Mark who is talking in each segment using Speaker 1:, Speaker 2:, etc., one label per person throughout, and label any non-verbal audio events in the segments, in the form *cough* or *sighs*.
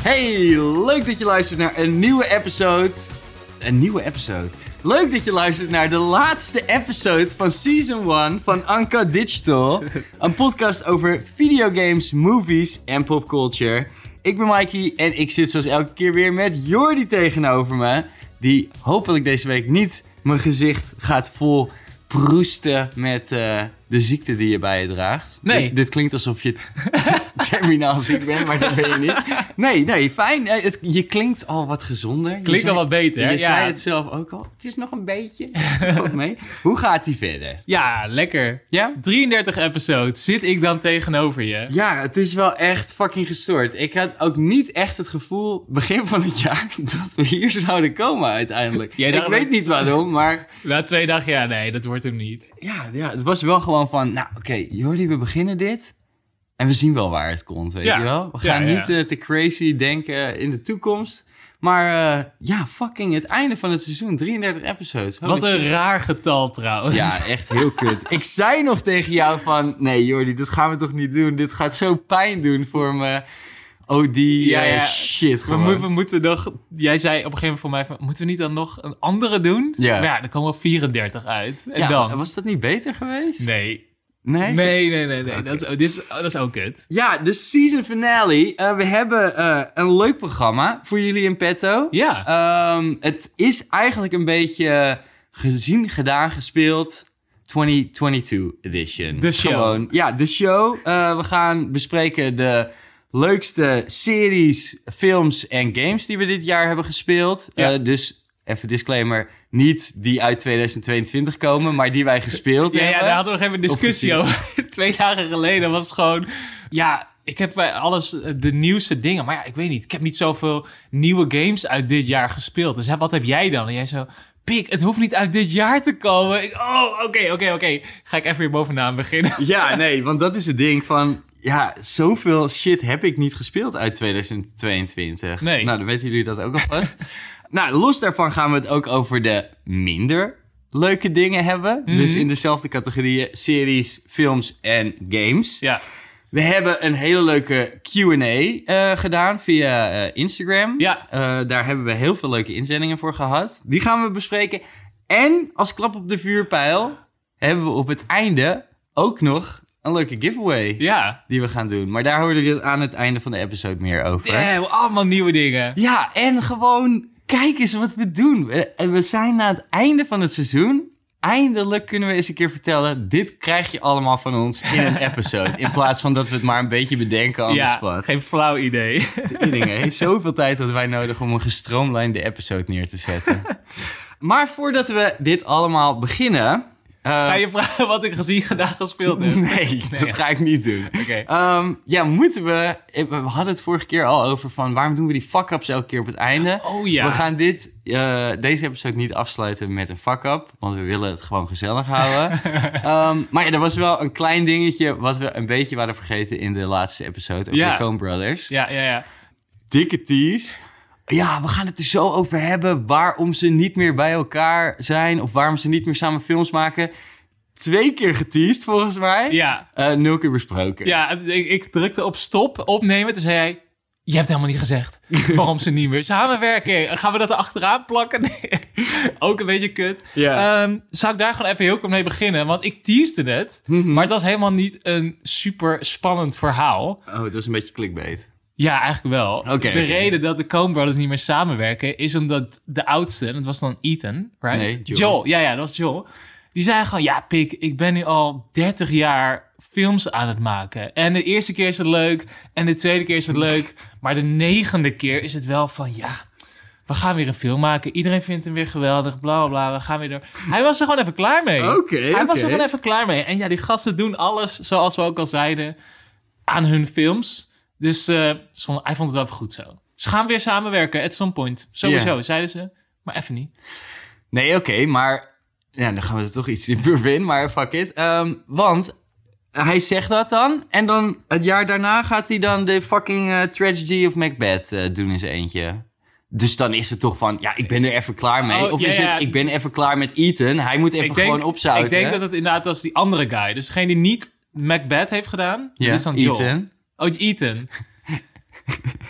Speaker 1: Hey, leuk dat je luistert naar een nieuwe episode. Een nieuwe episode. Leuk dat je luistert naar de laatste episode van Season 1 van Anka Digital. Een podcast over videogames, movies en popculture. Ik ben Mikey en ik zit zoals elke keer weer met Jordi tegenover me. Die hopelijk deze week niet mijn gezicht gaat vol proesten met eh, de ziekte die je bij je draagt.
Speaker 2: Nee.
Speaker 1: Dit, dit klinkt alsof je *laughs* terminaal ziek bent, maar dat ben je niet. Nee, nee, fijn. Eh, het- je klinkt al wat gezonder. Je
Speaker 2: Klinkt
Speaker 1: zei-
Speaker 2: al wat beter, hè?
Speaker 1: Je
Speaker 2: Ja.
Speaker 1: zei het zelf ook al. Het is nog een beetje. Valt
Speaker 2: *laughs*
Speaker 1: mee. Hoe gaat die verder?
Speaker 2: Ja, lekker.
Speaker 1: Ja?
Speaker 2: 33 episodes zit ik dan tegenover je.
Speaker 1: Ja, het is wel echt fucking gestoord. Ik had ook niet echt het gevoel, begin van het jaar, *laughs* dat we hier zouden komen uiteindelijk.
Speaker 2: Jij
Speaker 1: ik
Speaker 2: daarom-
Speaker 1: weet niet waarom, maar
Speaker 2: Na twee dagen, ja, nee, dat wordt hem niet.
Speaker 1: ja, ja, het was wel gewoon van, nou oké, Jordi, we beginnen dit. En we zien wel waar het komt, weet
Speaker 2: Ja.
Speaker 1: je wel? We
Speaker 2: Ja,
Speaker 1: gaan
Speaker 2: ja.
Speaker 1: niet eh, te crazy denken in de toekomst. Maar eh, ja, fucking het einde van het seizoen, 33 episodes. Holy
Speaker 2: Wat
Speaker 1: Oh, shit.
Speaker 2: een raar getal trouwens.
Speaker 1: Ja, echt heel kut. Ik zei nog tegen jou van... Nee, Jordi, dit gaan we toch niet doen? Dit gaat zo pijn doen voor me. Oh, die
Speaker 2: Ja,
Speaker 1: eh,
Speaker 2: ja.
Speaker 1: shit
Speaker 2: *laughs* We,
Speaker 1: gewoon.
Speaker 2: moeten we moeten nog... Jij zei op een gegeven moment voor mij van... Moeten we niet dan nog een andere doen?
Speaker 1: Ja.
Speaker 2: Maar ja, dan komen we 34 uit. En
Speaker 1: Ja,
Speaker 2: dan?
Speaker 1: Was dat niet beter geweest?
Speaker 2: Nee.
Speaker 1: Nee?
Speaker 2: Nee, nee, nee. nee,
Speaker 1: Oké.
Speaker 2: Dat, is, oh, dit is, dat is ook kut.
Speaker 1: Ja, de season finale. Eh, we hebben eh, een leuk programma voor jullie in petto.
Speaker 2: Ja.
Speaker 1: Ehm, het is eigenlijk een beetje gezien, gedaan, gespeeld. 2022 edition.
Speaker 2: De show.
Speaker 1: Gewoon, ja, de show. Eh, we gaan bespreken de leukste series, films en games die we dit jaar hebben gespeeld.
Speaker 2: Ja.
Speaker 1: Eh, dus even disclaimer, niet die uit 2022 komen, maar die wij gespeeld
Speaker 2: Ja, ja,
Speaker 1: hebben.
Speaker 2: daar hadden we nog even een discussie
Speaker 1: Of
Speaker 2: over. *laughs* Twee dagen geleden was het gewoon... Ja, ik heb bij alles eh, de nieuwste dingen. Maar ja, ik weet niet. Ik heb niet zoveel nieuwe games uit dit jaar gespeeld. Dus hè, wat heb jij dan? En jij zo... Pik, het hoeft niet uit dit jaar te komen. Ik, oh, oké, oké, oké. Ga ik even weer bovenaan beginnen.
Speaker 1: *laughs*
Speaker 2: *laughs* Dus
Speaker 1: Ja, nee, want dat is het ding van... Ja, zoveel shit heb ik niet gespeeld uit 2022.
Speaker 2: Nee.
Speaker 1: Nou, dan weten jullie dat ook alvast. nou, los daarvan gaan we het ook over de minder leuke dingen hebben. Dus in dezelfde categorieën series, films en games.
Speaker 2: Ja,
Speaker 1: We hebben een hele leuke Q&A eh, gedaan via eh, Instagram.
Speaker 2: Ja.
Speaker 1: Eh, daar hebben we heel veel leuke inzendingen voor gehad. Die gaan we bespreken. En als klap op de vuurpijl hebben we op het einde ook nog een leuke giveaway
Speaker 2: ja.
Speaker 1: die we gaan doen. Maar daar horen jullie aan het einde van de episode meer over.
Speaker 2: Damn, allemaal nieuwe dingen.
Speaker 1: Ja, en gewoon kijk eens wat we doen. We, en we zijn na het einde van het seizoen. Eindelijk kunnen we eens een keer vertellen: dit krijg je allemaal van ons in
Speaker 2: *laughs*
Speaker 1: een episode. In plaats van dat we het maar een beetje bedenken aan de
Speaker 2: Ja,
Speaker 1: spot.
Speaker 2: geen flauw idee. *laughs*
Speaker 1: Tering, hè? Zoveel tijd hadden wij nodig om een gestroomlijnde episode neer te
Speaker 2: *laughs*
Speaker 1: zetten. Maar voordat we dit allemaal beginnen. eh,
Speaker 2: Ga je vragen wat ik gezien, gedaan, gespeeld
Speaker 1: *laughs*
Speaker 2: heb?
Speaker 1: Nee, dat ga ik niet doen.
Speaker 2: Oké.
Speaker 1: Ehm, ja, moeten we. eh, We hadden het vorige keer al over van waarom doen we die fuck-ups elke keer op het einde?
Speaker 2: Oh ja.
Speaker 1: We gaan dit, eh, deze episode niet afsluiten met een fuck-up, want we willen het gewoon gezellig
Speaker 2: *laughs*
Speaker 1: houden. Ehm, maar ja, er was wel een klein dingetje wat we een beetje waren vergeten in de laatste episode over
Speaker 2: Ja.
Speaker 1: de Coen Brothers.
Speaker 2: Ja, ja, ja.
Speaker 1: Dikke tease. Ja, we gaan het er zo over hebben waarom ze niet meer bij elkaar zijn of waarom ze niet meer samen films maken. Twee keer geteased volgens mij.
Speaker 2: Ja.
Speaker 1: Eh, nul keer besproken.
Speaker 2: Ja, ik, ik drukte op stop, opnemen. Toen zei hij, je hebt helemaal niet gezegd waarom ze niet meer samenwerken. Gaan we dat erachteraan plakken? *laughs* Nee. Ook een beetje kut.
Speaker 1: Ja.
Speaker 2: Ehm, zou ik daar gewoon even heel kort mee beginnen? Want ik teaste het, maar het was helemaal niet een super spannend verhaal.
Speaker 1: Oh, het was een beetje clickbait.
Speaker 2: Ja, eigenlijk wel.
Speaker 1: Oké,
Speaker 2: de
Speaker 1: oké.
Speaker 2: reden dat de Coen Brothers niet meer samenwerken is omdat de oudste, en dat was dan Ethan, right?
Speaker 1: Nee, Joel.
Speaker 2: Ja, ja, dat was Joel. Die zei gewoon, ja pik, ik ben nu al 30 jaar films aan het maken. En de eerste keer is het leuk, en de tweede keer is het
Speaker 1: *laughs*
Speaker 2: leuk. Maar de negende keer is het wel van, ja, we gaan weer een film maken. Iedereen vindt hem weer geweldig, bla bla bla, we gaan weer door. Hij was er gewoon even klaar mee.
Speaker 1: Oké,
Speaker 2: Hij was er
Speaker 1: oké.
Speaker 2: gewoon even klaar mee. En ja, die gasten doen alles, zoals we ook al zeiden, aan hun films. Dus eh, ze vonden- hij vond het wel even goed zo. Ze gaan weer samenwerken, at some point. Sowieso,
Speaker 1: Ja.
Speaker 2: zeiden ze. Maar even niet.
Speaker 1: Nee, oké, maar... Ja, dan gaan we er toch iets *laughs* dieper in, maar fuck it. Ehm, want eh, hij zegt dat dan en dan het jaar daarna gaat hij dan de fucking eh, Tragedy of Macbeth eh, doen in zijn eentje. Dus dan is het toch van, ja, ik ben er even klaar mee.
Speaker 2: Oh,
Speaker 1: of
Speaker 2: ja,
Speaker 1: is
Speaker 2: ja.
Speaker 1: het, ik ben even klaar met Ethan. Hij moet even gewoon opzouten.
Speaker 2: ik denk dat het inderdaad was die andere guy. Dus degene die niet Macbeth heeft gedaan,
Speaker 1: ja,
Speaker 2: dat is dan
Speaker 1: *laughs*
Speaker 2: Joel.
Speaker 1: Ethan.
Speaker 2: Oh, Ethan.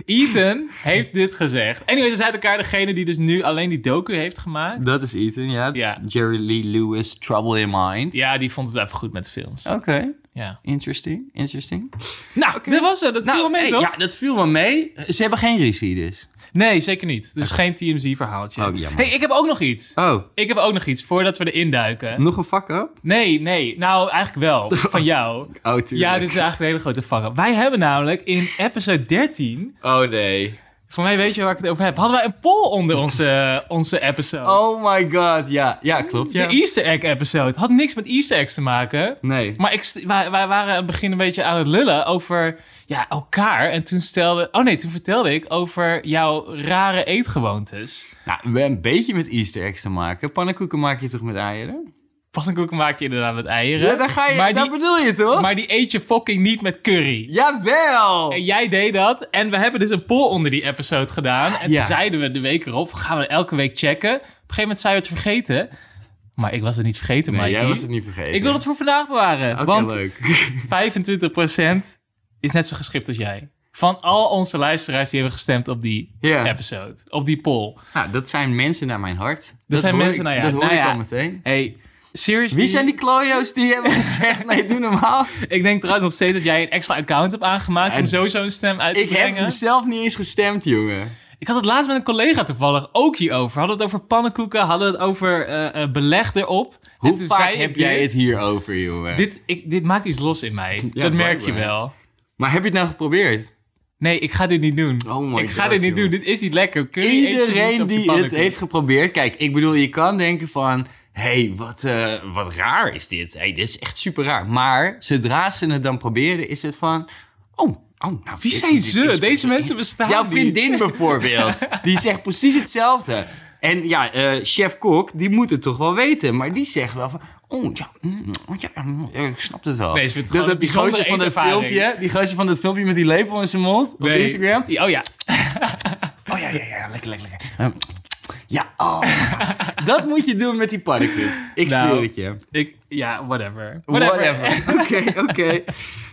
Speaker 2: Ethan heeft dit gezegd. Anyways, ze zijn uit elkaar degene die dus nu alleen die docu heeft gemaakt.
Speaker 1: Dat is Ethan, ja.
Speaker 2: Ja.
Speaker 1: Jerry Lee Lewis, Trouble in Mind.
Speaker 2: Ja, die vond het even goed met films.
Speaker 1: Oké,
Speaker 2: Ja.
Speaker 1: interesting, interesting.
Speaker 2: Nou, dat was het. Dat viel wel mee,
Speaker 1: hey,
Speaker 2: toch?
Speaker 1: ja, dat viel wel mee. Ze hebben geen ruzie dus.
Speaker 2: Nee, zeker niet. Dus geen TMZ-verhaaltje.
Speaker 1: Oh, jammer.
Speaker 2: hey, ik heb ook nog iets.
Speaker 1: Oh,
Speaker 2: Ik heb ook nog iets, voordat we erin duiken.
Speaker 1: nog een fuck-up?
Speaker 2: Nee, nee. Nou, eigenlijk
Speaker 1: *laughs*
Speaker 2: wel. Van jou.
Speaker 1: Oh,
Speaker 2: Ja, dit is eigenlijk een hele grote fuck-up. Wij hebben namelijk in episode 13...
Speaker 1: Oh, nee.
Speaker 2: Voor mij weet je waar ik het over heb. Hadden wij een poll onder onze, onze episode.
Speaker 1: Oh my god, ja. Ja, klopt, ja.
Speaker 2: De Easter Egg episode. Had niks met Easter Eggs te maken.
Speaker 1: Nee.
Speaker 2: Maar ik, st- wij, wij waren aan het begin een beetje aan het lullen over ja, elkaar. En toen stelde. Oh nee, toen vertelde ik over jouw rare eetgewoontes.
Speaker 1: Nou, we hebben een beetje met easter eggs te maken. Pannenkoeken maak je toch met eieren?
Speaker 2: Pannenkoeken maak je inderdaad met eieren.
Speaker 1: Ja, daar ga je,
Speaker 2: maar,
Speaker 1: dat
Speaker 2: die,
Speaker 1: bedoel je toch?
Speaker 2: maar die eet je fucking niet met curry.
Speaker 1: Jawel!
Speaker 2: En jij deed dat. En we hebben dus een poll onder die episode gedaan. En
Speaker 1: Ja.
Speaker 2: toen zeiden we de week erop: gaan we elke week checken. Op een gegeven moment zei we het vergeten. Maar ik was het niet vergeten,
Speaker 1: Nee,
Speaker 2: Mikey.
Speaker 1: jij was het niet vergeten.
Speaker 2: ik wil het voor vandaag bewaren.
Speaker 1: Oké,
Speaker 2: want
Speaker 1: leuk.
Speaker 2: 25% is net zo geschikt als jij. Van al onze luisteraars die hebben gestemd op
Speaker 1: *laughs*
Speaker 2: die
Speaker 1: Ja.
Speaker 2: episode, op die poll.
Speaker 1: Nou, dat zijn mensen naar mijn hart. Dat,
Speaker 2: zijn
Speaker 1: hoor
Speaker 2: mensen
Speaker 1: ik-
Speaker 2: naar je
Speaker 1: Dat hoor
Speaker 2: hart. Nou
Speaker 1: ik
Speaker 2: ja.
Speaker 1: al meteen.
Speaker 2: Hey, seriously.
Speaker 1: Wie zijn die klojo's die hebben gezegd, nee, doe
Speaker 2: *laughs*
Speaker 1: normaal?
Speaker 2: Ik denk trouwens nog steeds dat jij een extra account hebt aangemaakt om
Speaker 1: En-
Speaker 2: sowieso een stem uit te
Speaker 1: Ik
Speaker 2: brengen.
Speaker 1: heb zelf niet eens gestemd, jongen.
Speaker 2: Ik had het laatst met een collega toevallig ook hierover. Hadden we het over pannenkoeken, hadden we het over eh, eh, beleg erop. En
Speaker 1: Hoe
Speaker 2: toen
Speaker 1: vaak
Speaker 2: zei ik
Speaker 1: heb jij
Speaker 2: dit,
Speaker 1: het hierover, jongen?
Speaker 2: Dit, ik, dit maakt iets los in mij. dat merk je
Speaker 1: blijkbaar.
Speaker 2: wel.
Speaker 1: Maar heb je het nou geprobeerd?
Speaker 2: Nee, ik ga dit niet doen.
Speaker 1: Oh my
Speaker 2: ik ga
Speaker 1: God,
Speaker 2: dit niet
Speaker 1: jongen.
Speaker 2: doen. Dit is niet lekker. Curry eet je niet
Speaker 1: Iedereen
Speaker 2: op
Speaker 1: die
Speaker 2: je
Speaker 1: het
Speaker 2: pannenkoek.
Speaker 1: heeft geprobeerd... Kijk, ik bedoel, je kan denken van... Hé, hey, wat, eh, wat raar is dit. hey, dit is echt super raar. Maar zodra ze het dan proberen, is het van... Oh, oh nou,
Speaker 2: Wie
Speaker 1: dit-
Speaker 2: zijn
Speaker 1: dit
Speaker 2: ze?
Speaker 1: is-
Speaker 2: Deze mensen bestaan
Speaker 1: *laughs* Jouw
Speaker 2: niet.
Speaker 1: vriendin bijvoorbeeld, die zegt precies hetzelfde. En ja, eh, chef Kok, die moet het toch wel weten. Maar die zegt wel van, oh ja, mm, oh ja mm, eh, ik snap het wel.
Speaker 2: Nee, ze vindt het
Speaker 1: dat,
Speaker 2: gewoon
Speaker 1: dat die
Speaker 2: een bijzondere
Speaker 1: gozer van dat
Speaker 2: eetervaring.
Speaker 1: filmpje, die gozer van dat filmpje met die lepel in zijn mond op
Speaker 2: Nee.
Speaker 1: Instagram.
Speaker 2: Oh ja.
Speaker 1: Oh ja, ja, ja, lekker, lekker, lekker. Ehm, Ja,
Speaker 2: *laughs*
Speaker 1: oh. dat moet je doen met die pannenkoek. Ik
Speaker 2: Nou,
Speaker 1: zweer het je.
Speaker 2: Ik, ja, whatever.
Speaker 1: Whatever. *laughs* Oké, oké.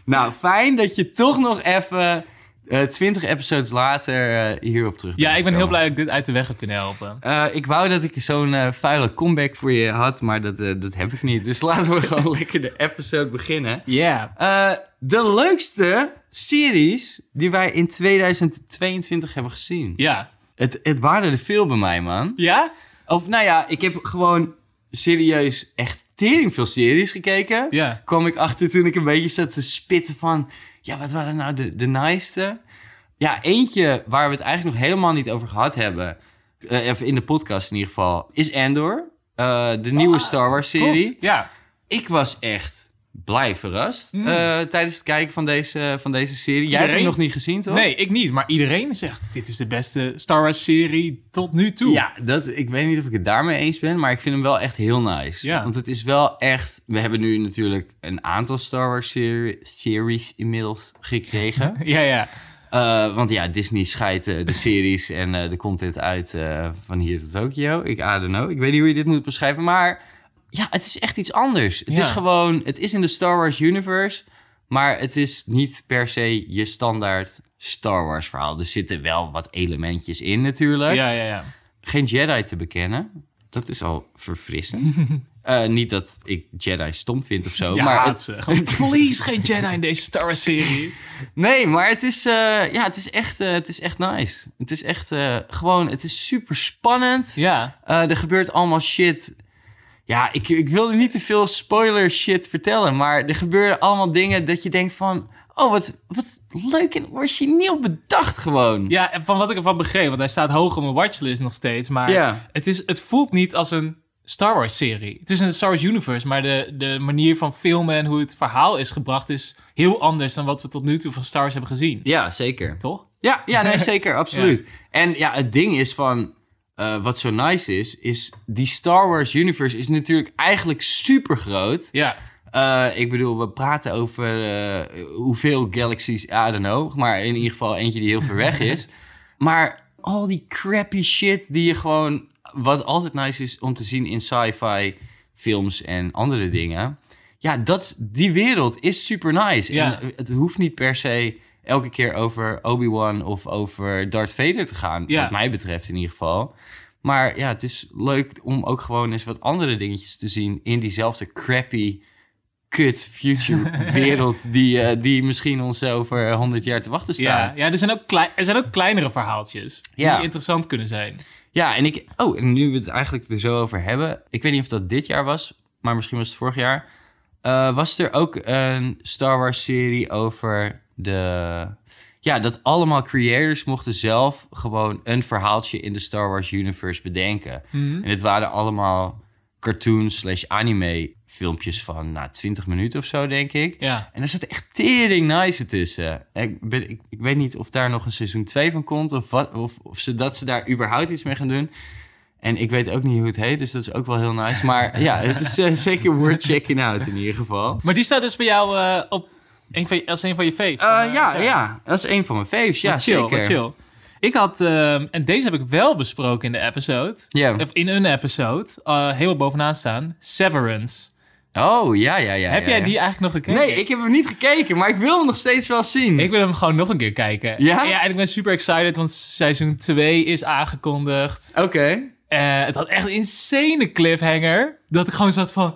Speaker 1: Nou, fijn dat je toch nog even eh, twintig episodes later eh, hierop terug
Speaker 2: Ja,
Speaker 1: bent
Speaker 2: ik ben heel
Speaker 1: gekomen.
Speaker 2: blij dat ik dit uit de weg heb kunnen helpen.
Speaker 1: Eh, ik wou dat ik zo'n eh, vuile comeback voor je had, maar dat, eh, dat heb ik niet. Dus laten we gewoon *laughs* lekker de episode beginnen.
Speaker 2: Ja.
Speaker 1: Eh, de leukste series die wij in 2022 hebben gezien.
Speaker 2: Ja.
Speaker 1: Het, het waren er veel bij mij, man.
Speaker 2: Ja?
Speaker 1: Of nou ja, ik heb gewoon serieus echt tering veel series gekeken.
Speaker 2: Ja.
Speaker 1: Kwam ik achter toen ik een beetje zat te spitten van... Ja, wat waren nou de, de naaiste? Ja, eentje waar we het eigenlijk nog helemaal niet over gehad hebben... eh, even in de podcast in ieder geval... is Andor, eh, de nieuwe Star Wars serie.
Speaker 2: Ah, Klopt. Ja.
Speaker 1: Ik was echt blij verrast
Speaker 2: Mm.
Speaker 1: eh, tijdens het kijken van deze, van deze serie. Jij hebt hem
Speaker 2: Iedereen?
Speaker 1: nog niet gezien, toch?
Speaker 2: Nee, ik niet. Maar iedereen zegt, dit is de beste Star Wars serie tot nu toe.
Speaker 1: Ja, dat, ik weet niet of ik het daarmee eens ben, maar ik vind hem wel echt heel nice.
Speaker 2: Ja.
Speaker 1: Want het is wel echt... We hebben nu natuurlijk een aantal Star Wars seri- series inmiddels gekregen.
Speaker 2: Ja, ja.
Speaker 1: Eh, want ja, Disney scheidt eh, de series en eh, de content uit eh, van hier tot Tokio. Ik I don't know. Ik weet niet hoe je dit moet beschrijven, maar ja, het is echt iets anders. Het
Speaker 2: Ja.
Speaker 1: is gewoon... Het is in de Star Wars universe, maar het is niet per se je standaard Star Wars verhaal. Er zitten wel wat elementjes in natuurlijk
Speaker 2: Ja, ja, ja.
Speaker 1: geen Jedi te bekennen. Dat is al
Speaker 2: *laughs*
Speaker 1: verfrissend. Eh, niet dat ik Jedi stom vind of zo.
Speaker 2: Je
Speaker 1: maar
Speaker 2: haat
Speaker 1: het-
Speaker 2: ze. Gewoon, Please, geen Jedi in deze Star Wars
Speaker 1: *laughs*
Speaker 2: serie.
Speaker 1: nee, maar het is, eh, ja, het is, echt, eh, het is echt nice. Het is echt eh, gewoon, het is super spannend.
Speaker 2: Ja.
Speaker 1: Eh, er gebeurt allemaal shit. Ja, ik, ik wilde niet te veel spoiler shit vertellen. Maar er gebeuren allemaal dingen dat je denkt van... Oh, wat, wat leuk en origineel bedacht gewoon.
Speaker 2: Ja, en van wat ik ervan begreep, want hij staat hoog op mijn watchlist nog steeds. Maar
Speaker 1: Ja.
Speaker 2: het, is, het voelt niet als een Star Wars serie. Het is een Star Wars universe, maar de, de manier van filmen en hoe het verhaal is gebracht is heel anders dan wat we tot nu toe van Star Wars hebben gezien.
Speaker 1: ja zeker.
Speaker 2: Toch?
Speaker 1: Ja, ja nee, zeker, absoluut. En ja, het ding is van, eh, wat zo nice is, is die Star Wars universe is natuurlijk eigenlijk super groot.
Speaker 2: Ja.
Speaker 1: Eh, ik bedoel, we praten over eh, hoeveel galaxies, I don't know, maar in ieder geval eentje die heel ver
Speaker 2: *laughs*
Speaker 1: weg is. Maar al die crappy shit die je gewoon, wat altijd nice is om te zien in sci-fi films en andere dingen. Ja, dat, die wereld is super nice.
Speaker 2: Ja.
Speaker 1: En het hoeft niet per se elke keer over Obi-Wan of over Darth Vader te gaan.
Speaker 2: Ja.
Speaker 1: Wat mij betreft in ieder geval. Maar ja, het is leuk om ook gewoon eens wat andere dingetjes te zien in diezelfde crappy, kut future wereld die, eh, die misschien ons over 100 jaar te wachten staat.
Speaker 2: Ja, ja er, zijn ook klei- er zijn ook kleinere verhaaltjes die
Speaker 1: Ja.
Speaker 2: interessant kunnen zijn.
Speaker 1: Ja, en ik. Oh, en nu we het eigenlijk er zo over hebben. Ik weet niet of dat dit jaar was, maar misschien was het vorig jaar. eh, was er ook een Star Wars-serie over de. Ja, dat allemaal creators mochten zelf gewoon een verhaaltje in de Star Wars-universe bedenken. En het waren allemaal cartoons/slash anime-filmpjes van nou, 20 minuten of zo, denk ik.
Speaker 2: Ja,
Speaker 1: En er zit echt tering nice tussen. Ik, ben, ik, ik weet niet of daar nog een seizoen 2 van komt. Of, wat, of, of ze, dat ze daar überhaupt iets mee gaan doen. En ik weet ook niet hoe het heet. Dus dat is ook wel heel nice. *laughs* Maar ja, het is eh, zeker worth checking out in ieder geval.
Speaker 2: maar die staat dus bij jou eh, op een van je, als een van je faves.
Speaker 1: Eh,
Speaker 2: van, eh,
Speaker 1: ja,
Speaker 2: Jack.
Speaker 1: ja, dat is een van mijn faves. Ja,
Speaker 2: Wat chill,
Speaker 1: zeker.
Speaker 2: wat chill. Ik had, ehm, en deze heb ik wel besproken in de episode,
Speaker 1: Ja.
Speaker 2: of in een episode, eh helemaal bovenaan staan, Severance.
Speaker 1: Oh, ja, ja, ja.
Speaker 2: heb
Speaker 1: ja,
Speaker 2: jij
Speaker 1: ja.
Speaker 2: die eigenlijk nog gekeken?
Speaker 1: Nee, ik heb hem niet gekeken. Maar ik wil hem nog steeds wel zien.
Speaker 2: Ik wil hem gewoon nog een keer kijken.
Speaker 1: Ja?
Speaker 2: en ik ben super excited, want seizoen 2 is aangekondigd.
Speaker 1: Oké.
Speaker 2: Eh, het had echt een insane cliffhanger. Dat ik gewoon zat van...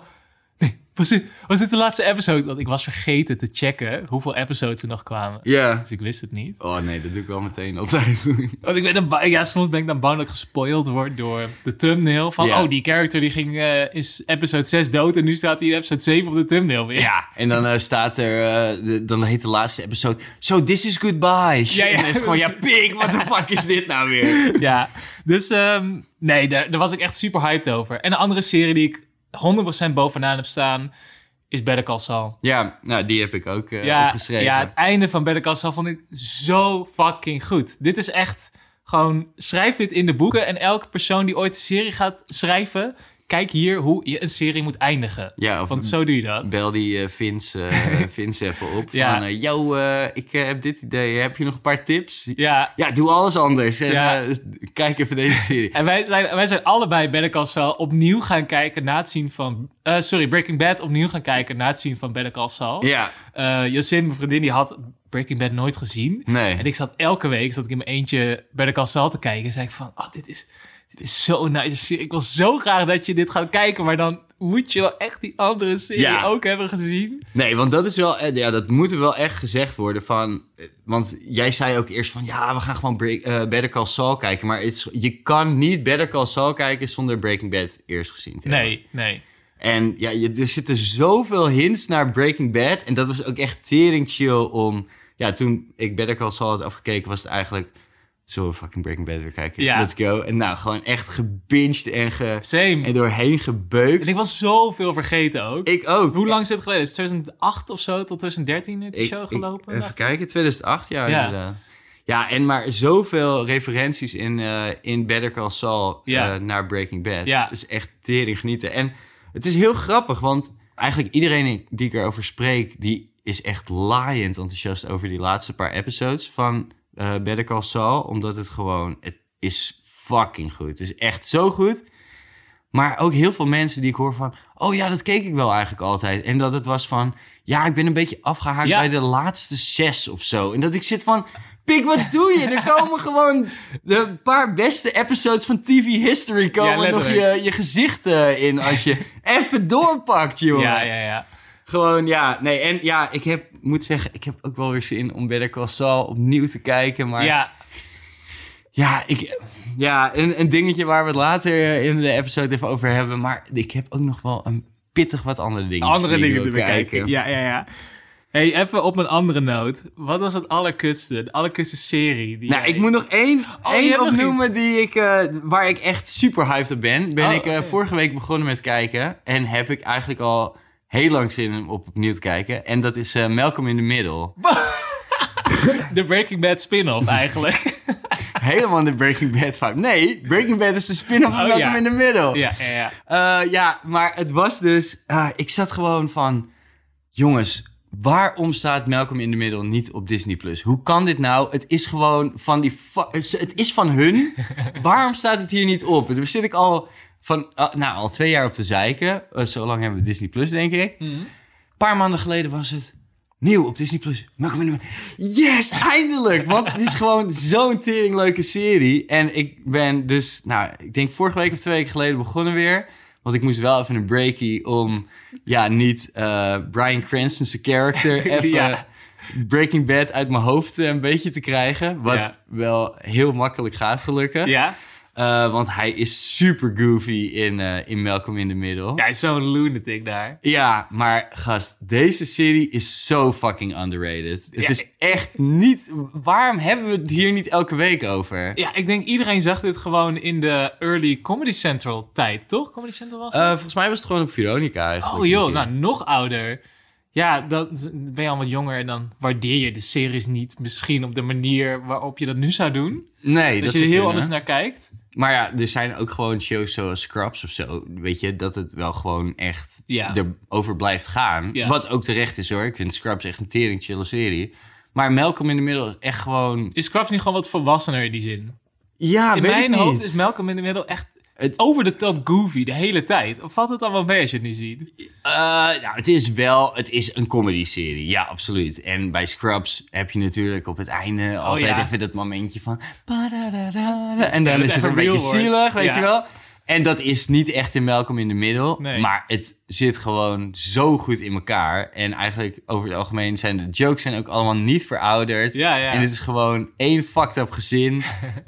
Speaker 2: Nee, was dit, was dit de laatste episode? Want ik was vergeten te checken hoeveel episodes er nog kwamen.
Speaker 1: Ja.
Speaker 2: Dus ik wist het niet.
Speaker 1: Oh nee, dat doe ik wel meteen altijd. *laughs*
Speaker 2: Want ik ben dan ba- ja, soms ben ik dan bang dat ik gespoild word door de thumbnail. Van,
Speaker 1: Ja.
Speaker 2: oh, die character die ging eh is episode 6 dood en nu staat hij in episode 7 op de thumbnail weer.
Speaker 1: Ja, en dan eh, staat er, eh, de- dan heet de laatste episode, So this is goodbye.
Speaker 2: Ja, ja.
Speaker 1: En dan is het gewoon, ja pik, what the fuck is dit nou
Speaker 2: *laughs*
Speaker 1: weer?
Speaker 2: *laughs* Ja, dus ehm, nee, daar, daar was ik echt super hyped over. En een andere serie die ik 100% bovenaan heb staan is Better Call Saul.
Speaker 1: Ja, nou die heb ik ook eh, opgeschreven.
Speaker 2: Ja, het einde van Better Call Saul vond ik zo fucking goed. Dit is echt gewoon, schrijf dit in de boeken. En elke persoon die ooit een serie gaat schrijven, kijk hier hoe je een serie moet eindigen.
Speaker 1: Ja, of
Speaker 2: Want zo doe je dat.
Speaker 1: bel die eh Vince,
Speaker 2: *laughs*
Speaker 1: eh, Vince even op.
Speaker 2: Ja.
Speaker 1: Van, eh, yo, eh, ik eh, heb dit idee, heb je nog een paar tips?
Speaker 2: Ja,
Speaker 1: Ja, doe alles anders. En,
Speaker 2: Ja.
Speaker 1: eh, kijk even deze
Speaker 2: *laughs*
Speaker 1: serie.
Speaker 2: en wij zijn, wij zijn allebei Better Call Saul opnieuw gaan kijken na het zien van... eh, sorry, Breaking Bad opnieuw gaan kijken na het zien van Better Call Saul.
Speaker 1: ja,
Speaker 2: Eh, Jacin, mijn vriendin, die had Breaking Bad nooit gezien.
Speaker 1: nee.
Speaker 2: En ik zat elke week zat ik in mijn eentje bij de Casal te kijken. En zei ik van, oh, dit is, dit is zo'n nice serie. Ik wil zo graag dat je dit gaat kijken. Maar dan moet je wel echt die andere serie
Speaker 1: Ja.
Speaker 2: ook hebben gezien.
Speaker 1: Nee, want dat is wel, eh, ja, dat moet wel echt gezegd worden van, eh, want jij zei ook eerst van, ja, we gaan gewoon break, eh, Better Call Saul kijken, maar het is- je kan niet Better Call Saul kijken zonder Breaking Bad eerst gezien te hebben.
Speaker 2: Nee, nee.
Speaker 1: En ja, je, er zitten zoveel hints naar Breaking Bad en dat was ook echt tering chill om, ja, toen ik Better Call Saul had afgekeken was het eigenlijk, zullen we fucking Breaking Bad weer kijken?
Speaker 2: Ja.
Speaker 1: Let's go. En nou, gewoon echt gebinged en, ge,
Speaker 2: Same.
Speaker 1: en doorheen gebeukt.
Speaker 2: En ik was zoveel vergeten ook.
Speaker 1: ik ook.
Speaker 2: Hoe lang is het geleden? Is het 2008 of zo tot 2013 heeft die
Speaker 1: Ik-
Speaker 2: show
Speaker 1: ik-
Speaker 2: gelopen?
Speaker 1: even kijken, 2008, ja,
Speaker 2: Ja.
Speaker 1: inderdaad. Ja, en maar zoveel referenties in, eh, in Better Call Saul
Speaker 2: Ja.
Speaker 1: eh, naar Breaking Bad.
Speaker 2: Ja.
Speaker 1: Dus echt tering genieten. En het is heel grappig, want eigenlijk iedereen die ik erover spreek... die is echt laaiend enthousiast over die laatste paar episodes van eh Better Call Saul. Omdat het gewoon, het is fucking goed. Het is echt zo goed. Maar ook heel veel mensen die ik hoor van... oh ja, dat keek ik wel eigenlijk altijd. En dat het was van... ja, ik ben een beetje afgehaakt
Speaker 2: Ja.
Speaker 1: bij de laatste zes of zo. En dat ik zit van... Pik, wat doe je? Er
Speaker 2: *laughs*
Speaker 1: komen gewoon de paar beste episodes van TV History... komen nog
Speaker 2: letterlijk.
Speaker 1: je, je gezicht eh, in als
Speaker 2: *laughs*
Speaker 1: je even doorpakt, joh.
Speaker 2: ja, ja, ja.
Speaker 1: Gewoon, ja. Nee, en ja, ik heb, moet zeggen... ik heb ook wel weer zin om Better Call Saul opnieuw te kijken. Maar
Speaker 2: ja.
Speaker 1: ja, ik, ja een, een dingetje waar we het later eh, in de episode even over hebben. Maar ik heb ook nog wel een pittig wat andere dingen.
Speaker 2: Andere dingen te bekijken. Ja, ja, ja. Hey, even op een andere noot. Wat was het allerkutste? De allerkutste serie? Die
Speaker 1: Nou,
Speaker 2: jij-
Speaker 1: ik moet nog één,
Speaker 2: Oh, je
Speaker 1: één
Speaker 2: hebt nog
Speaker 1: opnoemen die ik, eh, waar ik echt super hyped op ben. Ben
Speaker 2: Oh,
Speaker 1: ik eh,
Speaker 2: oké.
Speaker 1: vorige week begonnen met kijken. En heb ik eigenlijk al heel lang zin om opnieuw te kijken. En dat is eh, Malcolm in the Middle.
Speaker 2: De Breaking Bad spin-off eigenlijk.
Speaker 1: Helemaal de Breaking Bad vibe. Nee, Breaking Bad is de spin-off van
Speaker 2: Oh,
Speaker 1: Malcolm
Speaker 2: ja.
Speaker 1: in the Middle.
Speaker 2: ja, ja, ja.
Speaker 1: Eh, ja, maar het was dus... ah, ik zat gewoon van... Jongens, waarom staat Malcolm in the Middle niet op Disney+. Plus? Hoe kan dit nou? Het is gewoon van die... fa- Het is van hun. waarom staat het hier niet op? En Daar zit ik al, van, ah, nou, al twee jaar op te zeiken. Eh, zo lang hebben we Disney+, Plus, denk ik. Een paar maanden geleden was het... Nieuw op Disney Plus. Malcolm in the Middle. Yes, eindelijk! Want het is gewoon zo'n teringleuke serie. En ik ben dus, nou, ik denk vorige week of twee weken geleden begonnen weer. Want ik moest wel even een breakie om, ja, niet eh, Brian Cranston's character even
Speaker 2: *laughs* Ja.
Speaker 1: Breaking Bad uit mijn hoofd eh, een beetje te krijgen. Wat
Speaker 2: Ja.
Speaker 1: wel heel makkelijk gaat, gelukkig.
Speaker 2: Ja?
Speaker 1: Eh, want hij is super goofy in, eh, in Malcolm in the Middle.
Speaker 2: Ja, hij is zo'n lunatic daar.
Speaker 1: Ja, maar gast, deze serie is zo fucking underrated. Het
Speaker 2: Ja,
Speaker 1: is echt niet... Waarom hebben we het hier niet elke week over?
Speaker 2: Ja, ik denk iedereen zag dit gewoon in de early Comedy Central tijd, toch? Comedy Central was het?
Speaker 1: Eh, volgens mij was het gewoon op Veronica eigenlijk.
Speaker 2: Oh joh,
Speaker 1: een keer.
Speaker 2: nou nog ouder. Ja, dan ben je al wat jonger en dan waardeer je de series niet misschien op de manier waarop je dat nu zou doen.
Speaker 1: Nee, dat
Speaker 2: dat je er
Speaker 1: zou
Speaker 2: heel
Speaker 1: kunnen.
Speaker 2: anders naar kijkt.
Speaker 1: Maar ja, er zijn ook gewoon shows zoals Scrubs of zo. Weet je, dat het wel gewoon echt
Speaker 2: Ja.
Speaker 1: erover blijft gaan.
Speaker 2: Ja.
Speaker 1: Wat ook terecht is hoor. Ik vind Scrubs echt een tering chille serie. Maar Malcolm in the Middle is echt gewoon...
Speaker 2: Is Scrubs niet gewoon wat volwassener in die zin?
Speaker 1: Ja,
Speaker 2: in
Speaker 1: weet ik
Speaker 2: mijn
Speaker 1: niet.
Speaker 2: hoofd is Malcolm in the Middle echt
Speaker 1: Het-
Speaker 2: over de top goofy de hele tijd. Of valt het allemaal mee als je het nu ziet?
Speaker 1: Eh, nou, het is wel, het is een comedy-serie, ja, absoluut. En bij Scrubs heb je natuurlijk op het einde altijd
Speaker 2: Oh, ja.
Speaker 1: even dat momentje van... "Padadadada", En
Speaker 2: *laughs*
Speaker 1: dan
Speaker 2: het
Speaker 1: is
Speaker 2: echt
Speaker 1: het een
Speaker 2: een
Speaker 1: beetje
Speaker 2: real wordt.
Speaker 1: zielig, weet
Speaker 2: Ja.
Speaker 1: je wel. En dat is niet echt in Malcolm in de middel,
Speaker 2: Nee.
Speaker 1: maar het zit gewoon zo goed in elkaar. En eigenlijk over het algemeen zijn de jokes zijn ook allemaal niet verouderd.
Speaker 2: Ja, ja.
Speaker 1: En het is gewoon één fucked up
Speaker 2: *laughs*
Speaker 1: gezin.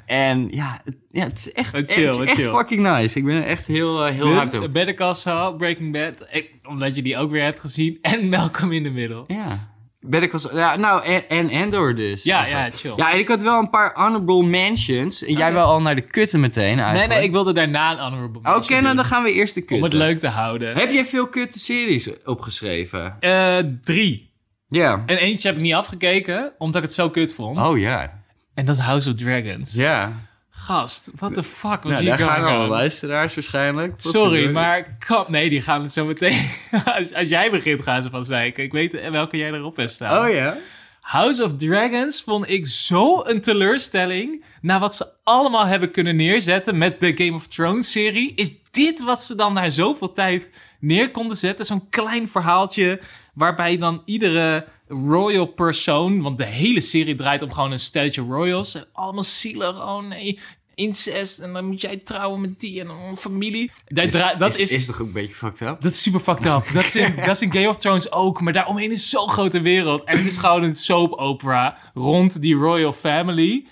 Speaker 1: en ja, het, ja, het is echt,
Speaker 2: Chill,
Speaker 1: het is echt
Speaker 2: chill.
Speaker 1: fucking nice. Ik ben er echt heel, eh, heel
Speaker 2: Dus,
Speaker 1: hard op.
Speaker 2: Better Call Saul, Breaking Bad, ik- omdat je die ook weer hebt gezien. *laughs* En Malcolm in the Middle.
Speaker 1: Ja. Better Call Saul- Ja, nou, en, en Endor dus.
Speaker 2: Ja, ja,
Speaker 1: Eigenlijk.
Speaker 2: chill.
Speaker 1: Ja, en ik had wel een paar honorable mentions. En jij
Speaker 2: ja.
Speaker 1: wel al naar de kutten meteen eigenlijk.
Speaker 2: nee, nee, ik wilde daarna een honorable
Speaker 1: Oké,
Speaker 2: mention
Speaker 1: nou
Speaker 2: doen,
Speaker 1: dan gaan we eerst de
Speaker 2: Om
Speaker 1: kutten.
Speaker 2: het leuk te houden.
Speaker 1: Heb jij veel kutte series opgeschreven?
Speaker 2: Eh, drie.
Speaker 1: Ja.
Speaker 2: En eentje heb ik niet afgekeken, omdat ik het zo kut vond.
Speaker 1: Oh ja.
Speaker 2: En dat is House of Dragons.
Speaker 1: Ja.
Speaker 2: Gast, what the fuck was
Speaker 1: Nou,
Speaker 2: hier
Speaker 1: daar gaan
Speaker 2: going
Speaker 1: alle
Speaker 2: on?
Speaker 1: luisteraars waarschijnlijk. Wat
Speaker 2: Sorry,
Speaker 1: gebeurt er?
Speaker 2: maar kap, nee, die gaan het zo meteen. *laughs* als, als jij begint, gaan ze van zeiken. Ik weet welke jij erop hebt staan.
Speaker 1: Oh ja?
Speaker 2: House of Dragons vond ik zo een teleurstelling. Na wat ze allemaal hebben kunnen neerzetten met de Game of Thrones serie. Is dit wat ze dan na zoveel tijd neer konden zetten? Zo'n klein verhaaltje waarbij dan iedere royal persoon... Want de hele serie draait om gewoon een stelletje royals. En allemaal zielig, oh nee... Incest, en dan moet jij trouwen met die en een familie. Daar dra- dat is,
Speaker 1: is toch ook een beetje fucked up?
Speaker 2: dat is super fucked up. Dat is, in, dat is in Game of Thrones ook, maar daaromheen is zo'n grote wereld. En het is gewoon een soap opera rond die royal family.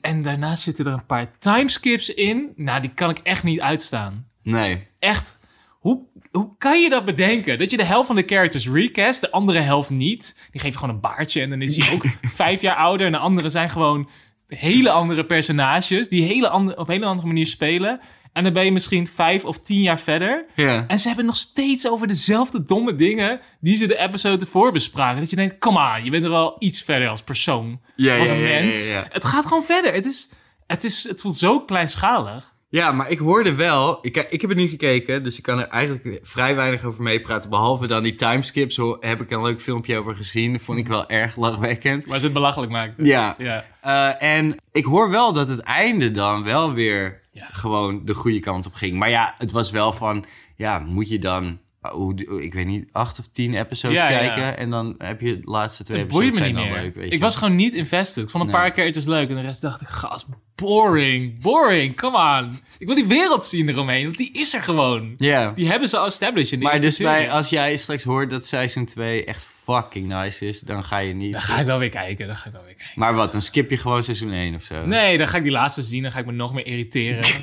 Speaker 2: En daarnaast zitten er een paar timeskips in. Nou, die kan ik echt niet uitstaan.
Speaker 1: Nee.
Speaker 2: Echt, hoe, hoe kan je dat bedenken? Dat je de helft van de characters recast, de andere helft niet. Die geven gewoon een baardje en dan is hij ook vijf jaar ouder. En de anderen zijn gewoon hele andere personages die hele ander, op een hele andere manier spelen. En dan ben je misschien vijf of tien jaar verder.
Speaker 1: Ja.
Speaker 2: En ze hebben nog steeds over dezelfde domme dingen die ze de episode ervoor bespraken. Dat je denkt, kom aan, je bent er wel iets verder als persoon,
Speaker 1: Ja,
Speaker 2: als
Speaker 1: ja,
Speaker 2: een
Speaker 1: ja, ja,
Speaker 2: mens.
Speaker 1: ja.
Speaker 2: Het gaat gewoon verder. Het, is, het, is, het voelt zo kleinschalig.
Speaker 1: Ja, maar ik hoorde wel. Ik, ik heb het niet gekeken, dus ik kan er eigenlijk vrij weinig over meepraten. Behalve dan die timeskips. ho- Heb ik een leuk filmpje over gezien. Vond ik wel erg lachwekkend.
Speaker 2: Maar ze het belachelijk maakt.
Speaker 1: Ja.
Speaker 2: Ja.
Speaker 1: Eh, en ik hoor wel dat het einde dan wel weer
Speaker 2: Ja.
Speaker 1: gewoon de goede kant op ging. Maar ja, het was wel van. Ja, moet je dan. oh, hoe- Ik weet niet, acht of tien episodes
Speaker 2: Ja, ja.
Speaker 1: kijken. En dan heb je de laatste twee
Speaker 2: Het boeit
Speaker 1: episodes.
Speaker 2: me niet
Speaker 1: zijn dan
Speaker 2: meer.
Speaker 1: leuk, weet
Speaker 2: ik
Speaker 1: je.
Speaker 2: was gewoon niet invested. Ik vond een
Speaker 1: Nee.
Speaker 2: paar keer het is leuk en de rest dacht ik, gast, boring, boring, come on. Ik wil die wereld zien eromheen, want die is er gewoon.
Speaker 1: Ja.
Speaker 2: Die hebben ze al established in de
Speaker 1: Maar
Speaker 2: eerste
Speaker 1: dus bij,
Speaker 2: serie.
Speaker 1: als jij straks hoort dat seizoen 2 echt fucking nice is, dan ga je niet.
Speaker 2: Dan ga ik wel weer kijken, dan ga ik wel weer kijken.
Speaker 1: Maar wat, dan skip je gewoon seizoen 1 of zo?
Speaker 2: Nee, dan ga ik die laatste zien. Dan ga ik me nog meer irriteren. *laughs*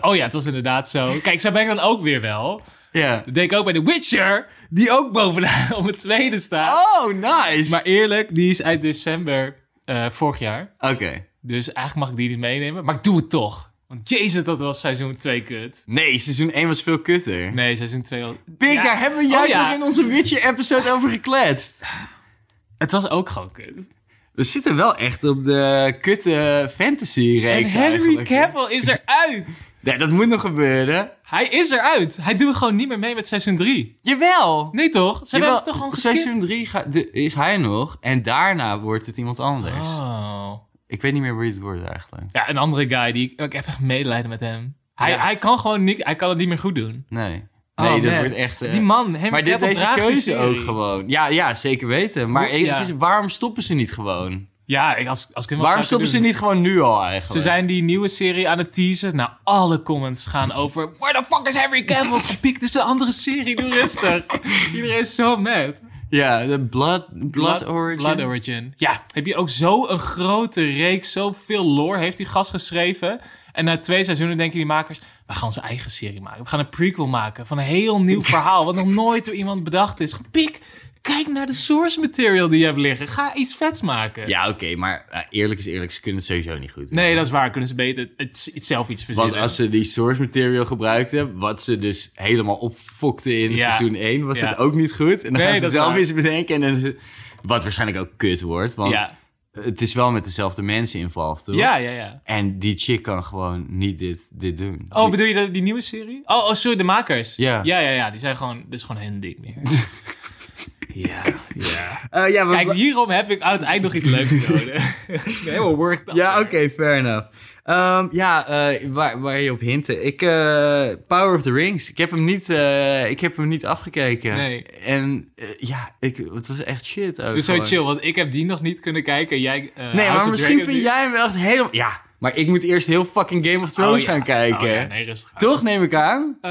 Speaker 2: oh ja, het was inderdaad zo. Kijk, zo ben ik dan ook weer wel.
Speaker 1: Ja.
Speaker 2: Dat denk ik ook bij The Witcher. Die ook bovenaan *laughs* op het tweede staat.
Speaker 1: Oh, nice!
Speaker 2: Maar eerlijk, die is uit december eh, vorig jaar.
Speaker 1: Oké.
Speaker 2: Dus eigenlijk mag ik die niet meenemen. Maar ik doe het toch. Want jezus, dat was seizoen 2 kut.
Speaker 1: Nee, seizoen 1 was veel kutter.
Speaker 2: Nee, seizoen 2 was...
Speaker 1: Pik,
Speaker 2: Ja.
Speaker 1: daar hebben we juist
Speaker 2: Oh, ja.
Speaker 1: nog in onze Witcher-episode over gekletst.
Speaker 2: Het was ook gewoon kut.
Speaker 1: We zitten wel echt op de kutte
Speaker 2: En
Speaker 1: fantasy-reeks
Speaker 2: Henry
Speaker 1: eigenlijk.
Speaker 2: Cavill is eruit.
Speaker 1: Nee, dat moet nog gebeuren.
Speaker 2: Hij is eruit. Hij doet gewoon niet meer mee met seizoen 3.
Speaker 1: Jawel!
Speaker 2: Nee toch? Ze hebben
Speaker 1: Jawel,
Speaker 2: hem toch gewoon geskipt?
Speaker 1: Seizoen 3 is hij nog en daarna wordt het iemand anders.
Speaker 2: Oh.
Speaker 1: Ik weet niet meer wie het wordt eigenlijk.
Speaker 2: Ja, een andere guy die ik, ik heb echt medelijden met hem. Hij,
Speaker 1: Ja.
Speaker 2: hij kan gewoon niet, hij kan het niet meer goed doen.
Speaker 1: Nee. Nee,
Speaker 2: Oh,
Speaker 1: dat
Speaker 2: man.
Speaker 1: wordt echt... eh,
Speaker 2: Die man, Henry
Speaker 1: maar dit,
Speaker 2: Cavill
Speaker 1: deze
Speaker 2: draagt die
Speaker 1: keuze
Speaker 2: serie.
Speaker 1: ook gewoon. Ja, ja, zeker weten. Maar
Speaker 2: Ja.
Speaker 1: het is, waarom stoppen ze niet gewoon?
Speaker 2: Ja, ik- als, als ik hem was,
Speaker 1: waarom
Speaker 2: zou
Speaker 1: stoppen
Speaker 2: ik het
Speaker 1: ze
Speaker 2: doen.
Speaker 1: niet gewoon nu al eigenlijk?
Speaker 2: Ze zijn die nieuwe serie aan het teasen. Nou, alle comments gaan over... Where the fuck is Henry Cavill? Ze pikt dus de andere serie, doe
Speaker 1: *laughs*
Speaker 2: rustig. Iedereen is zo mad.
Speaker 1: Ja, de Blood, blood, Origin.
Speaker 2: Blood Origin. Ja, heb je ook zo'n grote reeks, zoveel lore heeft die gast geschreven. En na twee seizoenen denken die makers, we gaan onze eigen serie maken. We gaan een prequel maken van een heel
Speaker 1: *laughs*
Speaker 2: nieuw verhaal, wat nog nooit door iemand bedacht is. Pik, kijk naar de source material die je hebt liggen. Ga iets vets maken.
Speaker 1: Ja, oké, maar eh, eerlijk is eerlijk, ze kunnen het sowieso niet goed.
Speaker 2: Nee, dat is waar. Kunnen ze beter het, het zelf iets verzinnen.
Speaker 1: Want als ze die source material gebruikten, wat ze dus helemaal opfokte in
Speaker 2: Ja.
Speaker 1: seizoen 1, was
Speaker 2: Ja.
Speaker 1: het ook niet goed. En dan
Speaker 2: Nee,
Speaker 1: gaan ze
Speaker 2: dat is
Speaker 1: zelf
Speaker 2: waar.
Speaker 1: iets bedenken. En dan is het- wat waarschijnlijk ook kut wordt, want
Speaker 2: ja.
Speaker 1: het is wel met dezelfde mensen involved, toch?
Speaker 2: ja, ja, ja.
Speaker 1: En die chick kan gewoon niet dit, dit doen.
Speaker 2: Oh,
Speaker 1: Die-
Speaker 2: *laughs* bedoel je de- die nieuwe serie? Oh, oh sorry, de makers.
Speaker 1: Ja.
Speaker 2: Ja, ja, ja. Die zijn gewoon, dit is gewoon hen dik
Speaker 1: *laughs*
Speaker 2: meer. ja, ja.
Speaker 1: Eh, ja, we-
Speaker 2: Kijk, hierom heb ik aan het eind nog iets leuks nodig. *laughs* Ik ben Helemaal worked up.
Speaker 1: Ja, oké, fair enough. Ehm, ja, eh, waar, waar je op hinten. Ik, eh, Power of the Rings. Ik heb hem niet, eh, ik heb hem niet afgekeken.
Speaker 2: Nee.
Speaker 1: En eh, ja, ik, het was echt shit ook.
Speaker 2: Dus zo
Speaker 1: gewoon.
Speaker 2: chill, want ik heb die nog niet kunnen kijken. en Jij,
Speaker 1: Nee,
Speaker 2: eh, House
Speaker 1: maar
Speaker 2: of
Speaker 1: misschien
Speaker 2: Dragon
Speaker 1: vind
Speaker 2: die-
Speaker 1: jij hem wel echt helemaal... Ja, maar ik moet eerst heel fucking Game of Thrones
Speaker 2: Oh, ja.
Speaker 1: gaan kijken.
Speaker 2: Oh, ja, nee, rustig aan.
Speaker 1: Toch, neem ik aan?
Speaker 2: Eh,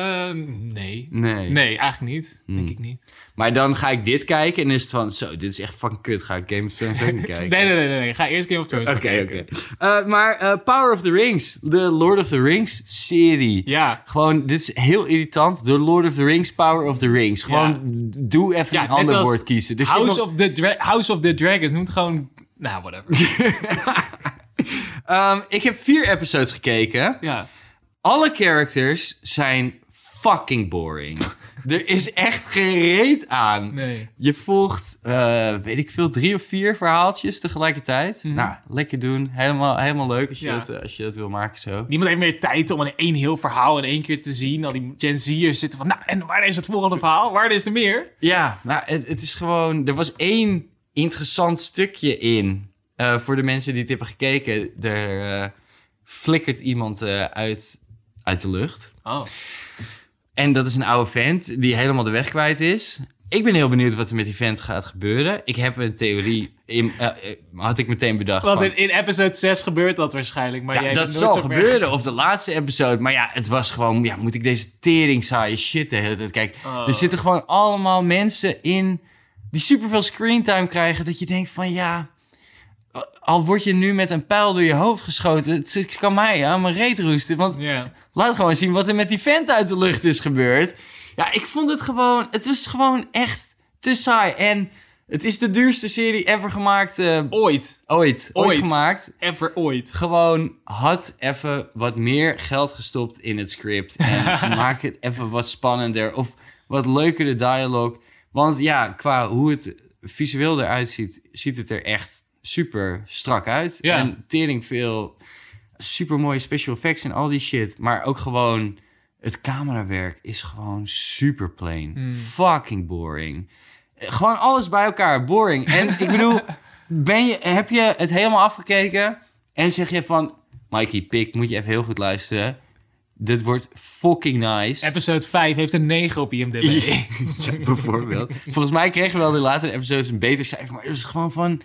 Speaker 2: nee.
Speaker 1: Nee. Hmm.
Speaker 2: Nee, eigenlijk niet. Denk ik niet.
Speaker 1: Maar dan ga ik dit kijken en is het van... Zo, dit is echt fucking kut. Ga ik Game of Thrones
Speaker 2: *laughs*
Speaker 1: ook niet
Speaker 2: Nee,
Speaker 1: kijken.
Speaker 2: nee, nee, nee, nee. Ga eerst Game of Thrones
Speaker 1: Oké,
Speaker 2: kijken.
Speaker 1: oké. Eh, maar eh, Power of the Rings, de Lord of the Rings serie.
Speaker 2: Ja.
Speaker 1: Gewoon, dit is heel irritant. De Lord of the Rings, Power of the Rings. Gewoon, doe even
Speaker 2: Ja,
Speaker 1: een
Speaker 2: net
Speaker 1: ander
Speaker 2: als
Speaker 1: woord kiezen. Dus
Speaker 2: House, of the Dra- House of the Dragons noemt gewoon... Nou,
Speaker 1: *laughs*
Speaker 2: whatever.
Speaker 1: Ehm, ik heb vier episodes gekeken.
Speaker 2: ja.
Speaker 1: Alle characters zijn fucking
Speaker 2: *laughs*
Speaker 1: boring. er is echt gereed aan.
Speaker 2: Nee.
Speaker 1: Je volgt, eh, weet ik veel, drie of vier verhaaltjes tegelijkertijd. Nou, lekker doen. Helemaal, helemaal leuk als je,
Speaker 2: Mhm. Ja.
Speaker 1: dat, eh, als je dat wil maken zo.
Speaker 2: Niemand heeft meer tijd om in één heel verhaal in één keer te zien. Al die Gen Z'ers zitten van... Nou, en waar is het volgende verhaal? Waar is er meer?
Speaker 1: Ja, maar het, het is gewoon... Er was één interessant stukje in. Eh, voor de mensen die het hebben gekeken. Er eh, flikkert iemand eh, uit, uit de lucht.
Speaker 2: Oh.
Speaker 1: En dat is een oude vent die helemaal de weg kwijt is. Ik ben heel benieuwd wat er met die vent gaat gebeuren. Ik heb een theorie... In, eh, eh, had ik meteen bedacht
Speaker 2: Want
Speaker 1: van-
Speaker 2: in, in episode 6 gebeurt dat waarschijnlijk. Maar
Speaker 1: Ja,
Speaker 2: jij
Speaker 1: dat
Speaker 2: hebt
Speaker 1: zal
Speaker 2: nooit zo meer-
Speaker 1: gebeuren. Of de laatste episode. Maar ja, het was gewoon... Ja, moet ik deze tering saaie shit de hele tijd... Kijk,
Speaker 2: Oh.
Speaker 1: er zitten gewoon allemaal mensen in... die superveel screentime krijgen. Dat je denkt van ja... Al word je nu met een pijl door je hoofd geschoten... het kan mij aan mijn reet roesten. Want
Speaker 2: Ja.
Speaker 1: laat gewoon zien wat er met die vent uit de lucht is gebeurd. Ja, ik vond het gewoon... Het was gewoon echt te saai. En het is de duurste serie ever gemaakt... eh,
Speaker 2: Ooit.
Speaker 1: ooit. Ooit
Speaker 2: ooit.
Speaker 1: gemaakt
Speaker 2: Ever ooit.
Speaker 1: gewoon had even wat meer geld gestopt in het script. En maak het even wat spannender of wat leukere dialoog. Want ja, qua hoe het visueel eruit ziet, ziet het er echt super strak uit.
Speaker 2: Ja.
Speaker 1: En tering veel super mooie special effects en al die shit. Maar ook gewoon het camerawerk is gewoon super plain. Fucking boring. Eh, Gewoon alles bij elkaar, boring. En ik bedoel, ben je, heb je het helemaal afgekeken en zeg je van... Mikey, pik, moet je even heel goed luisteren. Dit wordt fucking nice.
Speaker 2: Episode 5 heeft een 9 op IMDb.
Speaker 1: *laughs* Ja, bijvoorbeeld. Volgens mij kregen we wel de latere episodes een beter cijfer. Maar het was gewoon van...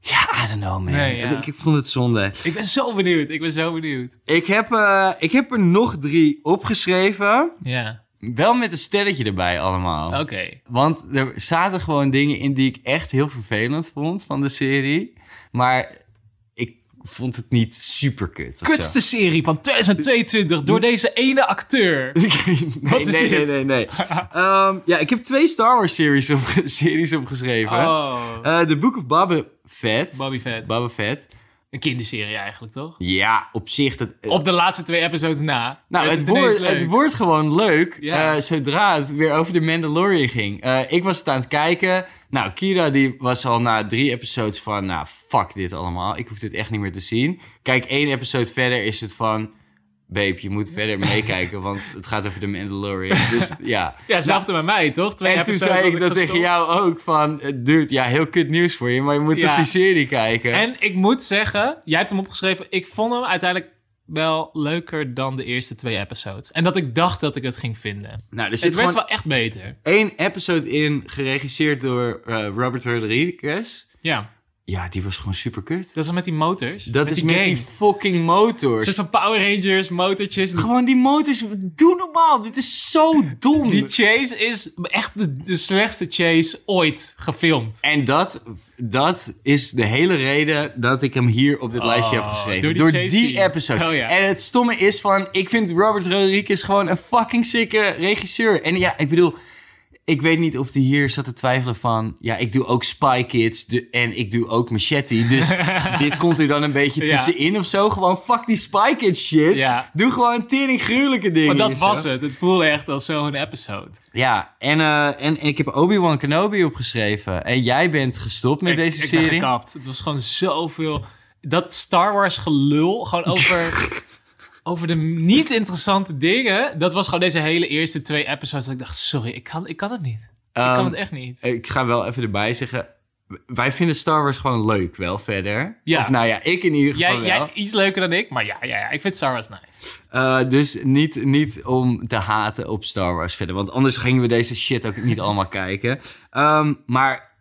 Speaker 1: Ja, I don't know, man.
Speaker 2: Nee, ja.
Speaker 1: ik, ik vond het zonde.
Speaker 2: *laughs* Ik ben zo benieuwd. Ik ben zo benieuwd.
Speaker 1: Ik heb, eh, ik heb er nog drie opgeschreven.
Speaker 2: Ja.
Speaker 1: Wel met een sterretje erbij allemaal.
Speaker 2: Oké.
Speaker 1: Want er zaten gewoon dingen in die ik echt heel vervelend vond van de serie. Maar ik vond het niet super kut.
Speaker 2: Kutste serie van 2022
Speaker 1: Hm.
Speaker 2: door deze ene
Speaker 1: *laughs*
Speaker 2: acteur.
Speaker 1: nee,
Speaker 2: Wat is
Speaker 1: nee, nee,
Speaker 2: dit?
Speaker 1: nee,
Speaker 2: *laughs*
Speaker 1: nee. Ehm, ja, ik heb twee Star Wars series, op, *laughs* series opgeschreven.
Speaker 2: Oh.
Speaker 1: Eh, The Book of Boba Fett.
Speaker 2: Bobby Fett.
Speaker 1: Boba Fett.
Speaker 2: Een kinderserie eigenlijk, toch?
Speaker 1: Ja, op zich. Dat, eh,
Speaker 2: Op de laatste twee episodes na.
Speaker 1: Nou,
Speaker 2: werd
Speaker 1: het,
Speaker 2: ineens
Speaker 1: wordt,
Speaker 2: leuk.
Speaker 1: het wordt gewoon leuk
Speaker 2: Ja.
Speaker 1: eh, zodra het weer over de Mandalorian ging. Eh, ik was het aan het kijken. Nou, Kira die was al na drie episodes van... Nou, fuck dit allemaal. Ik hoef dit echt niet meer te zien. Kijk, één episode verder is het van... Babe, je moet verder meekijken, want het gaat over de
Speaker 2: *laughs*
Speaker 1: Mandalorian. Dus ja.
Speaker 2: Ja, hetzelfde bij mij, toch? Twee
Speaker 1: En toen
Speaker 2: episodes
Speaker 1: zei
Speaker 2: was
Speaker 1: ik dat tegen
Speaker 2: gestopt.
Speaker 1: jou ook van... eh, Dude, ja, heel kut nieuws voor je, maar je moet
Speaker 2: Ja.
Speaker 1: toch die serie kijken?
Speaker 2: En ik moet zeggen, jij hebt hem opgeschreven. Ik vond hem uiteindelijk wel leuker dan de eerste twee episodes. En dat ik dacht dat ik het ging vinden.
Speaker 1: Nou, er
Speaker 2: het
Speaker 1: zit
Speaker 2: werd
Speaker 1: gewoon
Speaker 2: wel echt beter.
Speaker 1: één episode in, geregisseerd door eh, Robert Rodriguez.
Speaker 2: Ja,
Speaker 1: Ja, die was gewoon super kut.
Speaker 2: dat is met die motors.
Speaker 1: Dat
Speaker 2: met
Speaker 1: is
Speaker 2: die
Speaker 1: met
Speaker 2: game.
Speaker 1: die fucking
Speaker 2: Een
Speaker 1: motors.
Speaker 2: soort van Power Rangers, motortjes. Die,
Speaker 1: Gewoon die motors, doe normaal. Dit is
Speaker 2: *laughs*
Speaker 1: zo dom.
Speaker 2: die chase is echt de, de slechtste chase ooit gefilmd.
Speaker 1: En dat, dat is de hele reden dat ik hem hier op dit
Speaker 2: Oh,
Speaker 1: lijstje heb geschreven.
Speaker 2: door die
Speaker 1: Door
Speaker 2: chase
Speaker 1: die,
Speaker 2: scene.
Speaker 1: episode.
Speaker 2: Oh ja.
Speaker 1: En het stomme is van, ik vind Robert Rodriguez gewoon een fucking sikke regisseur. En ja, ik bedoel, ik weet niet of hij hier zat te twijfelen van... Ja, ik doe ook Spy Kids de, en ik doe ook Machete.
Speaker 2: *laughs*
Speaker 1: Dus dit komt er dan een beetje
Speaker 2: Ja.
Speaker 1: tussenin of zo. Gewoon fuck die Spy Kids shit.
Speaker 2: Ja.
Speaker 1: Doe gewoon tering gruwelijke dingen.
Speaker 2: Maar dat
Speaker 1: en zo.
Speaker 2: was het. Het voelde echt als zo'n episode.
Speaker 1: Ja, en, eh, en, en ik heb Obi-Wan Kenobi opgeschreven. En jij bent gestopt met
Speaker 2: Ik-
Speaker 1: deze
Speaker 2: ik ben
Speaker 1: serie.
Speaker 2: gekapt. Het was gewoon zoveel. Dat Star Wars gelul, gewoon over.
Speaker 1: *laughs*
Speaker 2: Over de niet interessante dingen. Dat was gewoon deze hele eerste twee episodes. Dat ik dacht, sorry, ik kan, ik kan het niet. ik kan
Speaker 1: Ehm,
Speaker 2: het echt niet.
Speaker 1: Ik ga wel even erbij zeggen. Wij vinden Star Wars gewoon leuk, wel verder.
Speaker 2: Ja.
Speaker 1: Of nou ja, ik in ieder geval
Speaker 2: Jij,
Speaker 1: wel.
Speaker 2: jij iets leuker dan ik, maar ja, ja, ja ik vind Star Wars nice.
Speaker 1: Eh, dus niet, niet om te haten op Star Wars verder. Want anders gingen we deze shit ook niet allemaal kijken. Ehm, maar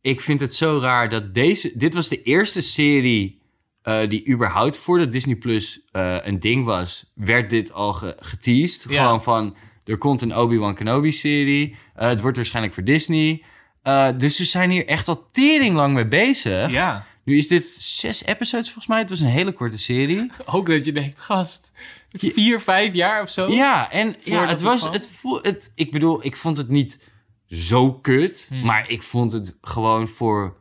Speaker 1: ik vind het zo raar dat deze... Dit was de eerste serie eh, die überhaupt voordat Disney Plus eh, een ding was... werd dit al ge- geteased.
Speaker 2: Ja.
Speaker 1: Gewoon van, er komt een Obi-Wan Kenobi-serie. Eh, het wordt waarschijnlijk voor Disney. Eh, dus ze zijn hier echt al tering lang mee bezig.
Speaker 2: Ja.
Speaker 1: Nu is dit zes episodes volgens mij. Het was een hele korte serie.
Speaker 2: Ook dat je denkt, gast, vier, vijf jaar of zo.
Speaker 1: Ja, en ja,
Speaker 2: Voordat
Speaker 1: het
Speaker 2: het
Speaker 1: was.
Speaker 2: kwam.
Speaker 1: Het voel, het, ik bedoel, ik vond het niet zo kut.
Speaker 2: Hmm.
Speaker 1: Maar ik vond het gewoon voor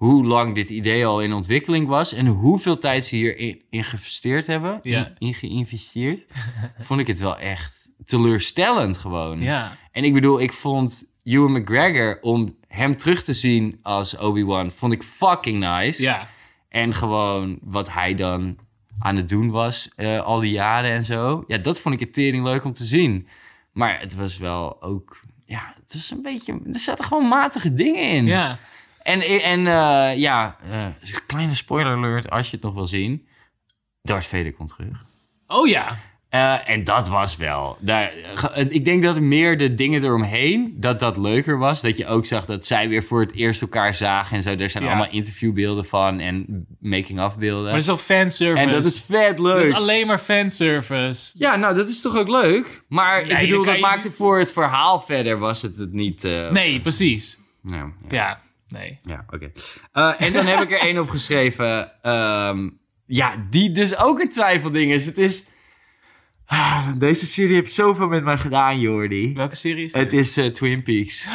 Speaker 1: hoe lang dit idee al in ontwikkeling was. En hoeveel tijd ze hierin in geïnvesteerd hebben.
Speaker 2: Ja.
Speaker 1: In, in geïnvesteerd. *laughs* vond ik het wel echt teleurstellend gewoon.
Speaker 2: Ja.
Speaker 1: En ik bedoel, ik vond Ewan McGregor om hem terug te zien als Obi-Wan. Vond ik fucking nice.
Speaker 2: ja.
Speaker 1: En gewoon wat hij dan aan het doen was eh, al die jaren en zo. Ja, dat vond ik het tering leuk om te zien. Maar het was wel ook... Ja, het was een beetje... Er zaten gewoon matige dingen in.
Speaker 2: ja.
Speaker 1: En, en eh, ja, eh, kleine spoiler alert als je het nog wil zien. Darth Vader komt terug.
Speaker 2: Oh ja.
Speaker 1: Eh, en dat was wel. Daar, ge- ik denk dat meer de dingen eromheen, dat dat leuker was. Dat je ook zag dat zij weer voor het eerst elkaar zagen en zo. Er zijn
Speaker 2: Ja.
Speaker 1: allemaal interviewbeelden van en making-of
Speaker 2: Maar dat
Speaker 1: beelden.
Speaker 2: is wel fanservice.
Speaker 1: En dat is vet
Speaker 2: Dat
Speaker 1: leuk.
Speaker 2: is alleen maar fanservice.
Speaker 1: Ja, nou, dat is toch ook leuk? Maar
Speaker 2: Nee,
Speaker 1: ik bedoel,
Speaker 2: dan kan
Speaker 1: dat
Speaker 2: je
Speaker 1: maakte
Speaker 2: niet-
Speaker 1: voor het verhaal verder was het het niet. eh,
Speaker 2: Nee, precies.
Speaker 1: nou, ja.
Speaker 2: Ja, nee.
Speaker 1: Ja, oké. Eh, en dan heb ik er één opgeschreven. ehm, ja, die dus ook een twijfelding is. Het is... Ah, Deze serie heeft zoveel met mij gedaan, Jordi.
Speaker 2: Welke serie is dit?
Speaker 1: Het is eh, Twin Peaks.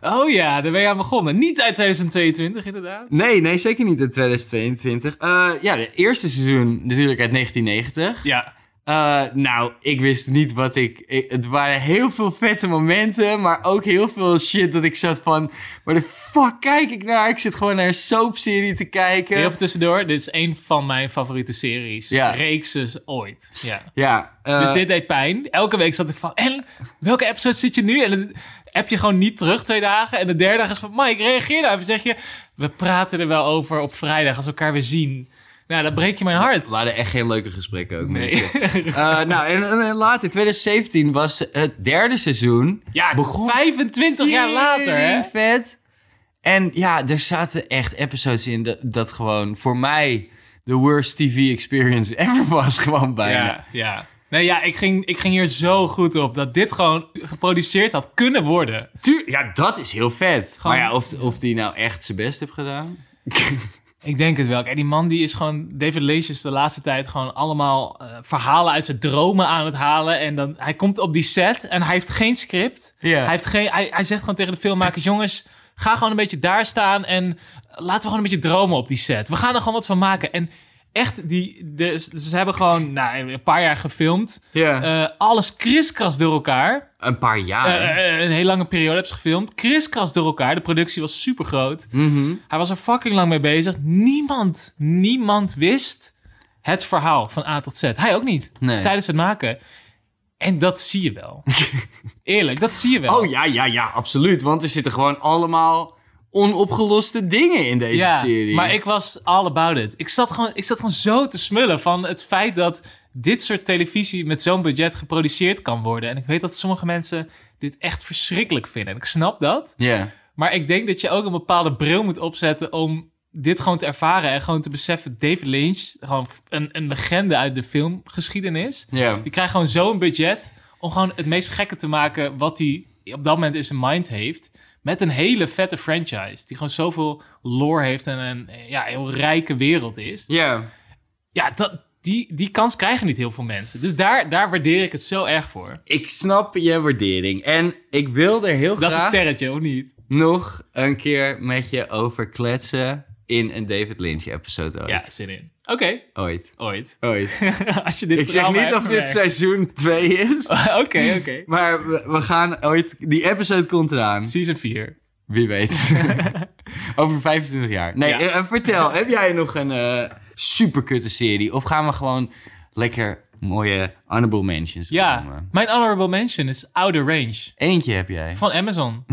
Speaker 2: Oh ja, daar ben je aan begonnen. Niet uit 2022, inderdaad.
Speaker 1: Nee, nee, zeker niet in 2022. Eh, ja, de eerste seizoen natuurlijk uit 1990.
Speaker 2: Ja.
Speaker 1: Eh, nou, ik wist niet wat ik, ik- Het waren heel veel vette momenten, maar ook heel veel shit dat ik zat van... Waar de fuck kijk ik naar? Ik zit gewoon naar een soapserie te kijken.
Speaker 2: Heel even tussendoor. Dit is een van mijn favoriete series.
Speaker 1: Ja.
Speaker 2: Reekses ooit. Ja.
Speaker 1: Ja, eh,
Speaker 2: Dus dit deed pijn. Elke week zat ik van, en welke episode zit je nu? En dan heb je gewoon niet terug twee dagen. En de derde dag is van, Mike, reageer daar even. Zeg je, we praten er wel over op vrijdag als we elkaar weer zien. Nou, dan breek je mijn hart.
Speaker 1: We hadden echt geen leuke gesprekken ook.
Speaker 2: Nee.
Speaker 1: Nee. *laughs*
Speaker 2: *laughs*
Speaker 1: nou, en, en- en later, 2017 was het derde seizoen.
Speaker 2: Ja,
Speaker 1: Begon-
Speaker 2: 25 jaar later, hè?
Speaker 1: Tering vet. En ja, er zaten echt episodes in dat, dat gewoon voor mij de worst TV experience *laughs* ever was. Gewoon bijna.
Speaker 2: Ja, ja. Nee, ja, ik ging, ik ging hier zo goed op dat dit gewoon geproduceerd had kunnen worden.
Speaker 1: Tuur- ja, dat is heel vet.
Speaker 2: Gewoon-
Speaker 1: Maar ja, of, of die nou echt zijn best heeft gedaan.
Speaker 2: Ik denk het wel. En die man die is gewoon, David Leitch is de laatste tijd gewoon allemaal eh, verhalen uit zijn dromen aan het halen. En dan, hij komt op die set en hij heeft geen script.
Speaker 1: Ja.
Speaker 2: Hij, heeft geen, hij, hij zegt gewoon tegen de filmmakers, jongens, ga gewoon een beetje daar staan en laten we gewoon een beetje dromen op die set. We gaan er gewoon wat van maken. En echt, die, de, ze hebben gewoon nou, een paar jaar gefilmd.
Speaker 1: Ja. Ah,
Speaker 2: Eh, alles kriskras door elkaar.
Speaker 1: een paar jaar.
Speaker 2: Eh, eh, een hele lange periode hebben ze gefilmd. Kriskras door elkaar. De productie was super groot.
Speaker 1: Mhm.
Speaker 2: Hij was er fucking lang mee bezig. Niemand, niemand wist het verhaal van A tot Z. Hij ook niet.
Speaker 1: Nee.
Speaker 2: Tijdens het maken. En dat zie je
Speaker 1: *laughs*
Speaker 2: wel. Eerlijk, dat zie je wel.
Speaker 1: Oh ja, ja, ja, absoluut. Want er zitten gewoon allemaal onopgeloste dingen in deze
Speaker 2: Ja,
Speaker 1: serie.
Speaker 2: maar ik was all about it. Ik zat, gewoon, ik zat gewoon zo te smullen van het feit dat dit soort televisie met zo'n budget geproduceerd kan worden. En ik weet dat sommige mensen dit echt verschrikkelijk vinden. En ik snap dat.
Speaker 1: Ja.
Speaker 2: Maar ik denk dat je ook een bepaalde bril moet opzetten om dit gewoon te ervaren en gewoon te beseffen. David Lynch, gewoon f- een, een legende uit de filmgeschiedenis.
Speaker 1: Ja.
Speaker 2: Die krijgt gewoon zo'n budget om gewoon het meest gekke te maken wat hij op dat moment in zijn mind heeft. Met een hele vette franchise die gewoon zoveel lore heeft en een eh, ja, heel rijke wereld is.
Speaker 1: Ja.
Speaker 2: Ja, dat, die, die kans krijgen niet heel veel mensen. Dus daar, daar waardeer ik het zo erg voor.
Speaker 1: Ik snap je waardering. En ik wil er heel
Speaker 2: Dat is het
Speaker 1: graag
Speaker 2: sterretje, of niet?
Speaker 1: nog een keer met je over kletsen in een David Lynch episode ooit.
Speaker 2: Ja, zin in. Oké,
Speaker 1: Ooit.
Speaker 2: ooit. *laughs*
Speaker 1: Ooit.
Speaker 2: Als je dit
Speaker 1: Ik zeg
Speaker 2: trauma
Speaker 1: niet
Speaker 2: hebt
Speaker 1: of dit
Speaker 2: verwerkt.
Speaker 1: seizoen 2
Speaker 2: *laughs*
Speaker 1: is,
Speaker 2: Oké, oké.
Speaker 1: maar we, we gaan ooit... Die episode komt eraan.
Speaker 2: Season 4.
Speaker 1: Wie
Speaker 2: *laughs*
Speaker 1: weet. Over 25 jaar. Nee,
Speaker 2: Ja.
Speaker 1: eh, eh, vertel. heb jij nog een eh superkutte serie? Of gaan we gewoon lekker mooie honorable mentions
Speaker 2: Ja,
Speaker 1: noemen?
Speaker 2: mijn honorable mention is Outer Range
Speaker 1: Eentje heb jij.
Speaker 2: van Amazon.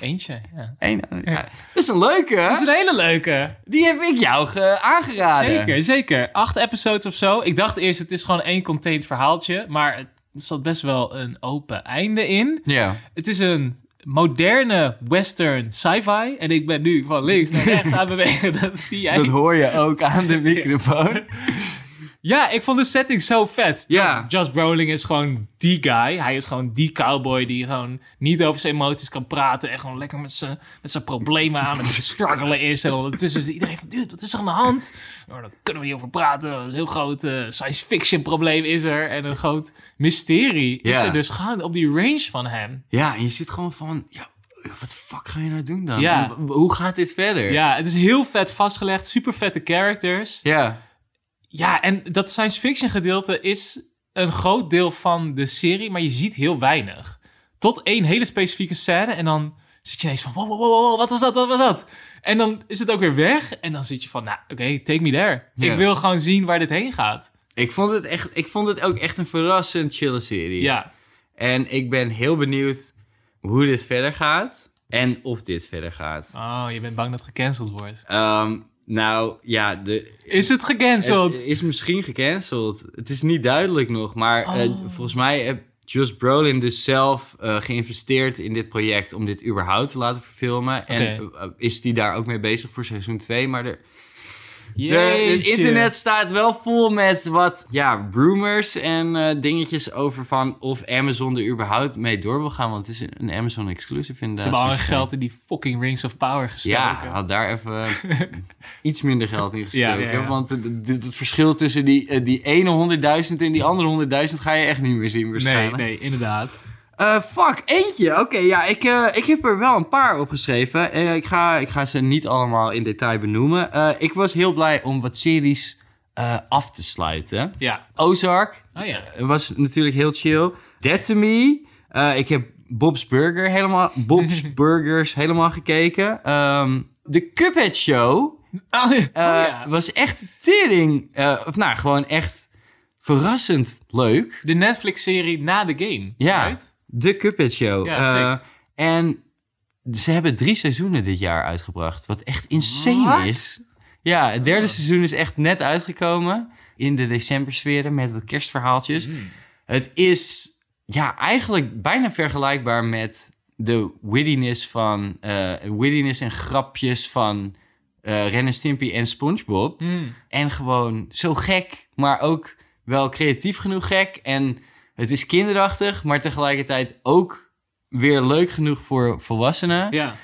Speaker 2: Eentje, ja.
Speaker 1: Eén. eh, ja. Dat is een leuke, hè?
Speaker 2: Dat is een hele leuke.
Speaker 1: Die heb ik jou ge- aangeraden.
Speaker 2: Zeker, zeker. Acht episodes of zo. Ik dacht eerst, het is gewoon één contained verhaaltje. Maar het zat best wel een open einde in.
Speaker 1: Ja.
Speaker 2: Het is een moderne western sci-fi. En ik ben nu van links naar rechts aan het bewegen. *laughs* Dat zie jij.
Speaker 1: Dat hoor je ook aan
Speaker 2: *laughs*
Speaker 1: de microfoon.
Speaker 2: Ja, ik vond de setting zo vet.
Speaker 1: Ja.
Speaker 2: Josh Brolin is gewoon die guy. Hij is gewoon die cowboy die gewoon niet over zijn emoties kan praten. En gewoon lekker met zijn, met zijn problemen aan, met zijn struggelen is. En ondertussen is iedereen van, dude, wat is er aan de hand? Nou, daar kunnen we niet over praten. Een heel groot eh, science fiction probleem is er. En een groot mysterie
Speaker 1: Ja.
Speaker 2: is er dus gaande op die range van hem.
Speaker 1: Ja, en je zit gewoon van... Ja, wat de fuck ga je nou doen dan?
Speaker 2: Ja.
Speaker 1: En w- Hoe gaat dit verder?
Speaker 2: Ja, het is heel vet vastgelegd. Super vette characters.
Speaker 1: Ja.
Speaker 2: Ja, en dat science fiction gedeelte is een groot deel van de serie, maar je ziet heel weinig. Tot één hele specifieke scène en dan zit je ineens van, wow, wow, wow, wow, wat was dat, wat was dat? En dan is het ook weer weg en dan zit je van, nou, oké, take me there.
Speaker 1: Ja.
Speaker 2: Ik wil gewoon zien waar dit heen gaat.
Speaker 1: Ik vond, het echt, ik vond het ook echt een verrassend chille serie.
Speaker 2: Ja,
Speaker 1: En ik ben heel benieuwd hoe dit verder gaat. En of dit verder gaat.
Speaker 2: oh, je bent bang dat het gecanceld wordt.
Speaker 1: Ehm, nou, ja, de,
Speaker 2: Is het gecanceld?
Speaker 1: het is misschien gecanceld. Het is niet duidelijk nog. Maar eh,
Speaker 2: Oh.
Speaker 1: volgens mij heeft Josh Brolin dus zelf eh, geïnvesteerd in dit project... om dit überhaupt te laten verfilmen. En
Speaker 2: Oké.
Speaker 1: eh, eh, is die daar ook mee bezig voor seizoen 2. Maar er, eh, de, het
Speaker 2: Jeetje.
Speaker 1: internet staat wel vol met wat ja, rumors en eh, dingetjes over van of Amazon er überhaupt mee door wil gaan. Want het is een Amazon exclusive
Speaker 2: Ze
Speaker 1: inderdaad.
Speaker 2: hebben al hun
Speaker 1: Zoals je
Speaker 2: geld in die fucking Rings of Power
Speaker 1: zei. Ja,
Speaker 2: gestoken.
Speaker 1: had daar
Speaker 2: *laughs*
Speaker 1: even iets minder geld in gestoken.
Speaker 2: Ja, ja, ja.
Speaker 1: Want het, het- het verschil tussen die, eh, die ene 100.000 en die andere 100.000 ga je echt niet meer zien
Speaker 2: nee,
Speaker 1: waarschijnlijk.
Speaker 2: nee, inderdaad.
Speaker 1: Eh, fuck, eentje. Oké, ja, ik, eh, ik heb er wel een paar opgeschreven. Eh, ik, ga, ik ga ze niet allemaal in detail benoemen. Eh, ik was heel blij om wat series eh, af te sluiten.
Speaker 2: Ja,
Speaker 1: Ozark
Speaker 2: oh ja.
Speaker 1: was natuurlijk heel chill. Dead to Me. Eh, ik heb Bob's Burger helemaal,
Speaker 2: *laughs*
Speaker 1: Bob's Burgers helemaal gekeken. Ehm, de Cuphead Show
Speaker 2: Oh,
Speaker 1: eh,
Speaker 2: ja.
Speaker 1: was echt tering. eh, of nou, gewoon echt verrassend leuk.
Speaker 2: De Netflix-serie na de game.
Speaker 1: Ja,
Speaker 2: right?
Speaker 1: de Cuphead Show.
Speaker 2: Ja, zeker.
Speaker 1: Eh, en ze hebben drie seizoenen dit jaar uitgebracht, wat echt insane
Speaker 2: Wat? Oh.
Speaker 1: is. Ja, het derde seizoen is echt net uitgekomen in de decembersferen met wat kerstverhaaltjes.
Speaker 2: Mhm.
Speaker 1: Het is ja, eigenlijk bijna vergelijkbaar met de wittiness van eh, wittiness en grapjes van eh Ren en Stimpy en SpongeBob.
Speaker 2: Mm.
Speaker 1: En gewoon zo gek, maar ook wel creatief genoeg gek. En het is kinderachtig, maar tegelijkertijd ook weer leuk genoeg voor volwassenen.
Speaker 2: Ja.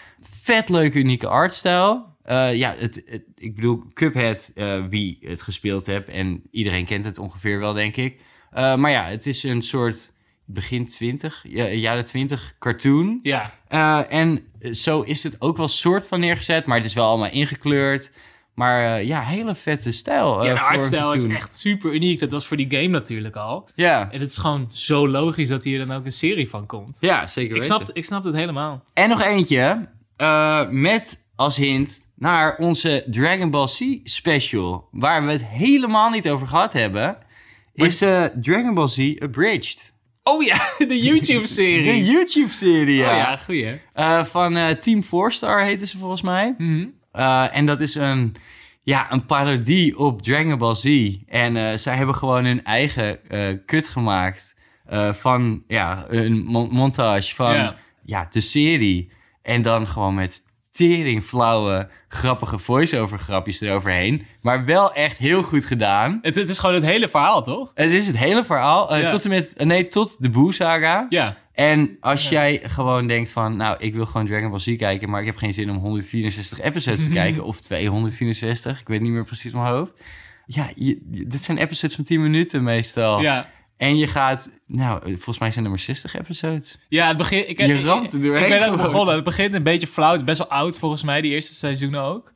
Speaker 1: Vet leuke, unieke artstijl. Eh, ja, het, het- ik bedoel, Cuphead, eh, wie het gespeeld hebt. En iedereen kent het ongeveer wel, denk ik. Eh, maar ja, het is een soort begin 20, ja, jaren 20 cartoon.
Speaker 2: Ja.
Speaker 1: Eh, en zo is het ook wel soort van neergezet, maar het is wel allemaal ingekleurd. Maar eh, ja, hele vette stijl. eh,
Speaker 2: ja, de
Speaker 1: voor
Speaker 2: artstijl
Speaker 1: een
Speaker 2: is
Speaker 1: cartoon.
Speaker 2: echt super uniek. Dat was voor die game natuurlijk al.
Speaker 1: Ja,
Speaker 2: En het is gewoon zo logisch dat hier dan ook een serie van komt.
Speaker 1: ja zeker
Speaker 2: Ik
Speaker 1: weten.
Speaker 2: snap, ik snap het helemaal.
Speaker 1: En nog eentje, eh, met als hint naar onze Dragon Ball Z special, waar we het helemaal niet over gehad hebben, is eh, Dragon Ball Z Abridged.
Speaker 2: Oh ja, *laughs* de
Speaker 1: *laughs*
Speaker 2: YouTube-serie.
Speaker 1: De YouTube-serie
Speaker 2: Oh
Speaker 1: ja.
Speaker 2: ja, goeie. hè? Mhm.
Speaker 1: Eh, van eh, Team 4 Star heette ze volgens mij. Eh, en dat is een ja, een parodie op Dragon Ball Z. En eh, zij hebben gewoon hun eigen eh kut gemaakt eh, van ja, een mon- montage van
Speaker 2: Ja.
Speaker 1: ja, de serie. En dan gewoon met teringflauwe, grappige voice-over grapjes eroverheen. Maar wel echt heel goed gedaan.
Speaker 2: Het, het is gewoon het hele verhaal, toch?
Speaker 1: Het is het hele verhaal. eh,
Speaker 2: Ja.
Speaker 1: Tot en met, nee, tot de Boo-saga.
Speaker 2: Ja.
Speaker 1: En als jij gewoon denkt van, nou, ik wil gewoon Dragon Ball Z kijken, maar ik heb geen zin om 164 episodes
Speaker 2: *laughs*
Speaker 1: te kijken, of 264, ik weet niet meer precies in mijn hoofd. Ja, je- je- dit zijn episodes van 10 minuten meestal.
Speaker 2: Ja.
Speaker 1: En je gaat, nou, eh, volgens mij zijn er maar 60 episodes.
Speaker 2: Ja, het begint... Ik,
Speaker 1: Je ramt er doorheen
Speaker 2: Ik ben ook
Speaker 1: gewoon.
Speaker 2: begonnen. Het begint een beetje flauw. Het is best wel oud volgens mij, die eerste seizoen ook.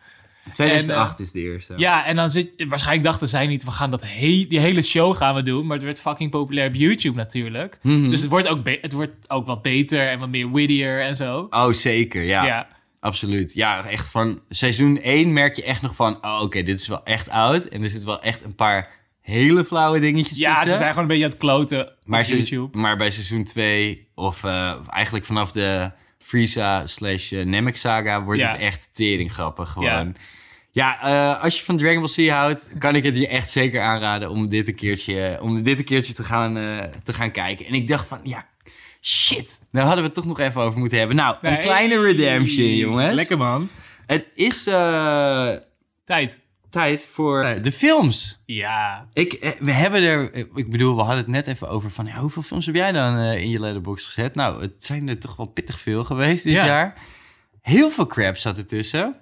Speaker 2: 2008
Speaker 1: 2008 is de eerste.
Speaker 2: Ja, en dan zit... Waarschijnlijk dachten zij niet, we gaan dat he die hele show gaan we doen. Maar het werd fucking populair op YouTube natuurlijk.
Speaker 1: Mhm.
Speaker 2: Dus het wordt, ook be- het wordt ook wat beter en wat meer wittier en zo.
Speaker 1: Oh, zeker, ja,
Speaker 2: ja.
Speaker 1: Absoluut. Ja, echt van seizoen 1 merk je echt nog van, oh, oké, dit is wel echt oud. En er zitten wel echt een paar hele flauwe dingetjes
Speaker 2: Ja,
Speaker 1: tussen.
Speaker 2: ze zijn gewoon een beetje aan het kloten
Speaker 1: Maar,
Speaker 2: op
Speaker 1: se-
Speaker 2: YouTube.
Speaker 1: maar bij seizoen 2, of eh, eigenlijk vanaf de Frieza slash eh, Namek saga, wordt
Speaker 2: Ja.
Speaker 1: het echt tering grappig
Speaker 2: Ja.
Speaker 1: gewoon. Ja, eh, als je van Dragon Ball Z houdt, kan ik het je echt zeker aanraden om dit een keertje, om dit een keertje te, gaan, eh, te gaan kijken. En ik dacht van, ja, shit, daar hadden we het toch nog even over moeten hebben. Nou, een
Speaker 2: Nee.
Speaker 1: kleine redemption, jongens.
Speaker 2: Lekker man.
Speaker 1: Het is eh,
Speaker 2: Tijd.
Speaker 1: tijd voor eh, de films.
Speaker 2: Ja.
Speaker 1: Ik, eh, we hebben er, eh, ik bedoel, we hadden het net even over van ja, hoeveel films heb jij dan eh, in je letterbox gezet? Nou, het zijn er toch wel pittig veel geweest dit
Speaker 2: Ja.
Speaker 1: jaar. Heel veel crap zat
Speaker 2: *laughs*
Speaker 1: ertussen.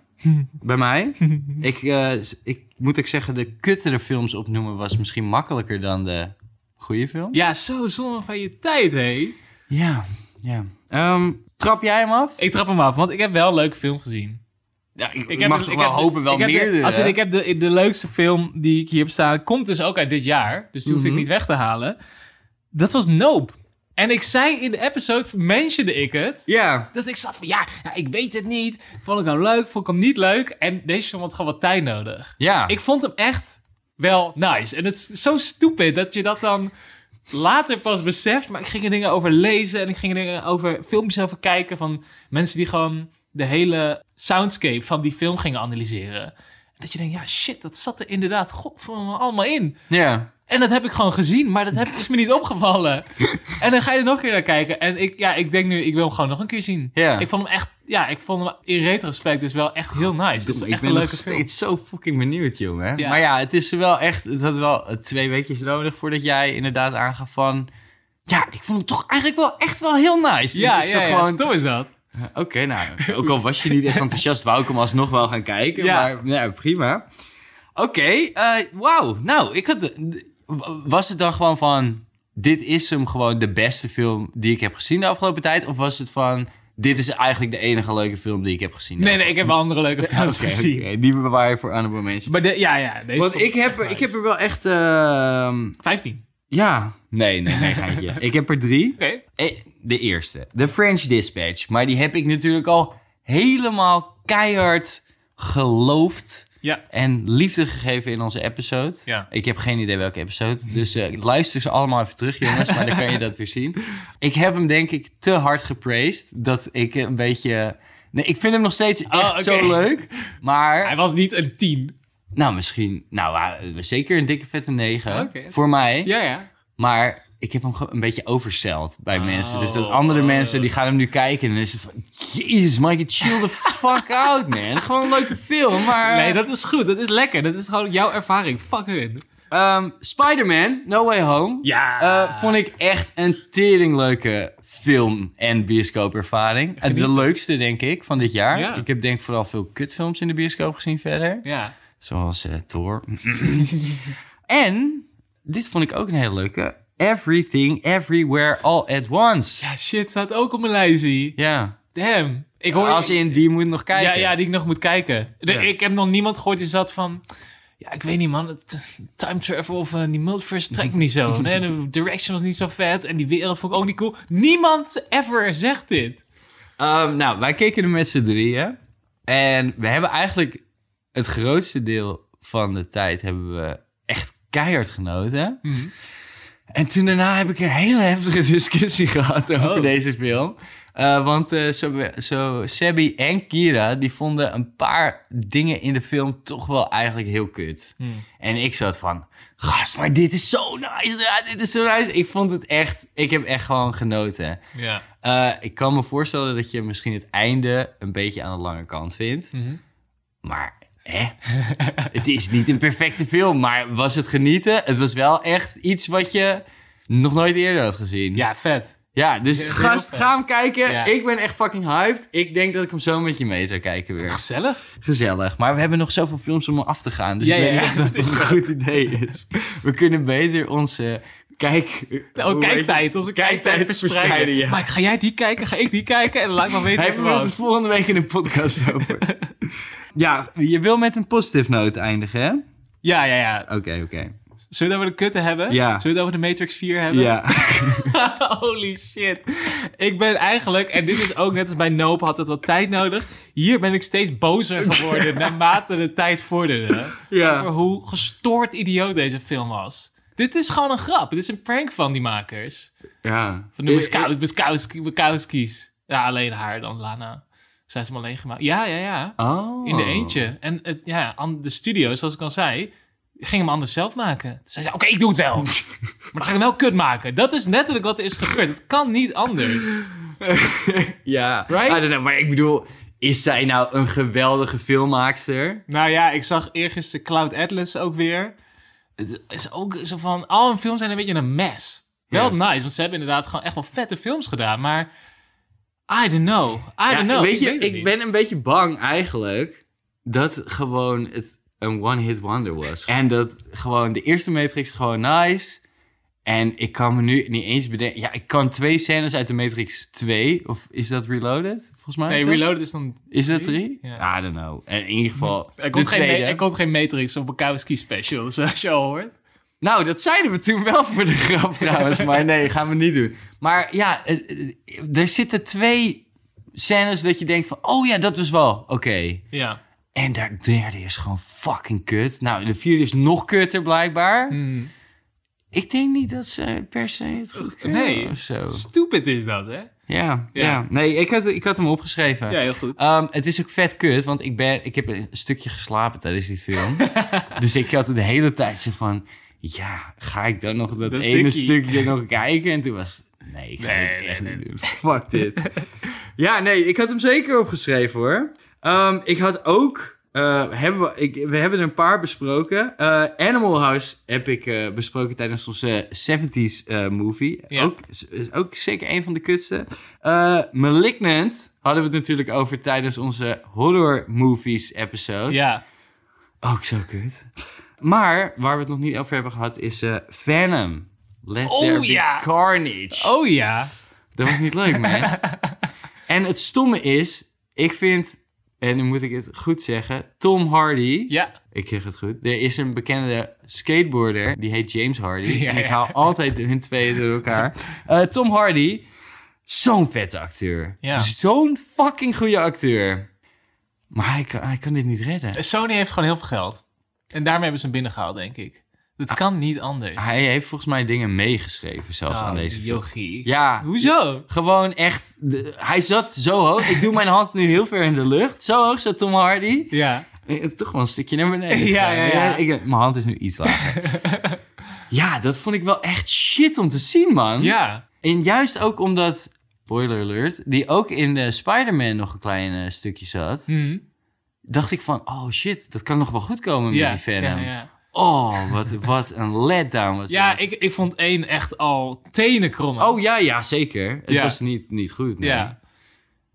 Speaker 1: bij mij. Ik, eh, s- ik moet ik zeggen, de kuttere films opnoemen was misschien makkelijker dan de goede film.
Speaker 2: Ja, zo zonde van je tijd, hé.
Speaker 1: Ja, ja. Ehm, trap jij hem af?
Speaker 2: Ik trap hem af, want ik heb wel een leuke film gezien.
Speaker 1: Ja, ik,
Speaker 2: heb
Speaker 1: mag
Speaker 2: dus-
Speaker 1: toch wel
Speaker 2: heb de-
Speaker 1: hopen wel eh?
Speaker 2: ik heb de-
Speaker 1: meerdere.
Speaker 2: als in, ik heb de, de leukste film die ik hier heb staan, komt dus ook uit dit jaar. Dus die hoef
Speaker 1: Mhm.
Speaker 2: ik niet weg te halen. Dat was Nope. En ik zei in de episode, mentionde ik het.
Speaker 1: Ja,
Speaker 2: Dat ik zat van, ja, ja, ik weet het niet. Vond ik hem leuk, vond ik hem niet leuk. En deze film had gewoon wat tijd nodig.
Speaker 1: ja.
Speaker 2: Ik vond hem echt wel nice. En het is zo stupid dat je dat dan later pas beseft. Maar ik ging er dingen over lezen en ik ging er dingen over filmpjes over kijken van mensen die gewoon de hele soundscape van die film gingen analyseren. En Dat je denkt, ja shit, dat zat er inderdaad godverdomme allemaal in.
Speaker 1: ja.
Speaker 2: En dat heb ik gewoon gezien, maar dat heb, is me niet
Speaker 1: *laughs*
Speaker 2: opgevallen. En dan ga je er nog een keer naar kijken. En ik, ja, ik denk nu, ik wil hem gewoon nog een keer zien.
Speaker 1: Ja.
Speaker 2: Ik vond hem echt, ja, ik vond hem in retrospect dus wel echt heel nice. Het is
Speaker 1: Domme,
Speaker 2: echt
Speaker 1: ik ben
Speaker 2: een
Speaker 1: nog
Speaker 2: leuke film.
Speaker 1: steeds zo fucking benieuwd, jongen.
Speaker 2: Ja.
Speaker 1: Maar ja, het is wel echt... Het had wel eh, twee weekjes nodig voordat jij inderdaad aangaf van... Ja, ik vond hem toch eigenlijk wel echt wel heel nice.
Speaker 2: Ja,
Speaker 1: ik
Speaker 2: ja,
Speaker 1: zat
Speaker 2: ja,
Speaker 1: gewoon...
Speaker 2: stom is dat.
Speaker 1: Oké, nou, ook al was je niet echt enthousiast, wou ik hem alsnog wel gaan kijken.
Speaker 2: Ja.
Speaker 1: Maar ja, prima. Oké, eh, wauw. Nou, ik had... Was het dan gewoon van... Dit is hem gewoon de beste film die ik heb gezien de afgelopen tijd? Of was het van... Dit is eigenlijk de enige leuke film die ik heb gezien? de
Speaker 2: Nee, nee, ik heb wel andere leuke
Speaker 1: *laughs*
Speaker 2: films
Speaker 1: Oké,
Speaker 2: gezien.
Speaker 1: oké, die bewaar je voor honorable mentions.
Speaker 2: Maar de, ja, ja, deze
Speaker 1: Want
Speaker 2: vond
Speaker 1: ik heb,
Speaker 2: echt
Speaker 1: er, ik
Speaker 2: nice.
Speaker 1: heb er wel echt... ehm,
Speaker 2: 15.
Speaker 1: ja. Nee, nee, nee, geintje. *laughs* ik heb er drie.
Speaker 2: Oké.
Speaker 1: Eh, De eerste. The French Dispatch. Maar die heb ik natuurlijk al helemaal keihard geloofd
Speaker 2: Ja.
Speaker 1: en liefde gegeven in onze episode.
Speaker 2: Ja.
Speaker 1: Ik heb geen idee welke episode. Dus eh, luister ze allemaal even terug, jongens. Maar dan kan je dat weer *laughs* zien. Ik heb hem denk ik te hard gepraised. Dat ik een beetje... Nee, ik vind hem nog steeds echt
Speaker 2: oké.
Speaker 1: zo *laughs* leuk. Maar...
Speaker 2: Hij was niet een 10.
Speaker 1: Nou, misschien. Nou, eh, zeker een dikke vette 9.
Speaker 2: Oké.
Speaker 1: Voor mij.
Speaker 2: Ja, ja.
Speaker 1: Maar ik heb hem ge- een beetje oversteld bij
Speaker 2: Oh.
Speaker 1: mensen. Dus dat andere mensen die gaan hem nu kijken. En dan is het van. Jezus, Mike, chill the
Speaker 2: *laughs*
Speaker 1: fuck out, man. Gewoon een leuke film. Maar.
Speaker 2: Nee, dat is goed. Dat is lekker. Dat is gewoon jouw ervaring. Fuck hun.
Speaker 1: Ehm, Spider-Man, No Way Home.
Speaker 2: Ja.
Speaker 1: Eh, vond ik echt een teringleuke film- en bioscoopervaring. Het
Speaker 2: Geniet.
Speaker 1: de leukste, denk ik, van dit jaar.
Speaker 2: Ja.
Speaker 1: Ik heb denk ik vooral veel kutfilms in de bioscoop gezien verder.
Speaker 2: Ja.
Speaker 1: Zoals eh Thor.
Speaker 2: *laughs*
Speaker 1: en, dit vond ik ook een hele leuke. Everything, Everywhere, All at Once.
Speaker 2: Ja, shit. Staat ook op mijn lijstje.
Speaker 1: Ja.
Speaker 2: Damn. Ik hoor...
Speaker 1: Als in, die moet nog kijken.
Speaker 2: Ja, ja, die ik nog moet kijken. De-
Speaker 1: Ja.
Speaker 2: Ik heb nog niemand gehoord die zat van... Ja, ik weet niet, man. Het, time travel of eh, die multiverse trekt me
Speaker 1: *laughs*
Speaker 2: niet zo. Nee, de direction was niet zo vet. En die wereld vond ik ook niet cool. Niemand ever zegt dit.
Speaker 1: Ehm, nou, wij keken er met z'n drieën. En we hebben eigenlijk het grootste deel van de tijd hebben we echt keihard genoten. En toen daarna heb ik een hele heftige discussie *laughs* gehad over
Speaker 2: Oh.
Speaker 1: deze film. Eh, Eh, want eh, zo, zo, Sebi en Kira die vonden een paar dingen in de film toch wel eigenlijk heel kut. En ik zat van, gast, maar dit is zo nice. Ja, dit is zo nice. Ik vond het echt, ik heb echt gewoon genoten.
Speaker 2: Ja.
Speaker 1: Eh, ik kan me voorstellen dat je misschien het einde een beetje aan de lange kant vindt. Maar *laughs* hè? het is niet een perfecte film, maar was het genieten? Het was wel echt iets wat je nog nooit eerder had gezien.
Speaker 2: ja, vet.
Speaker 1: Ja, dus
Speaker 2: Heel
Speaker 1: gast,
Speaker 2: vet.
Speaker 1: ga hem kijken.
Speaker 2: Ja.
Speaker 1: Ik ben echt fucking hyped. Ik denk dat ik hem zo met je mee zou kijken weer.
Speaker 2: Gezellig.
Speaker 1: Gezellig. Maar we hebben nog zoveel films om af te gaan. Dus
Speaker 2: Ja,
Speaker 1: ik weet
Speaker 2: ja,
Speaker 1: niet
Speaker 2: ja,
Speaker 1: of dat
Speaker 2: dat is
Speaker 1: een goed idee is. We kunnen beter onze kijk...
Speaker 2: Oh,
Speaker 1: hoe heet het?
Speaker 2: kijktijd. Onze kijktijd verspreiden.
Speaker 1: ja.
Speaker 2: Maar ga jij die kijken? Ga ik die kijken? En dan laat maar weten
Speaker 1: Hij
Speaker 2: wat het
Speaker 1: wil het
Speaker 2: was.
Speaker 1: volgende week in de podcast over. *laughs* ja, je wil met een positive note eindigen, hè? Oké,
Speaker 2: Ja, ja, ja.
Speaker 1: oké.
Speaker 2: Zullen we het over de kutten hebben?
Speaker 1: Ja.
Speaker 2: Zullen we het over de Matrix 4 hebben?
Speaker 1: Ja.
Speaker 2: *laughs* Holy shit. Ik ben eigenlijk, en dit is ook net als bij Nope, had het wat tijd nodig. Hier ben ik steeds bozer
Speaker 1: *laughs*
Speaker 2: geworden naarmate de tijd vorderde.
Speaker 1: Ja.
Speaker 2: Over hoe gestoord idioot deze film was. Dit is gewoon een grap. Dit is een prank van die makers.
Speaker 1: ja.
Speaker 2: Van de Wiskau- Wiskowski- Wiskowski's. Ja, alleen haar dan, Lana. Zij heeft hem alleen gemaakt. Ja, ja, ja.
Speaker 1: Oh.
Speaker 2: In de eentje. En het, ja, an- de studio, zoals ik al zei, ging hem anders zelf maken. Toen zei ze, oké, ik doe het *laughs* wel. maar dan ga ik hem wel kut maken. Dat is letterlijk wat er is gebeurd. Het kan niet anders.
Speaker 1: ja.
Speaker 2: Right?
Speaker 1: I don't know, maar ik bedoel, is zij nou een geweldige filmmaakster?
Speaker 2: Nou ja, ik zag eergisteren Cloud Atlas ook weer. Het is ook zo van, al hun films zijn een beetje een mes. Wel nice, want ze hebben inderdaad gewoon echt wel vette films gedaan, maar... I don't know. I don't know.
Speaker 1: Weet je,
Speaker 2: weet het
Speaker 1: ik
Speaker 2: niet.
Speaker 1: ben een beetje bang eigenlijk dat gewoon het een one-hit wonder was. En dat gewoon de eerste Matrix gewoon nice. En ik kan me nu niet eens bedenken. Ja, ik kan twee scènes uit de Matrix 2. Of is dat Reloaded? Volgens mij.
Speaker 2: Nee,
Speaker 1: toch?
Speaker 2: Reloaded is dan...
Speaker 1: Is dat 3?
Speaker 2: Ja.
Speaker 1: I don't know. En in ieder geval.
Speaker 2: Er
Speaker 1: de
Speaker 2: komt, geen,
Speaker 1: tweede.
Speaker 2: er komt geen Matrix op elkaar ski special, *laughs* zoals je al hoort.
Speaker 1: Nou, dat zeiden we toen wel voor
Speaker 2: *laughs*
Speaker 1: de grap trouwens. Maar nee, gaan we niet doen. Maar ja, eh, eh, er zitten twee scènes dat je denkt van... Oh ja, dat was wel oké.
Speaker 2: Ja.
Speaker 1: En de derde is gewoon fucking kut. Nou, de vierde is nog kutter blijkbaar.
Speaker 2: Hmm.
Speaker 1: Ik denk niet dat ze per se het goed kunnen
Speaker 2: Nee.
Speaker 1: of zo.
Speaker 2: Stupid is dat, hè?
Speaker 1: Ja, ja.
Speaker 2: Ja.
Speaker 1: Nee, ik had, ik had hem opgeschreven.
Speaker 2: Ja, heel goed.
Speaker 1: Ehm, het is ook vet kut, want ik, ben, ik heb een stukje geslapen tijdens die *laughs* film. dus ik had de hele tijd zo van... Ja, ga ik dan nog dat
Speaker 2: Dat
Speaker 1: ene
Speaker 2: stukje.
Speaker 1: stukje nog kijken? En toen was het... Nee, ik ga
Speaker 2: Nee,
Speaker 1: dit
Speaker 2: nee,
Speaker 1: echt
Speaker 2: nee.
Speaker 1: niet doen. *laughs* Fuck dit. ja, nee, ik had hem zeker opgeschreven hoor. Ehm, ik had ook... eh, hebben we, ik, we hebben er een paar besproken. Eh, Animal House heb ik eh, besproken tijdens onze 70s eh, movie.
Speaker 2: Ja.
Speaker 1: Ook, is ook zeker een van de kutste. Eh, Malignant hadden we het natuurlijk over tijdens onze horror movies episode.
Speaker 2: Ja.
Speaker 1: Ook zo kut. Maar waar we het nog niet over hebben gehad is eh, Venom. Let
Speaker 2: Oh,
Speaker 1: there be
Speaker 2: ja.
Speaker 1: carnage.
Speaker 2: Oh ja.
Speaker 1: Dat was niet leuk,
Speaker 2: *laughs*
Speaker 1: man. en het stomme is, ik vind, en nu moet ik het goed zeggen, Tom Hardy.
Speaker 2: Ja.
Speaker 1: Ik zeg het goed. Er is een bekende skateboarder, die heet James Hardy.
Speaker 2: *laughs* Ja,
Speaker 1: en ik
Speaker 2: ja.
Speaker 1: haal altijd hun tweeën door elkaar. Eh, Tom Hardy, zo'n vette acteur.
Speaker 2: Ja.
Speaker 1: Zo'n fucking goede acteur. Maar hij kan, hij kan dit niet redden.
Speaker 2: Sony heeft gewoon heel veel geld. En daarmee hebben ze hem binnengehaald, denk ik. Dat kan niet anders.
Speaker 1: Hij heeft volgens mij dingen meegeschreven zelfs
Speaker 2: Oh,
Speaker 1: aan deze film.
Speaker 2: Jochie.
Speaker 1: Ja.
Speaker 2: Hoezo?
Speaker 1: Gewoon echt, de- hij zat zo hoog. Ik doe mijn hand nu heel ver in de lucht. Zo hoog zat Tom Hardy.
Speaker 2: Ja.
Speaker 1: Eh, Toch wel een stukje naar beneden.
Speaker 2: *laughs* Ja,
Speaker 1: gegaan.
Speaker 2: ja, ja.
Speaker 1: ik, eh, mijn hand is nu iets lager.
Speaker 2: *laughs*
Speaker 1: ja, dat vond ik wel echt shit om te zien, man.
Speaker 2: Ja.
Speaker 1: En juist ook omdat, spoiler alert, die ook in eh, Spider-Man nog een klein eh, stukje zat.
Speaker 2: Hm.
Speaker 1: Dacht ik van, oh shit, dat kan nog wel goed komen
Speaker 2: Ja.
Speaker 1: met die Venom.
Speaker 2: Ja, ja.
Speaker 1: Oh, wat, wat een letdown was
Speaker 2: *laughs* ja
Speaker 1: dat.
Speaker 2: ik, ik vond één echt al tenen krommen.
Speaker 1: Oh ja, ja, zeker. Het
Speaker 2: Ja.
Speaker 1: was niet, niet goed, nee.
Speaker 2: ja.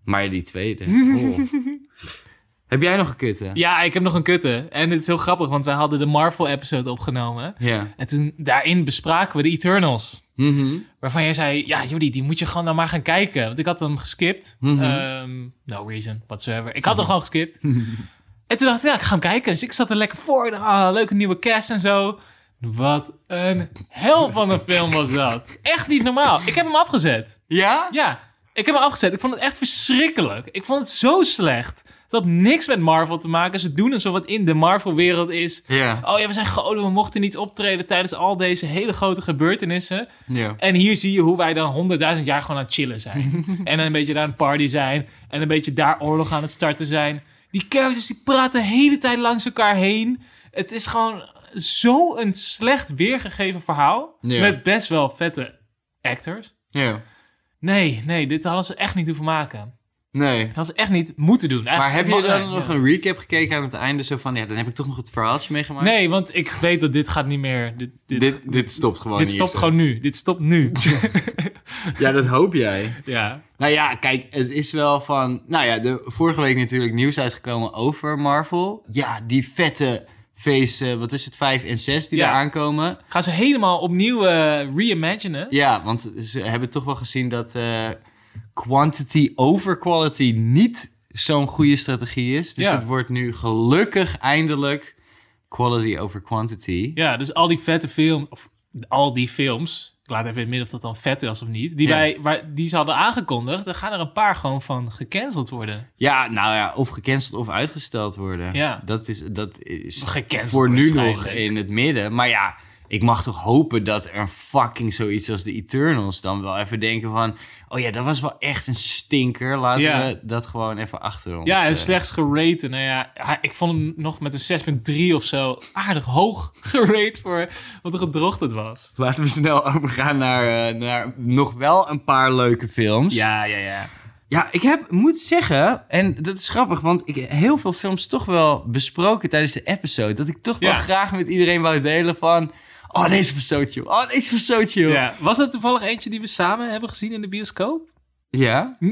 Speaker 1: Maar die
Speaker 2: *laughs*
Speaker 1: tweede. oh. Heb jij nog een kutte?
Speaker 2: Ja, ik heb nog een kutte. En het is heel grappig, want wij hadden de Marvel-episode opgenomen.
Speaker 1: Ja.
Speaker 2: En toen, daarin bespraken we de Eternals.
Speaker 1: Mhm.
Speaker 2: Waarvan jij zei, ja Judy, die moet je gewoon dan maar gaan kijken. Want ik had hem geskipt.
Speaker 1: Mhm.
Speaker 2: Ehm, no reason whatsoever. Ik had hem gewoon geskipt. en toen dacht ik, ja, ik ga hem kijken. Dus ik zat er lekker voor. Ik dacht, Ah, leuke nieuwe cast en zo. Wat een hel van een film was dat. Echt niet normaal. Ik heb hem afgezet.
Speaker 1: Ja?
Speaker 2: Ja, Ik heb hem afgezet. Ik vond het echt verschrikkelijk. Ik vond het zo slecht. Het had niks met Marvel te maken. Ze doen alsof het in de Marvel-wereld is.
Speaker 1: Ja.
Speaker 2: Oh ja, we zijn goden, we mochten niet optreden tijdens al deze hele grote gebeurtenissen.
Speaker 1: Ja.
Speaker 2: En hier zie je hoe wij dan honderdduizend jaar gewoon aan het
Speaker 1: *laughs*
Speaker 2: chillen zijn. en een beetje daar een party zijn. En een beetje daar oorlog aan het starten zijn. Die characters die praten de hele tijd langs elkaar heen. Het is gewoon zo'n slecht weergegeven verhaal.
Speaker 1: Ja.
Speaker 2: Met best wel vette actors.
Speaker 1: Ja.
Speaker 2: Nee, nee, dit hadden ze echt niet hoeven maken.
Speaker 1: Nee.
Speaker 2: Dat hadden ze echt niet moeten doen.
Speaker 1: Maar heb je
Speaker 2: Eigenlijk-
Speaker 1: dan
Speaker 2: nee,
Speaker 1: nog
Speaker 2: ja.
Speaker 1: een recap gekeken aan het einde? Zo van, ja, dan heb ik toch nog het verhaaltje meegemaakt.
Speaker 2: Nee, want ik weet dat dit gaat niet meer. Dit, dit, dit,
Speaker 1: Dit, dit stopt gewoon hier,
Speaker 2: stopt
Speaker 1: toch?
Speaker 2: gewoon nu. Dit stopt
Speaker 1: *laughs*
Speaker 2: nu. *laughs*
Speaker 1: Ja, dat hoop jij.
Speaker 2: ja.
Speaker 1: Nou ja, kijk, het is wel van... Nou ja, de, vorige week natuurlijk nieuws uitgekomen over Marvel. Ja, die vette phase, eh, wat is het, 5 en 6 die
Speaker 2: Ja.
Speaker 1: daar aankomen.
Speaker 2: Gaan ze helemaal opnieuw eh reimaginen?
Speaker 1: Ja, want ze hebben toch wel gezien dat eh, quantity over quality niet zo'n goede strategie is. Dus
Speaker 2: Ja.
Speaker 1: het wordt nu gelukkig eindelijk quality over quantity.
Speaker 2: Ja, dus al die vette films, of al die films, ik laat even in het midden of dat dan vet is of niet, die,
Speaker 1: Ja.
Speaker 2: wij, waar, die ze hadden aangekondigd, daar gaan er een paar gewoon van gecanceld worden.
Speaker 1: Ja, nou ja, of gecanceld of uitgesteld worden.
Speaker 2: Ja.
Speaker 1: Dat is, dat is
Speaker 2: Gecanceld
Speaker 1: voor nu nog
Speaker 2: waarschijnlijk.
Speaker 1: in het midden. Maar ja, ik mag toch hopen dat er fucking zoiets als de Eternals dan wel even denken van... Oh ja, dat was wel echt een stinker. Laten
Speaker 2: Ja.
Speaker 1: we dat gewoon even achter ons.
Speaker 2: Ja, en
Speaker 1: eh,
Speaker 2: slechts geraten. Nou ja, hij- ik vond hem nog met een 6.3 of zo aardig hoog *laughs* gerate voor wat een gedrocht het was.
Speaker 1: Laten we snel overgaan naar, eh, naar nog wel een paar leuke films.
Speaker 2: Ja, ja, ja.
Speaker 1: Ja, ik heb, moet zeggen, en dat is grappig, want ik heb heel veel films toch wel besproken tijdens de episode. Dat ik toch
Speaker 2: Ja.
Speaker 1: wel graag met iedereen wou delen van. Oh, deze was zo chill. Oh, deze was zo chill.
Speaker 2: ja. Was dat toevallig eentje die we samen hebben gezien in de bioscoop?
Speaker 1: Ja? Hm?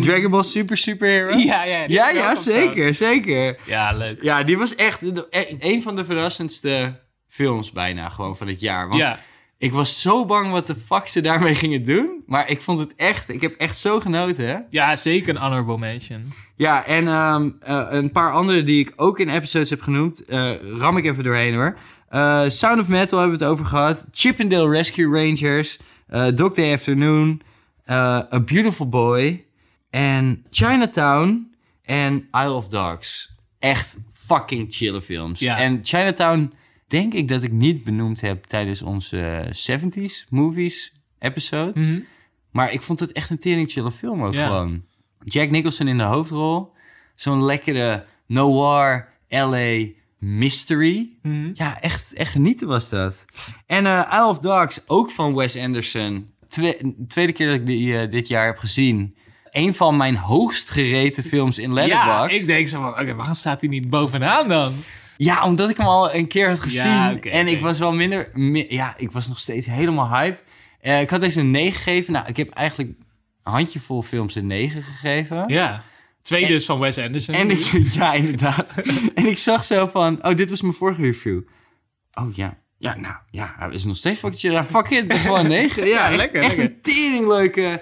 Speaker 1: Dragon Ball Super Superhero?
Speaker 2: Ja, ja. die
Speaker 1: ja,
Speaker 2: heb ik
Speaker 1: ja,
Speaker 2: ook opstaan.
Speaker 1: zeker, zeker.
Speaker 2: Ja, leuk.
Speaker 1: Ja, die was echt de- e- een van de verrassendste films bijna gewoon van het jaar. Want
Speaker 2: ja.
Speaker 1: ik was zo bang wat de fuck ze daarmee gingen doen. Maar ik vond het echt, ik heb echt zo genoten, hè?
Speaker 2: ja, zeker een honorable mention.
Speaker 1: Ja, en ehm, eh, een paar andere die ik ook in episodes heb genoemd. eh, ram ik even doorheen hoor. Eh, Sound of Metal hebben we het over gehad. Chippendale Rescue Rangers. eh Dog Day Afternoon. eh, A Beautiful Boy. En Chinatown. En Isle of Dogs. Echt fucking chille films.
Speaker 2: Ja.
Speaker 1: En Chinatown denk ik dat ik niet benoemd heb tijdens onze 70s movies episode.
Speaker 2: Mhm.
Speaker 1: Maar ik vond het echt een tering chille film ook
Speaker 2: Ja.
Speaker 1: gewoon. Jack Nicholson in de hoofdrol. Zo'n lekkere noir LA mystery.
Speaker 2: Mhm.
Speaker 1: Ja, echt, echt genieten was dat. En eh Isle of Dogs, ook van Wes Anderson. Twe- tweede keer dat ik die eh, dit jaar heb gezien. Een van mijn hoogst gereten films in
Speaker 2: Ja,
Speaker 1: Letterboxd.
Speaker 2: ik denk zo van, oké, waarom staat hij niet bovenaan dan?
Speaker 1: Ja, omdat ik hem al een keer had gezien.
Speaker 2: Ja, oké,
Speaker 1: en ik
Speaker 2: oké.
Speaker 1: was wel minder... mi- ja, ik was nog steeds helemaal hyped. Eh, ik had deze een 9 gegeven. Nou, ik heb eigenlijk een handjevol films een 9 gegeven.
Speaker 2: Ja. Twee
Speaker 1: En-
Speaker 2: dus van Wes Anderson.
Speaker 1: En ik... *laughs* Ja, inderdaad. en ik zag zo van... Oh, dit was mijn vorige review. Oh, ja. Ja, nou, ja, hij is nog steeds fucking chill. Ja, fuck it, het is gewoon een
Speaker 2: *laughs*
Speaker 1: 9. Ja,
Speaker 2: Ja,
Speaker 1: echt,
Speaker 2: lekker,
Speaker 1: Echt
Speaker 2: lekker.
Speaker 1: een teringleuke,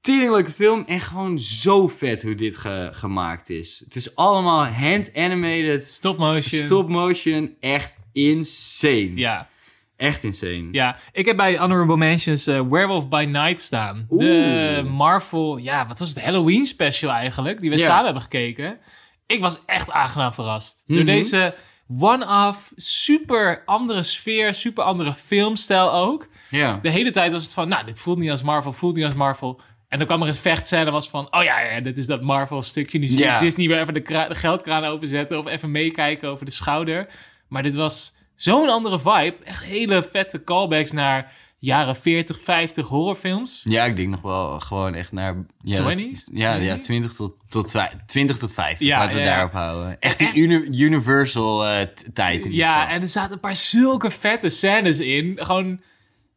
Speaker 1: teringleuke film. En gewoon zo vet hoe dit ge- gemaakt is. Het is allemaal hand-animated.
Speaker 2: Stop motion.
Speaker 1: Stop motion, echt insane.
Speaker 2: Ja,
Speaker 1: Echt insane.
Speaker 2: ja, ik heb bij Honorable Mentions eh, Werewolf by Night staan. De
Speaker 1: Oeh.
Speaker 2: Marvel, ja, wat was het? Halloween special eigenlijk, die we
Speaker 1: Ja.
Speaker 2: samen hebben gekeken. Ik was echt aangenaam verrast.
Speaker 1: Mhm.
Speaker 2: Door deze one-off, super andere sfeer, super andere filmstijl ook.
Speaker 1: Ja.
Speaker 2: De hele tijd was het van, nou, dit voelt niet als Marvel, voelt niet als Marvel. En dan kwam er een vechtscène en was van, oh ja, ja, dit is dat Marvel stukje. Nu zie je
Speaker 1: Ja.
Speaker 2: Disney weer even de, kra- de geldkraan openzetten of even meekijken over de schouder. Maar dit was zo'n andere vibe. Echt hele vette callbacks naar jaren 40, 50 horrorfilms.
Speaker 1: Ja, ik denk nog wel gewoon echt naar... Ja,
Speaker 2: 20s?
Speaker 1: Ja, ja 20 tot, tot, zwij- 20 tot 50.
Speaker 2: Ja,
Speaker 1: laten we
Speaker 2: ja, ja.
Speaker 1: daarop houden. Echt die
Speaker 2: En-
Speaker 1: uni- universal eh, t- tijd in ieder
Speaker 2: Ja,
Speaker 1: geval.
Speaker 2: en er zaten een paar zulke vette scènes in. Gewoon,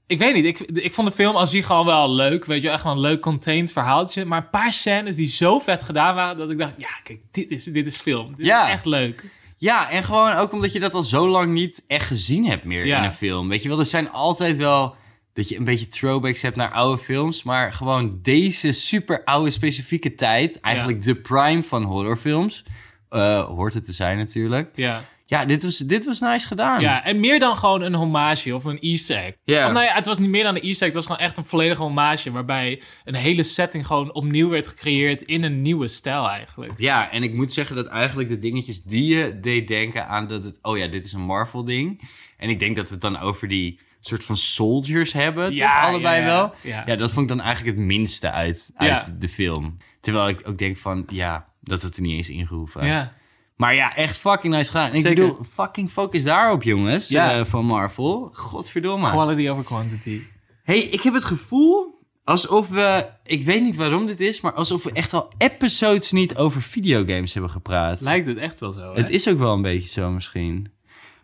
Speaker 2: ik weet niet, ik, ik vond de film als die gewoon wel leuk. Weet je, wel, echt wel een leuk contained verhaaltje. Maar een paar scènes die zo vet gedaan waren, dat ik dacht, ja, kijk, dit is, dit is film. Dit
Speaker 1: Ja.
Speaker 2: is echt leuk.
Speaker 1: Ja, en gewoon ook omdat je dat al zo lang niet echt gezien hebt meer
Speaker 2: Ja.
Speaker 1: in een film. Weet je wel, er zijn altijd wel... Dat je een beetje throwbacks hebt naar oude films. Maar gewoon deze super oude specifieke tijd. Eigenlijk de prime van horrorfilms. eh, hoort het te zijn natuurlijk.
Speaker 2: Ja.
Speaker 1: Ja, dit was, dit was nice gedaan.
Speaker 2: Ja, en meer dan gewoon een hommage of een easter egg.
Speaker 1: Hmm. Ja.
Speaker 2: Of nou ja, het was niet meer dan een easter egg. Het was gewoon echt een volledige hommage. Waarbij een hele setting gewoon opnieuw werd gecreëerd in een nieuwe stijl eigenlijk.
Speaker 1: Ja, en ik moet zeggen dat eigenlijk de dingetjes die je deed denken aan dat het... Oh ja, dit is een Marvel-ding. En ik denk dat we het dan over die soort van soldiers hebben. Ja, toch? allebei
Speaker 2: ja,
Speaker 1: wel.
Speaker 2: Ja.
Speaker 1: Ja, dat vond ik dan eigenlijk het minste uit, uit
Speaker 2: Ja.
Speaker 1: de film. Terwijl ik ook denk van, ja, dat het er niet eens ingehoeven. had.
Speaker 2: Ja.
Speaker 1: Maar ja, echt fucking nice gedaan. En ik
Speaker 2: Zeker.
Speaker 1: bedoel, fucking focus daarop, jongens,
Speaker 2: Ja.
Speaker 1: eh, van Marvel. Godverdomme.
Speaker 2: Quality over quantity.
Speaker 1: hey, ik heb het gevoel alsof we... Ik weet niet waarom dit is, maar alsof we echt al episodes niet over videogames hebben gepraat.
Speaker 2: Lijkt het echt wel zo, hè?
Speaker 1: Het is ook wel een beetje zo misschien.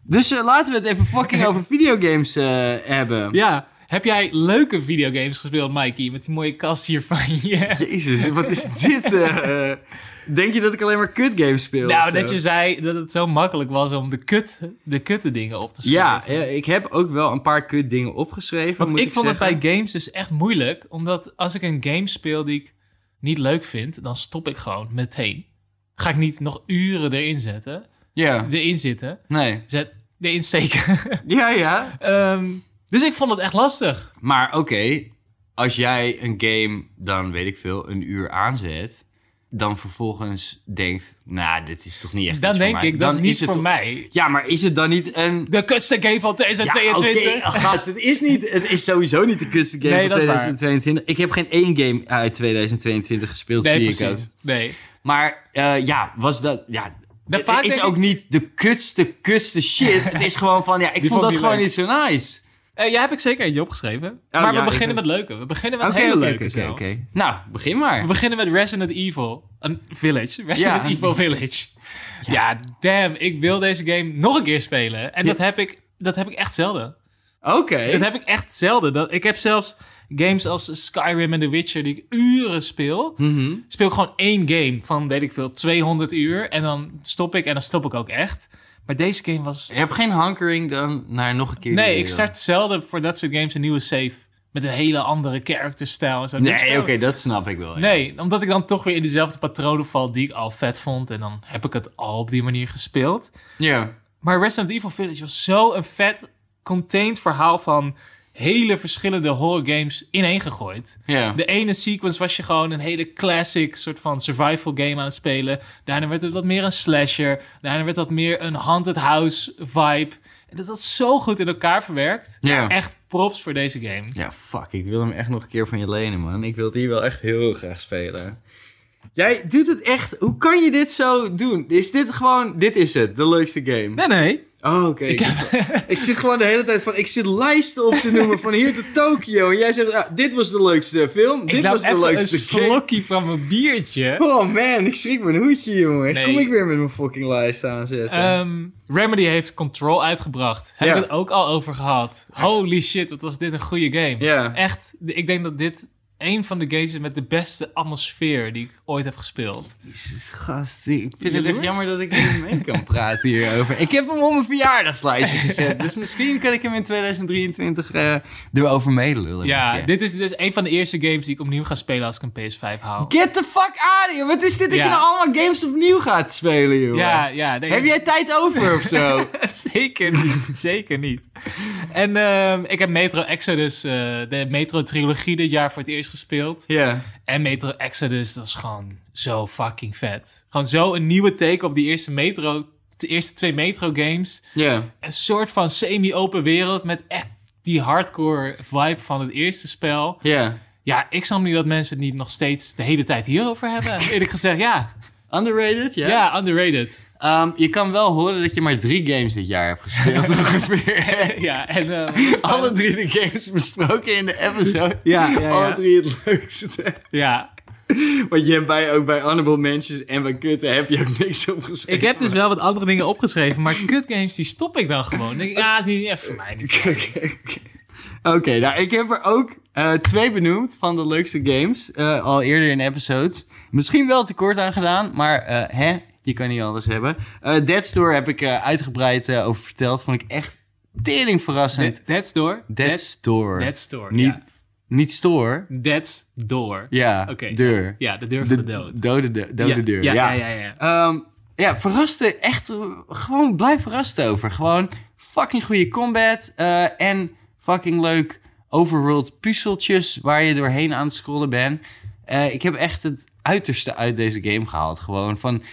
Speaker 1: Dus eh, laten we het even
Speaker 2: *laughs*
Speaker 1: fucking over videogames eh, hebben.
Speaker 2: Ja. Heb jij leuke videogames gespeeld, Mikey? Met die mooie kast hier van je.
Speaker 1: Jezus, wat is dit? eh, eh? denk je dat ik alleen maar kutgames speel?
Speaker 2: *laughs* Nou,
Speaker 1: of zo?
Speaker 2: dat je zei dat het zo makkelijk was om de, kut, de kutte dingen op te schrijven.
Speaker 1: Ja, eh, ik heb ook wel een paar kut dingen opgeschreven.
Speaker 2: Want
Speaker 1: moet
Speaker 2: ik vond
Speaker 1: zeggen.
Speaker 2: het bij games dus echt moeilijk. Omdat als ik een game speel die ik niet leuk vind, dan stop ik gewoon meteen. Ga ik niet nog uren erin zetten.
Speaker 1: Ja,
Speaker 2: Erin zitten.
Speaker 1: nee.
Speaker 2: Zet, erin steken. *laughs*
Speaker 1: Ja, ja.
Speaker 2: Ehm, dus ik vond het echt lastig.
Speaker 1: Maar oké, als jij een game dan, weet ik veel, een uur aanzet... dan vervolgens denkt, nou, dit is toch niet echt
Speaker 2: Dan
Speaker 1: iets voor
Speaker 2: denk
Speaker 1: mij.
Speaker 2: ik,
Speaker 1: Dan
Speaker 2: dat is niet
Speaker 1: het
Speaker 2: voor
Speaker 1: toch-
Speaker 2: mij.
Speaker 1: Ja, maar is het dan niet een...
Speaker 2: De kutste game van 2022.
Speaker 1: Ja, oké, gast, het is, niet, het is sowieso niet de kutste game
Speaker 2: Nee,
Speaker 1: van
Speaker 2: dat is waar.
Speaker 1: 2022. Ik heb geen één game uit 2022 gespeeld,
Speaker 2: Nee,
Speaker 1: zie ik ook.
Speaker 2: precies. Nee.
Speaker 1: Maar eh, ja, was dat... Ja,
Speaker 2: De
Speaker 1: het
Speaker 2: vaak
Speaker 1: is
Speaker 2: denk ik-
Speaker 1: ook niet de kutste, kutste
Speaker 2: *laughs*
Speaker 1: shit. het is gewoon van, ja, ik vond
Speaker 2: vond
Speaker 1: dat
Speaker 2: ik
Speaker 1: gewoon
Speaker 2: leuk.
Speaker 1: niet zo nice.
Speaker 2: Eh, jij heb ik zeker eentje opgeschreven. maar
Speaker 1: Oh, ja,
Speaker 2: we
Speaker 1: ik
Speaker 2: beginnen
Speaker 1: ben-
Speaker 2: met leuke. We beginnen met
Speaker 1: Oké,
Speaker 2: hele
Speaker 1: oké,
Speaker 2: leuke
Speaker 1: oké,
Speaker 2: zelfs.
Speaker 1: oké. Nou, begin
Speaker 2: We
Speaker 1: maar.
Speaker 2: beginnen met Resident Evil. Een village. Resident
Speaker 1: Ja.
Speaker 2: Evil Village. Ja. damn. Ik wil deze game nog een keer spelen. En
Speaker 1: Ja.
Speaker 2: dat, heb ik, dat heb ik echt zelden.
Speaker 1: Oké.
Speaker 2: Dat heb ik echt zelden. Dat, ik heb zelfs games als Skyrim en The Witcher die ik uren speel.
Speaker 1: Mhm.
Speaker 2: Speel ik gewoon één game van, weet ik veel, 200 uur. En dan stop ik en dan stop ik ook echt. Maar deze game was...
Speaker 1: Je hebt geen hankering dan naar nog een keer... die
Speaker 2: Nee, ik
Speaker 1: wereld.
Speaker 2: start zelden voor dat soort games een nieuwe save. Met een hele andere characterstijl en zo. Dit is
Speaker 1: Nee,
Speaker 2: zo-
Speaker 1: oké, dat snap ik wel. ja.
Speaker 2: Nee, omdat ik dan toch weer in dezelfde patronen val die ik al vet vond. En dan heb ik het al op die manier gespeeld.
Speaker 1: Ja.
Speaker 2: Maar Resident Evil Village was zo'n vet, contained verhaal van hele verschillende horror games ineengegooid.
Speaker 1: Ja.
Speaker 2: De ene sequence was je gewoon een hele classic soort van survival game aan het spelen. Daarna werd het wat meer een slasher. Daarna werd dat meer een haunted house vibe. En dat was zo goed in elkaar verwerkt.
Speaker 1: Ja.
Speaker 2: Echt props voor deze game.
Speaker 1: Ja, fuck. Ik wil hem echt nog een keer van je lenen, man. Ik wil die wel echt heel graag spelen. Jij doet het echt... Hoe kan je dit zo doen? Is dit gewoon... Dit is het. De leukste game.
Speaker 2: Nee, nee.
Speaker 1: Oh, oké. Ik, *laughs* ik zit gewoon de hele tijd van... Ik zit lijsten op te noemen van hier tot Tokio. En jij zegt, ah, dit was de leukste film.
Speaker 2: ik
Speaker 1: Dit
Speaker 2: nam
Speaker 1: was de
Speaker 2: even
Speaker 1: leukste
Speaker 2: een
Speaker 1: game.
Speaker 2: slokje van mijn biertje.
Speaker 1: *laughs* Oh man, ik schrik mijn hoedje, jongens.
Speaker 2: Nee.
Speaker 1: Kom ik weer met mijn fucking lijst aanzetten.
Speaker 2: Ehm, Remedy heeft Control uitgebracht. Heb
Speaker 1: Ja.
Speaker 2: ik het ook al over gehad. Holy shit, wat was dit een goede game.
Speaker 1: Ja.
Speaker 2: Echt, de- ik denk dat dit een van de games is met de beste atmosfeer die ik ooit heb gespeeld.
Speaker 1: Jezus, gast. Ik vind het echt
Speaker 2: Jaloers?
Speaker 1: jammer dat ik
Speaker 2: *laughs*
Speaker 1: niet mee kan praten hierover. Ik heb hem op mijn verjaardagslijstje gezet. Dus misschien kan ik hem in 2023 eh erover meelullen.
Speaker 2: Ja,
Speaker 1: met je.
Speaker 2: dit is dus een van de eerste games die ik opnieuw ga spelen als ik een PS5 haal.
Speaker 1: Get the fuck out of here. Wat is dit dat
Speaker 2: Ja.
Speaker 1: je nou allemaal games opnieuw gaat spelen, joh?
Speaker 2: Ja, ja. nee.
Speaker 1: Heb jij tijd over of zo?
Speaker 2: *laughs* zeker niet, *laughs* zeker niet. En ehm, ik heb Metro Exodus, eh, de Metro-trilogie dit jaar voor het eerst gespeeld.
Speaker 1: ja.
Speaker 2: En Metro Exodus, dat is gewoon zo fucking vet. Gewoon zo een nieuwe take op die eerste Metro, de eerste twee Metro games.
Speaker 1: Ja.
Speaker 2: Een soort van semi-open wereld met echt die hardcore vibe van het eerste spel.
Speaker 1: Ja.
Speaker 2: Ja, ik snap niet dat mensen het niet nog steeds de hele tijd hierover *laughs* hebben. Eerlijk gezegd, ja.
Speaker 1: Underrated, ja?
Speaker 2: Ja, underrated.
Speaker 1: Ehm, je kan wel horen dat je maar drie games dit jaar hebt
Speaker 2: *laughs*
Speaker 1: gespeeld, ongeveer.
Speaker 2: Ja, en... eh,
Speaker 1: Alle drie de games besproken in de episode.
Speaker 2: Ja, ja, ja.
Speaker 1: Alle drie het leukste.
Speaker 2: Oh, ja.
Speaker 1: Want je hebt bij, ook bij Honorable Mentions en bij Kutten heb je ook niks opgeschreven.
Speaker 2: Ik heb dus wel wat andere dingen opgeschreven, maar kutgames die stop ik dan gewoon. Denk ik, ja, is niet echt voor mij.
Speaker 1: Oké, oké, oké. *laughs* Oké, nou, ik heb er ook eh, twee benoemd van de leukste games. eh, al eerder in episodes. Misschien wel tekort aan gedaan, maar eh, hè, je kan niet alles hebben. Eh Dead Store heb ik eh, uitgebreid eh, over verteld. Vond ik echt tering verrassend.
Speaker 2: That- That's door.
Speaker 1: Dead, Store.
Speaker 2: That's door.
Speaker 1: niet,
Speaker 2: Ja.
Speaker 1: niet Store.
Speaker 2: That's door.
Speaker 1: Ja,
Speaker 2: Oké.
Speaker 1: deur.
Speaker 2: Ja, de deur van de
Speaker 1: De
Speaker 2: dood.
Speaker 1: dode, de- dode deur.
Speaker 2: Ja,
Speaker 1: ja.
Speaker 2: ja, ja. ja.
Speaker 1: Ehm, ja, verraste echt. eh, Gewoon blijf verrast over. Gewoon fucking goede combat. eh, en fucking leuk overworld puzzeltjes waar je doorheen aan het scrollen bent. Eh, ik heb echt het uiterste uit deze game gehaald. Gewoon van.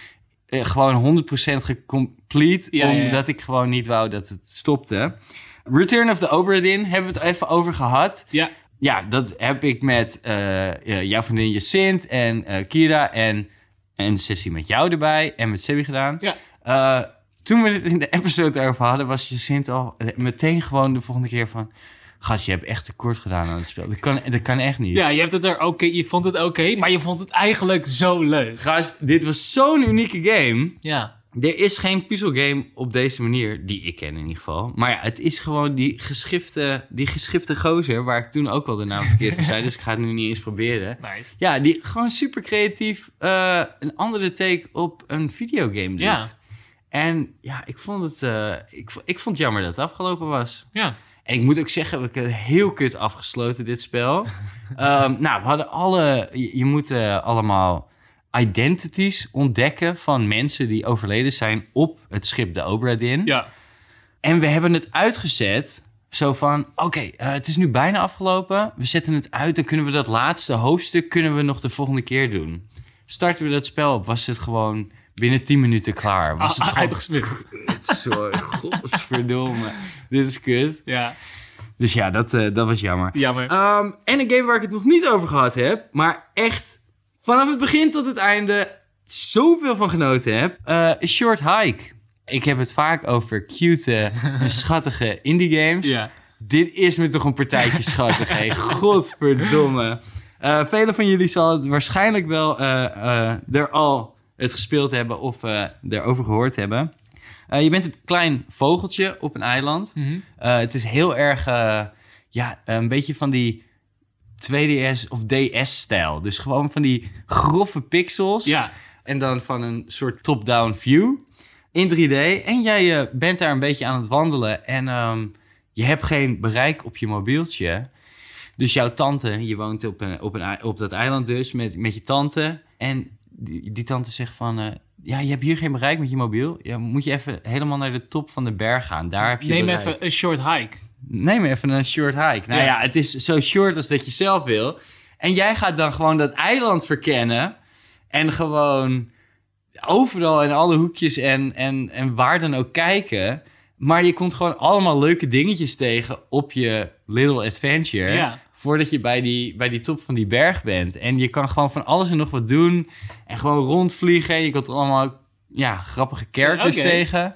Speaker 1: eh, gewoon 100% gecomplete.
Speaker 2: Ja, ja, ja.
Speaker 1: omdat ik gewoon niet wou dat het stopte. Return of the Obra Dinn hebben we het even over gehad.
Speaker 2: Ja.
Speaker 1: Ja, dat heb ik met eh, eh, jouw vriendin Jacint en eh, Kira en en een sessie met jou erbij en met Sebi gedaan.
Speaker 2: Ja.
Speaker 1: Eh, toen we het in de episode erover hadden, was Jacint al eh, meteen gewoon de volgende keer van... Gast, je hebt echt tekort gedaan aan het spel. Dat kan, dat kan echt niet.
Speaker 2: Ja, je, hebt het er oké je vond het oké, maar je vond het eigenlijk zo leuk.
Speaker 1: Gast, dit was zo'n unieke game.
Speaker 2: Ja.
Speaker 1: Er is geen puzzelgame op deze manier, die ik ken in ieder geval. Maar ja, het is gewoon die geschifte, die geschifte gozer, waar ik toen ook al de naam verkeerd van zei. Dus ik ga het nu niet eens proberen.
Speaker 2: Nice.
Speaker 1: Ja, die gewoon super creatief eh, een andere take op een videogame doet.
Speaker 2: Ja.
Speaker 1: En ja, ik vond het, eh, ik, vo- ik vond het jammer dat het afgelopen was.
Speaker 2: Ja.
Speaker 1: En ik moet ook zeggen, we hebben het heel kut afgesloten, dit spel. Ehm, nou, we hadden alle... Je, je moet eh, allemaal identities ontdekken van mensen die overleden zijn op het schip de Obra Dinn.
Speaker 2: Ja.
Speaker 1: En we hebben het uitgezet. Zo van, oké, eh, het is nu bijna afgelopen. We zetten het uit. Dan kunnen we dat laatste hoofdstuk kunnen we nog de volgende keer doen. Starten we dat spel op, was het gewoon binnen 10 minuten klaar. Was het
Speaker 2: Ah,
Speaker 1: gewoon...
Speaker 2: uitgespeeld.
Speaker 1: Sorry, *laughs* godverdomme. Dit is kut.
Speaker 2: Ja.
Speaker 1: Dus ja, dat, eh, dat was jammer.
Speaker 2: Jammer.
Speaker 1: Ehm, en een game waar ik het nog niet over gehad heb, maar echt vanaf het begin tot het einde zoveel van genoten heb. Eh, A Short Hike. Ik heb het vaak over cute eh, en schattige indie games.
Speaker 2: ja.
Speaker 1: Dit is me toch een partijtje schattig, hé. Godverdomme. Eh velen van jullie zal het waarschijnlijk wel eh, eh, er al het gespeeld hebben of eh erover gehoord hebben. Eh, je bent een klein vogeltje op een eiland.
Speaker 2: Mhm.
Speaker 1: Eh, het is heel erg, eh, ja, een beetje van die 2DS of DS-stijl. Dus gewoon van die grove pixels.
Speaker 2: Ja.
Speaker 1: En dan van een soort top-down view in 3D. En jij eh, bent daar een beetje aan het wandelen. En ehm, je hebt geen bereik op je mobieltje. Dus jouw tante, je woont op, een, op, een, ei- op dat eiland dus met, met je tante. En die, die tante zegt van... eh, ja, je hebt hier geen bereik met je mobiel. Ja, moet je even helemaal naar de top van de berg gaan. Daar heb je
Speaker 2: Neem
Speaker 1: bereik.
Speaker 2: even een short hike.
Speaker 1: Neem even een short hike. Nou ja.
Speaker 2: Ja.
Speaker 1: het is zo short als dat je zelf wil. En jij gaat dan gewoon dat eiland verkennen. En gewoon overal in alle hoekjes en, en, en waar dan ook kijken. Maar je komt gewoon allemaal leuke dingetjes tegen op je little adventure.
Speaker 2: Ja.
Speaker 1: Voordat je bij die, bij die top van die berg bent. En je kan gewoon van alles en nog wat doen. En gewoon rondvliegen. Je komt allemaal ja, grappige characters
Speaker 2: Oké.
Speaker 1: tegen.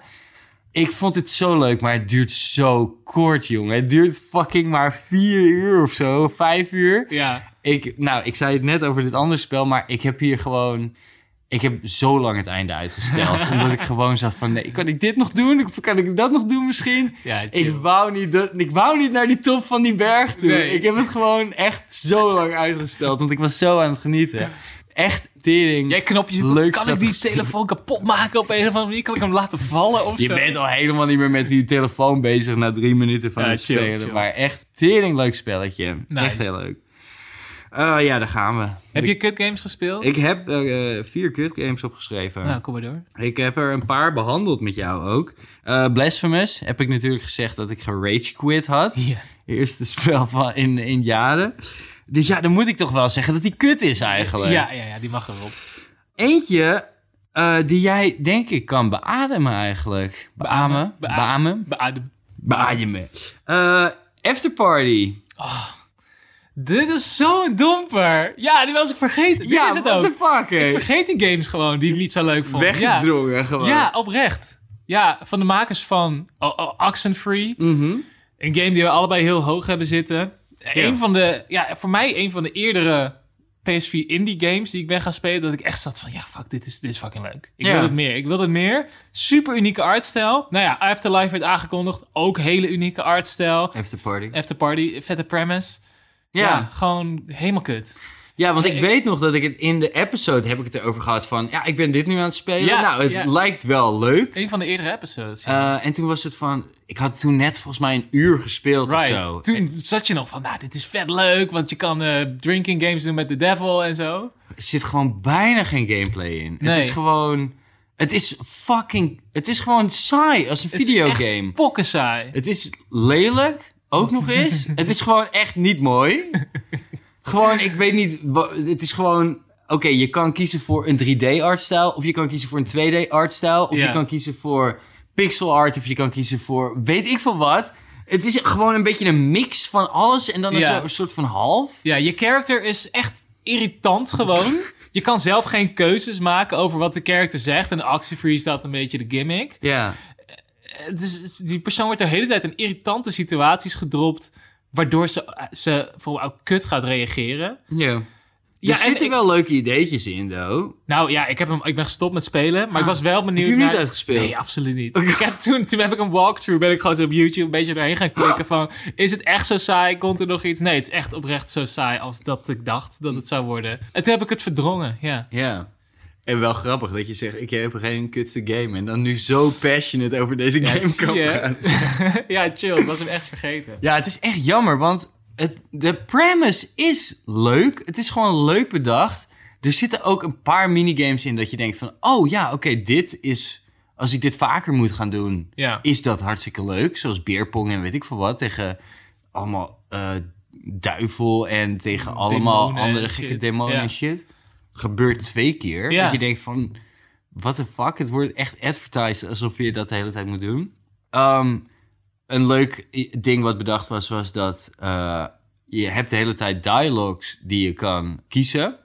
Speaker 1: Ik vond het zo leuk, maar het duurt zo kort, jongen. Het duurt fucking maar vier uur of zo, vijf uur.
Speaker 2: Ja.
Speaker 1: Ik, nou, ik zei het net over dit andere spel, maar ik heb hier gewoon... Ik heb zo lang het einde uitgesteld, omdat ik gewoon zat van... Nee, kan ik dit nog doen? Of kan ik dat nog doen misschien?
Speaker 2: Ja, chill.
Speaker 1: Ik wou, niet dat, ik wou niet naar die top van die berg toe.
Speaker 2: Nee.
Speaker 1: Ik heb het gewoon echt zo lang uitgesteld, want ik was zo aan het genieten. Echt tering.
Speaker 2: Jij knopjes.
Speaker 1: Leuk
Speaker 2: kan
Speaker 1: staat
Speaker 2: ik die
Speaker 1: geschreven.
Speaker 2: telefoon kapot maken op een of andere manier? Kan ik hem laten vallen of
Speaker 1: Je
Speaker 2: zo?
Speaker 1: bent al helemaal niet meer met die telefoon bezig na drie minuten van
Speaker 2: Ja,
Speaker 1: het
Speaker 2: chill,
Speaker 1: spelen.
Speaker 2: chill.
Speaker 1: Maar echt tering leuk spelletje.
Speaker 2: Nice.
Speaker 1: Echt heel leuk. Eh, ja, daar gaan we.
Speaker 2: Heb
Speaker 1: Ik-
Speaker 2: je Cut Games gespeeld?
Speaker 1: Ik heb eh, eh, vier kutgames opgeschreven.
Speaker 2: Nou, kom maar door.
Speaker 1: Ik heb er een paar behandeld met jou ook. Eh, Blasphemous heb ik natuurlijk gezegd dat ik gerage quit had.
Speaker 2: Ja.
Speaker 1: Eerste spel van in, in jaren. Dus ja, dan moet ik toch wel zeggen dat die kut is eigenlijk.
Speaker 2: Ja, ja, ja, die mag erop.
Speaker 1: Eentje eh, die jij denk ik kan beademen eigenlijk. Beamen.
Speaker 2: Beamen.
Speaker 1: Beamen.
Speaker 2: Beamen. Beadem.
Speaker 1: Beademen. Eh afterparty.
Speaker 2: Ah, Dit is zo'n domper. Ja, die was ik vergeten. Dit is het
Speaker 1: what
Speaker 2: ook.
Speaker 1: the fuck, hè?
Speaker 2: Ik vergeet die games gewoon die ik niet zo leuk vond. Ja.
Speaker 1: Weggedrongen gewoon.
Speaker 2: ja, oprecht. Ja, van de makers van oh, oh, Oxenfree.
Speaker 1: Mhm.
Speaker 2: Een game die we allebei heel hoog hebben zitten. Een van de, ja, voor mij een van de eerdere PS4 indie games die ik ben gaan spelen. Dat ik echt zat van, ja, fuck, dit is, dit is fucking leuk. Ik
Speaker 1: Ja.
Speaker 2: wil het meer, ik wil het meer. Super unieke artstijl. Nou ja, Afterlife werd aangekondigd. Ook hele unieke artstijl.
Speaker 1: Afterparty.
Speaker 2: After Party, vette premise.
Speaker 1: Ja.
Speaker 2: Eh, ja,
Speaker 1: ja.
Speaker 2: gewoon helemaal kut.
Speaker 1: want ik
Speaker 2: Ik-
Speaker 1: weet nog dat ik het in de episode heb ik het erover gehad van... Ja, ik ben dit nu aan het spelen.
Speaker 2: Ja,
Speaker 1: nou, het
Speaker 2: ja.
Speaker 1: lijkt wel leuk.
Speaker 2: Een van de eerdere episodes. ja.
Speaker 1: Eh, en toen was het van... Ik had toen net volgens mij een uur gespeeld of Eh, zo.
Speaker 2: Right. Toen zat je nog van, nou, dit is vet leuk, want je kan eh, drinking games doen met de devil en zo.
Speaker 1: Er zit gewoon bijna geen gameplay in.
Speaker 2: Nee.
Speaker 1: Het is gewoon... Het is fucking... Het is gewoon saai als een videogame.
Speaker 2: Pokken saai.
Speaker 1: Het is lelijk, ook nog
Speaker 2: *laughs*
Speaker 1: eens. het is gewoon echt niet mooi. gewoon, ik weet niet. wa- Het is gewoon. Oké, je kan kiezen voor een 3D-artstijl, of je kan kiezen voor een 2D-artstijl, of
Speaker 2: Ja.
Speaker 1: je kan kiezen voor pixel art, of je kan kiezen voor weet ik veel wat. Het is gewoon een beetje een mix van alles en dan
Speaker 2: Ja.
Speaker 1: een zo- een soort van half.
Speaker 2: Ja, je character is echt irritant
Speaker 1: *laughs*
Speaker 2: gewoon. Je kan zelf geen keuzes maken over wat de character zegt. En de actiefree is dat een beetje de gimmick.
Speaker 1: Ja.
Speaker 2: Eh, Dus die persoon wordt de hele tijd in irritante situaties gedropt. Waardoor ze, eh, ze vooral ook kut gaat reageren.
Speaker 1: ja. Er
Speaker 2: Ja, en
Speaker 1: zitten
Speaker 2: ik-
Speaker 1: wel leuke ideetjes in, though.
Speaker 2: Nou ja, ik, heb hem, ik ben gestopt met spelen, maar ik was wel benieuwd
Speaker 1: Ah, Heb je hem niet
Speaker 2: naar-
Speaker 1: uitgespeeld? Oh,
Speaker 2: Nee, absoluut niet. Ik heb toen, toen heb ik een walkthrough, ben ik gewoon zo op YouTube een beetje doorheen gaan klikken van... Is het echt zo saai? Komt er nog iets? Nee, het is echt oprecht zo saai als dat ik dacht dat het zou worden. En toen heb ik het verdrongen, ja. *laughs*
Speaker 1: Ja. En wel grappig dat je zegt, ik heb geen kutste game. En dan nu zo passionate over deze
Speaker 2: Ja,
Speaker 1: game
Speaker 2: zie
Speaker 1: kan
Speaker 2: je?
Speaker 1: praten.
Speaker 2: ja, chill. Ik was hem echt vergeten.
Speaker 1: Ja, het is echt jammer, want het, de premise is leuk. Het is gewoon leuk bedacht. Er zitten ook een paar minigames in dat je denkt van... Oh ja, oké, dit is... Als ik dit vaker moet gaan doen,
Speaker 2: Ja.
Speaker 1: is dat hartstikke leuk. Zoals beerpong en weet ik veel wat. Tegen allemaal eh, duivel en tegen allemaal
Speaker 2: Mm, Demonen en
Speaker 1: andere gekke
Speaker 2: shit.
Speaker 1: demonen
Speaker 2: Ja.
Speaker 1: en shit. Gebeurt twee keer.
Speaker 2: Ja.
Speaker 1: Dat je denkt van... What the fuck? Het wordt echt advertised alsof je dat de hele tijd moet doen. Ehm, een leuk i- ding wat bedacht was, was dat eh, je hebt de hele tijd dialogues die je kan kiezen.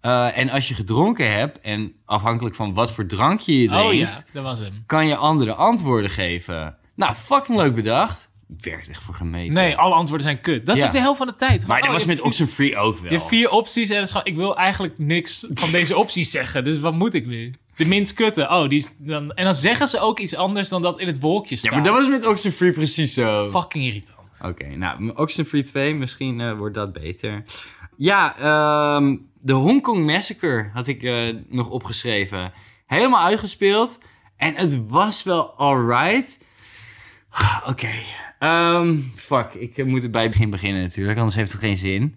Speaker 1: Eh, en als je gedronken hebt, en afhankelijk van wat voor drank je je drinkt,
Speaker 2: Oh ja, dat was hem.
Speaker 1: kan je andere antwoorden geven. Nou, fucking leuk bedacht. Werkt echt voor gemeten.
Speaker 2: Nee, alle antwoorden zijn kut. Dat is
Speaker 1: Ja.
Speaker 2: ook de helft van de tijd.
Speaker 1: maar
Speaker 2: Oh,
Speaker 1: dat was
Speaker 2: je
Speaker 1: met
Speaker 2: hebt
Speaker 1: Oxenfree ook wel.
Speaker 2: Je hebt vier opties en het is gewoon, ik wil eigenlijk niks van
Speaker 1: *laughs*
Speaker 2: deze opties zeggen. Dus wat moet ik nu? De minst kutte. Oh, die is dan, en dan zeggen ze ook iets anders dan dat in het wolkje staat.
Speaker 1: ja, maar dat was met Oxenfree precies zo.
Speaker 2: fucking irritant.
Speaker 1: Oké, nou, Oxenfree 2, misschien eh, wordt dat beter. Ja, ehm, de Hong Kong Massacre had ik eh, nog opgeschreven. Helemaal uitgespeeld. En het was wel alright. *sighs* Ah, Oké. Ehm, fuck, ik eh, moet er bij het begin beginnen natuurlijk, anders heeft het geen zin.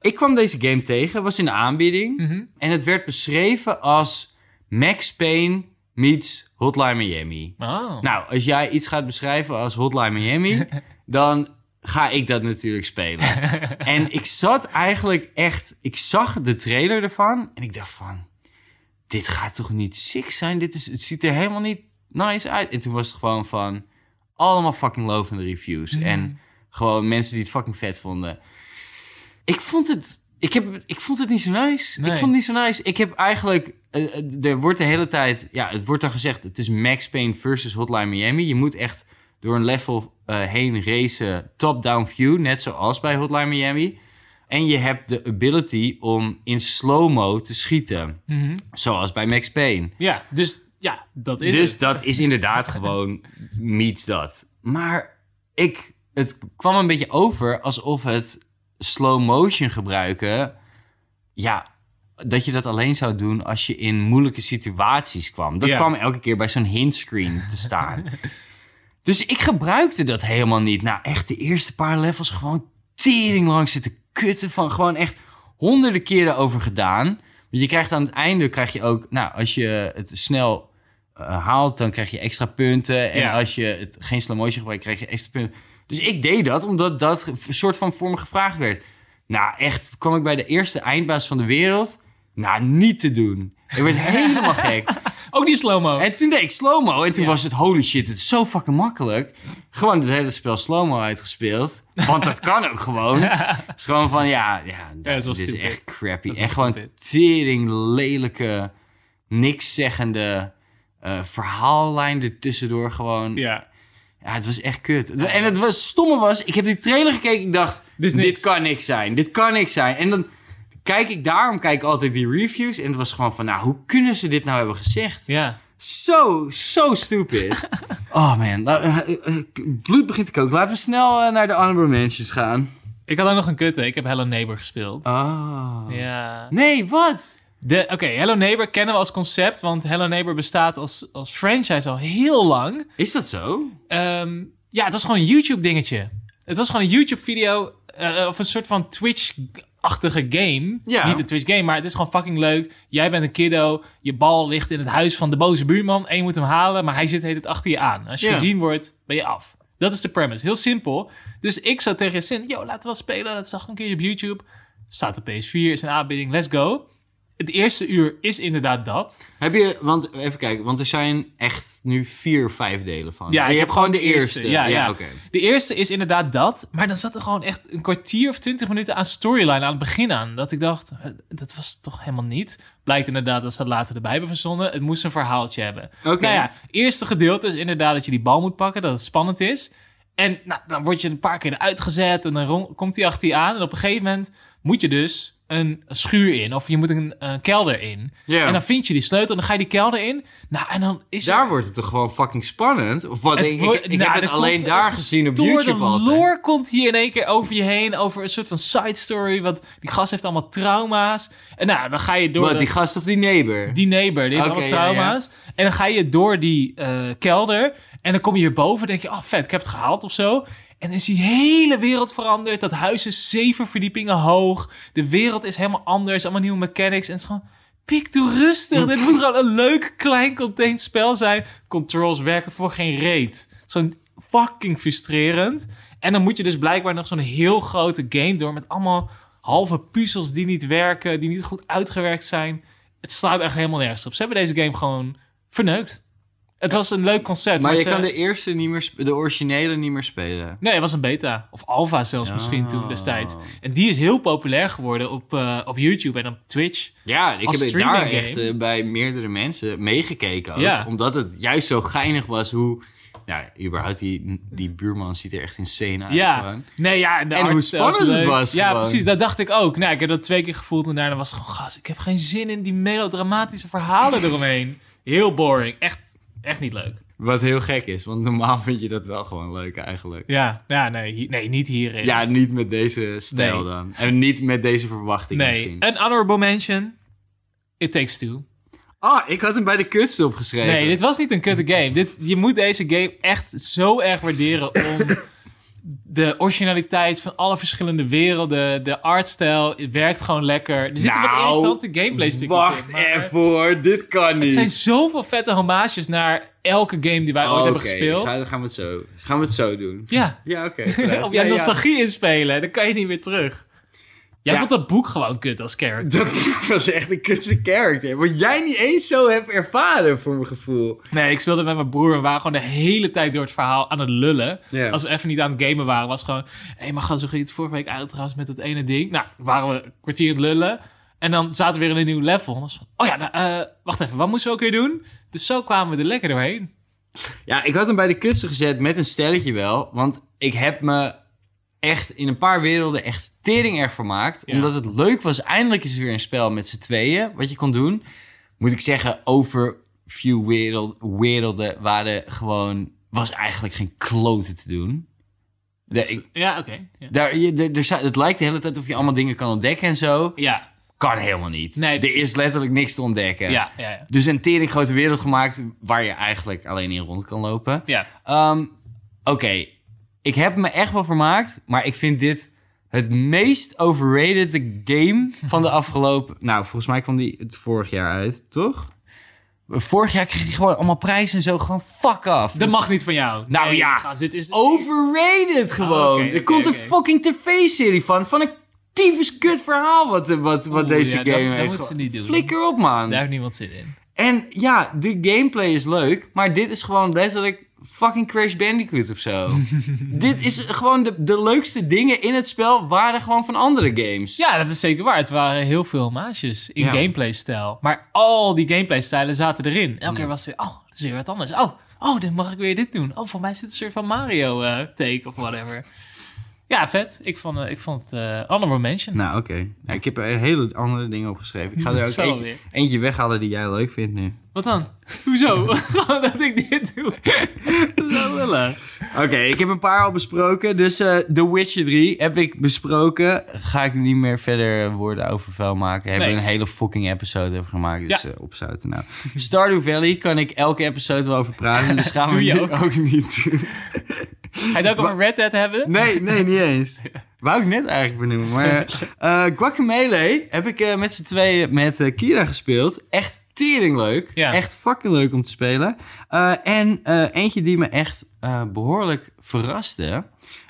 Speaker 1: Ik kwam deze game tegen, was in de aanbieding.
Speaker 2: Mhm.
Speaker 1: En het werd beschreven als Max Payne meets Hotline Miami.
Speaker 2: Oh.
Speaker 1: Nou, als jij iets gaat beschrijven als Hotline Miami, dan ga ik dat natuurlijk spelen. en ik zat eigenlijk echt, ik zag de trailer ervan en ik dacht van, dit gaat toch niet sick zijn? Dit is, het ziet er helemaal niet nice uit. En toen was het gewoon van, allemaal fucking lovende reviews. En gewoon mensen die het fucking vet vonden. Ik vond het, ik, heb, ik vond het niet zo nice.
Speaker 2: Nee.
Speaker 1: Ik vond het niet zo nice. Ik heb eigenlijk, eh, eh, er wordt de hele tijd, ja, het wordt dan gezegd, het is Max Payne versus Hotline Miami. Je moet echt door een level eh, heen racen, top-down view, net zoals bij Hotline Miami. En je hebt de ability om in slow-mo te schieten,
Speaker 2: Mhm.
Speaker 1: zoals bij Max Payne.
Speaker 2: Ja, dus ja, dat is
Speaker 1: dus
Speaker 2: het.
Speaker 1: dat is inderdaad *laughs* gewoon meets dat. Maar ik, het kwam een beetje over alsof het slow motion gebruiken, ja, dat je dat alleen zou doen als je in moeilijke situaties kwam. Dat
Speaker 2: Ja.
Speaker 1: kwam elke keer bij zo'n hintscreen te
Speaker 2: *laughs*
Speaker 1: staan. dus ik gebruikte dat helemaal niet. Nou, echt de eerste paar levels gewoon tering lang zitten kutten van gewoon echt honderden keren over gedaan. Want je krijgt aan het einde krijg je ook, nou, als je het snel eh, haalt, dan krijg je extra punten. En
Speaker 2: Ja.
Speaker 1: als je het geen slow motion gebruikt, krijg je extra punten. Dus ik deed dat omdat dat een soort van voor me gevraagd werd. Nou, echt kwam ik bij de eerste eindbaas van de wereld. Nou, niet te doen. Ik werd helemaal gek.
Speaker 2: Ook die slow-mo.
Speaker 1: En toen deed ik slow-mo. En toen
Speaker 2: Ja.
Speaker 1: was het holy shit, het is zo fucking makkelijk. Gewoon het hele spel slow-mo uitgespeeld. Want dat kan ook
Speaker 2: *laughs*
Speaker 1: gewoon. Het is gewoon van, ja, ja,
Speaker 2: dat is wel
Speaker 1: dit is
Speaker 2: stupid.
Speaker 1: echt crappy.
Speaker 2: Dat is
Speaker 1: En
Speaker 2: wel
Speaker 1: gewoon
Speaker 2: stupid.
Speaker 1: tering lelijke, niks zeggende eh, verhaallijn ertussendoor gewoon. Ja.
Speaker 2: Ja.
Speaker 1: het was echt kut. Het- En het was, stomme was, ik heb die trailer gekeken ik dacht,
Speaker 2: Dit is
Speaker 1: dit,
Speaker 2: niks.
Speaker 1: kan niks zijn. Dit kan niks zijn. En dan kijk ik daarom, kijk ik altijd die reviews. En het was gewoon van, nou, hoe kunnen ze dit nou hebben gezegd?
Speaker 2: Ja.
Speaker 1: Zo, zo *laughs* stupid. oh man, La- eh, eh, eh, bloed begint te koken. Laten we snel eh, naar de honorable mentions gaan.
Speaker 2: Ik had ook nog een kutte. Ik heb Hello Neighbor gespeeld.
Speaker 1: Ah.
Speaker 2: Ja.
Speaker 1: Nee, wat?
Speaker 2: De- Oké, Hello Neighbor kennen we als concept, want Hello Neighbor bestaat als, als franchise al heel lang.
Speaker 1: Is dat zo?
Speaker 2: Ehm, ja, het was gewoon een YouTube dingetje. Het was gewoon een YouTube video eh, of een soort van Twitch Twitch-achtige game.
Speaker 1: Ja.
Speaker 2: Niet een Twitch-game, maar het is gewoon fucking leuk. Jij bent een kiddo, je bal ligt in het huis van de boze buurman en je moet hem halen, maar hij zit heet het achter je aan. Als je
Speaker 1: Ja.
Speaker 2: gezien wordt, ben je af. Dat is de premise. Heel simpel. Dus ik zou tegen Sin, yo, laten we wel spelen. Dat zag ik een keer op YouTube. Staat op PS4, is een aanbieding, let's go. Het eerste uur is inderdaad dat.
Speaker 1: Heb je, want even kijken, want er zijn echt nu vier, vijf delen van.
Speaker 2: Ja,
Speaker 1: je
Speaker 2: ik
Speaker 1: hebt
Speaker 2: heb
Speaker 1: gewoon de
Speaker 2: gewoon de eerste.
Speaker 1: eerste.
Speaker 2: Ja, ja.
Speaker 1: oké.
Speaker 2: De eerste is inderdaad dat. Maar dan zat er gewoon echt een kwartier of twintig minuten aan storyline aan het begin aan. Dat ik dacht, eh, dat was het toch helemaal niet. Blijkt inderdaad dat ze dat later erbij hebben verzonnen. Het moest een verhaaltje hebben.
Speaker 1: Oké.
Speaker 2: Nou ja, eerste gedeelte is inderdaad dat je die bal moet pakken. Dat het spannend is. En nou, dan word je een paar keer eruit gezet. En dan ron- komt die achter je aan. En op een gegeven moment moet je dus een schuur in. Of je moet een, eh, kelder in.
Speaker 1: Ja.
Speaker 2: En dan vind je die sleutel. En dan ga je die kelder in. Nou, en dan is er-
Speaker 1: Daar wordt het toch gewoon fucking spannend? Of wat,
Speaker 2: Het
Speaker 1: ik,
Speaker 2: wordt-
Speaker 1: ik, ik
Speaker 2: nou,
Speaker 1: heb het
Speaker 2: er
Speaker 1: alleen
Speaker 2: komt
Speaker 1: daar
Speaker 2: een
Speaker 1: gezien op
Speaker 2: Door de
Speaker 1: YouTube altijd.
Speaker 2: lore komt hier in één keer over je heen. Over een soort van side story. Want die gast heeft allemaal trauma's. En nou, dan ga je door.
Speaker 1: Wat,
Speaker 2: dat-
Speaker 1: die gast of die neighbor?
Speaker 2: die neighbor, die heeft
Speaker 1: Oké,
Speaker 2: allemaal
Speaker 1: ja, ja.
Speaker 2: trauma's. En dan ga je door die eh, kelder. En dan kom je hierboven. denk je, oh vet, ik heb het gehaald of zo. En dan is die hele wereld veranderd. Dat huis is zeven verdiepingen hoog. De wereld is helemaal anders. Allemaal nieuwe mechanics. En het is gewoon... Pik, doe rustig. Dit moet gewoon een leuk, klein, contained spel zijn. Controls werken voor geen reet. Zo'n fucking frustrerend. En dan moet je dus blijkbaar nog zo'n heel grote game door... met allemaal halve puzzels die niet werken... die niet goed uitgewerkt zijn. Het slaat echt helemaal nergens op. Ze hebben deze game gewoon verneukt. Het was een leuk concept.
Speaker 1: maar je
Speaker 2: ze-
Speaker 1: kan de eerste niet meer, sp- de originele niet meer spelen.
Speaker 2: Nee, het was een beta. Of alpha zelfs misschien toen
Speaker 1: Oh.
Speaker 2: destijds. En die is heel populair geworden op, eh, op YouTube en op Twitch.
Speaker 1: Ja, ik
Speaker 2: Als
Speaker 1: heb het
Speaker 2: streaming
Speaker 1: daar
Speaker 2: game.
Speaker 1: echt eh, bij meerdere mensen meegekeken ook.
Speaker 2: Ja.
Speaker 1: Omdat het juist zo geinig was hoe... Nou, überhaupt, die, die buurman ziet er echt insane uit.
Speaker 2: ja.
Speaker 1: gewoon.
Speaker 2: Nee, ja, en, de
Speaker 1: En hoe
Speaker 2: artstijl is
Speaker 1: spannend het
Speaker 2: leuk.
Speaker 1: was
Speaker 2: Ja,
Speaker 1: gewoon.
Speaker 2: precies. Dat dacht ik ook. Nou, ik heb dat twee keer gevoeld en daarna was het gewoon... Gas, ik heb geen zin in die melodramatische
Speaker 1: *laughs*
Speaker 2: verhalen eromheen. Heel boring. Echt, echt niet leuk.
Speaker 1: Wat heel gek is, want normaal *laughs* vind je dat wel gewoon leuk eigenlijk.
Speaker 2: Ja, ja nee, hi- nee, niet hierin.
Speaker 1: Ja, niet met deze stijl
Speaker 2: Nee.
Speaker 1: dan. En niet met deze verwachting
Speaker 2: nee,
Speaker 1: misschien.
Speaker 2: een honorable mention. It Takes Two.
Speaker 1: Oh, ik had hem bij de kutste opgeschreven.
Speaker 2: Nee, dit was niet een kutte game. Dit, je moet deze game echt zo erg waarderen
Speaker 1: *laughs*
Speaker 2: om de originaliteit van alle verschillende werelden, de artstijl, het werkt gewoon lekker. Er zitten
Speaker 1: Nou,
Speaker 2: wat irritante gameplay stukjes
Speaker 1: Wacht
Speaker 2: in, maar
Speaker 1: even hoor, dit kan niet.
Speaker 2: Het zijn zoveel vette homages naar elke game die wij ooit hebben gespeeld.
Speaker 1: Gaan, gaan, we het zo, gaan we het zo doen.
Speaker 2: Ja,
Speaker 1: Ja, oké.
Speaker 2: *laughs*
Speaker 1: gedaan.
Speaker 2: op jouw
Speaker 1: Ja, ja.
Speaker 2: nostalgie inspelen, dan kan je niet meer terug. Jij
Speaker 1: Ja.
Speaker 2: vond dat boek gewoon kut als character.
Speaker 1: Dat *laughs* was echt een kutse character. Wat jij niet eens zo hebt ervaren, voor mijn gevoel.
Speaker 2: Nee, ik speelde met mijn broer en we waren gewoon de hele tijd door het verhaal aan het lullen.
Speaker 1: Ja.
Speaker 2: Als we even niet aan het gamen waren, was het gewoon... Hé, maar gast, hoe ging het vorige week uit trouwens met dat ene ding? Nou, waren we een kwartier aan het lullen. En dan zaten we weer in een nieuw level. En dan was het van, oh ja, nou, eh, wacht even, wat moesten we ook weer doen? Dus zo kwamen we er lekker doorheen.
Speaker 1: Ja, ik had hem bij de kutste gezet met een stelletje wel. Want ik heb me echt in een paar werelden echt tering erg vermaakt.
Speaker 2: Ja.
Speaker 1: Omdat het leuk was. Eindelijk is er weer een spel met z'n tweeën wat je kon doen. Moet ik zeggen, over few wereld, werelden waren gewoon... Was eigenlijk geen kloten te doen. De- ik-
Speaker 2: Ja, oké. Ja.
Speaker 1: daar, je, er- er zijn- het lijkt de hele tijd of je allemaal dingen kan ontdekken en zo.
Speaker 2: Ja,
Speaker 1: Kan helemaal niet.
Speaker 2: Nee,
Speaker 1: er
Speaker 2: precies.
Speaker 1: is letterlijk niks te ontdekken.
Speaker 2: ja, ja, ja.
Speaker 1: Dus een tering grote wereld gemaakt waar je eigenlijk alleen in rond kan lopen.
Speaker 2: Ja,
Speaker 1: Ehm, Oké, ik heb me echt wel vermaakt, maar ik vind dit het meest overrated game van de afgelopen... *laughs* Nou, volgens mij kwam die het vorig jaar uit, toch? Vorig jaar kreeg hij gewoon allemaal prijzen en zo, gewoon fuck af.
Speaker 2: Dat mag niet van jou.
Speaker 1: Nou
Speaker 2: Nee,
Speaker 1: ja.
Speaker 2: gast, dit is...
Speaker 1: Overrated gewoon.
Speaker 2: Ah, oké,
Speaker 1: er
Speaker 2: oké,
Speaker 1: komt
Speaker 2: oké.
Speaker 1: een fucking tv-serie van, van een tyfus kut verhaal wat, wat, wat
Speaker 2: Oeh,
Speaker 1: deze
Speaker 2: ja, dat-
Speaker 1: game
Speaker 2: dat
Speaker 1: heeft.
Speaker 2: moet ze niet doen.
Speaker 1: Flikker op, man.
Speaker 2: Daar heeft niemand zin in.
Speaker 1: En ja, de gameplay is leuk, maar dit is gewoon letterlijk fucking Crash Bandicoot of
Speaker 2: *laughs*
Speaker 1: zo. dit is gewoon de, de leukste dingen in het spel waren gewoon van andere games.
Speaker 2: Ja, dat is zeker waar. Het waren heel veel homages in
Speaker 1: Ja.
Speaker 2: gameplay-stijl. Maar al die gameplay-stijlen zaten erin. Elke keer was het weer, oh, dat is weer wat anders. Oh, oh, dan mag ik weer dit doen. Oh, voor mij zit een soort van Mario-take of whatever. *laughs* ja, vet. Ik vond, eh, ik vond het eh honorable mention.
Speaker 1: Nou, oké. Nou, ik heb er hele andere dingen opgeschreven. Ik ga er
Speaker 2: Dat
Speaker 1: ook
Speaker 2: zal
Speaker 1: eentje,
Speaker 2: weer.
Speaker 1: eentje weghalen die jij leuk vindt nu.
Speaker 2: Wat dan? *laughs* Hoezo? Gewoon dat ik dit doe. *laughs* Dat is wel lullig.
Speaker 1: Oké, ik heb een paar al besproken. Dus eh The Witcher 3 heb ik besproken. Ga ik niet meer verder woorden over vuil maken. Hebben
Speaker 2: Nee.
Speaker 1: een hele fucking episode over gemaakt. Dus
Speaker 2: Ja.
Speaker 1: eh, opzouten nou. Stardew Valley kan ik elke episode wel over praten.
Speaker 2: *laughs*
Speaker 1: Dus gaan we
Speaker 2: Doe je
Speaker 1: nu
Speaker 2: ook.
Speaker 1: ook niet doen.
Speaker 2: Ga je het ook over Red Dead hebben? *laughs*
Speaker 1: Nee, nee, niet eens. wou ik net eigenlijk benoemen. Maar eh, Guacamele heb ik eh, met z'n tweeën met eh, Kira gespeeld. Echt tering leuk.
Speaker 2: Ja.
Speaker 1: Echt fucking leuk om te spelen. Eh, en eh, eentje die me echt eh, behoorlijk verraste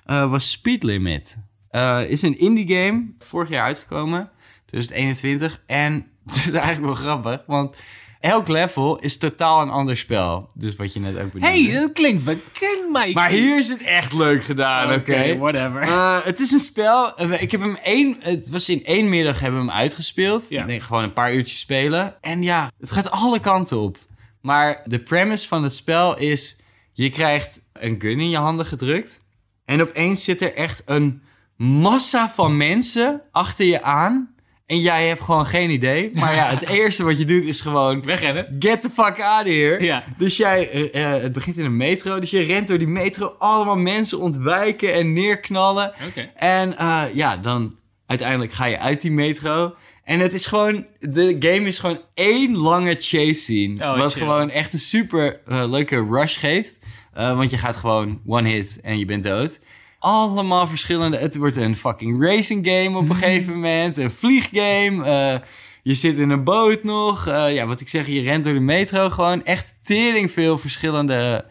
Speaker 1: eh, was Speed Limit. Eh, is een indie game, vorig jaar uitgekomen, 2021. En *laughs* het is eigenlijk wel grappig, want elk level is totaal een ander spel. Dus wat je net ook benoemde.
Speaker 2: hey, dat klinkt bekend, Mike.
Speaker 1: maar hier is het echt leuk gedaan, oké?
Speaker 2: whatever.
Speaker 1: Eh, het is een spel. eh, Ik heb hem één. Het was in één middag hebben we hem uitgespeeld.
Speaker 2: Ja.
Speaker 1: Ik denk gewoon een paar uurtjes spelen. En ja, het gaat alle kanten op. Maar de premise van het spel is: je krijgt een gun in je handen gedrukt. En opeens zit er echt een massa van mensen achter je aan. En jij hebt gewoon geen idee. Maar ja,
Speaker 2: *laughs*
Speaker 1: het eerste wat je doet is gewoon
Speaker 2: Wegrennen.
Speaker 1: Get the fuck out of here.
Speaker 2: Ja.
Speaker 1: Dus jij, eh, eh, het begint in een metro, dus je rent door die metro, allemaal mensen ontwijken en neerknallen.
Speaker 2: Oké.
Speaker 1: En eh, ja, dan uiteindelijk ga je uit die metro. En het is gewoon, de game is gewoon één lange chase scene.
Speaker 2: Oh,
Speaker 1: wat
Speaker 2: chill.
Speaker 1: gewoon echt een super eh, leuke rush geeft. Eh, want je gaat gewoon one hit en je bent dood. Allemaal verschillende. Het wordt een fucking racing game
Speaker 2: *laughs*
Speaker 1: op een gegeven moment. Een vlieggame. eh, je zit in een boot nog. Eh, ja, wat ik zeg, je rent door de metro. Gewoon echt tering veel verschillende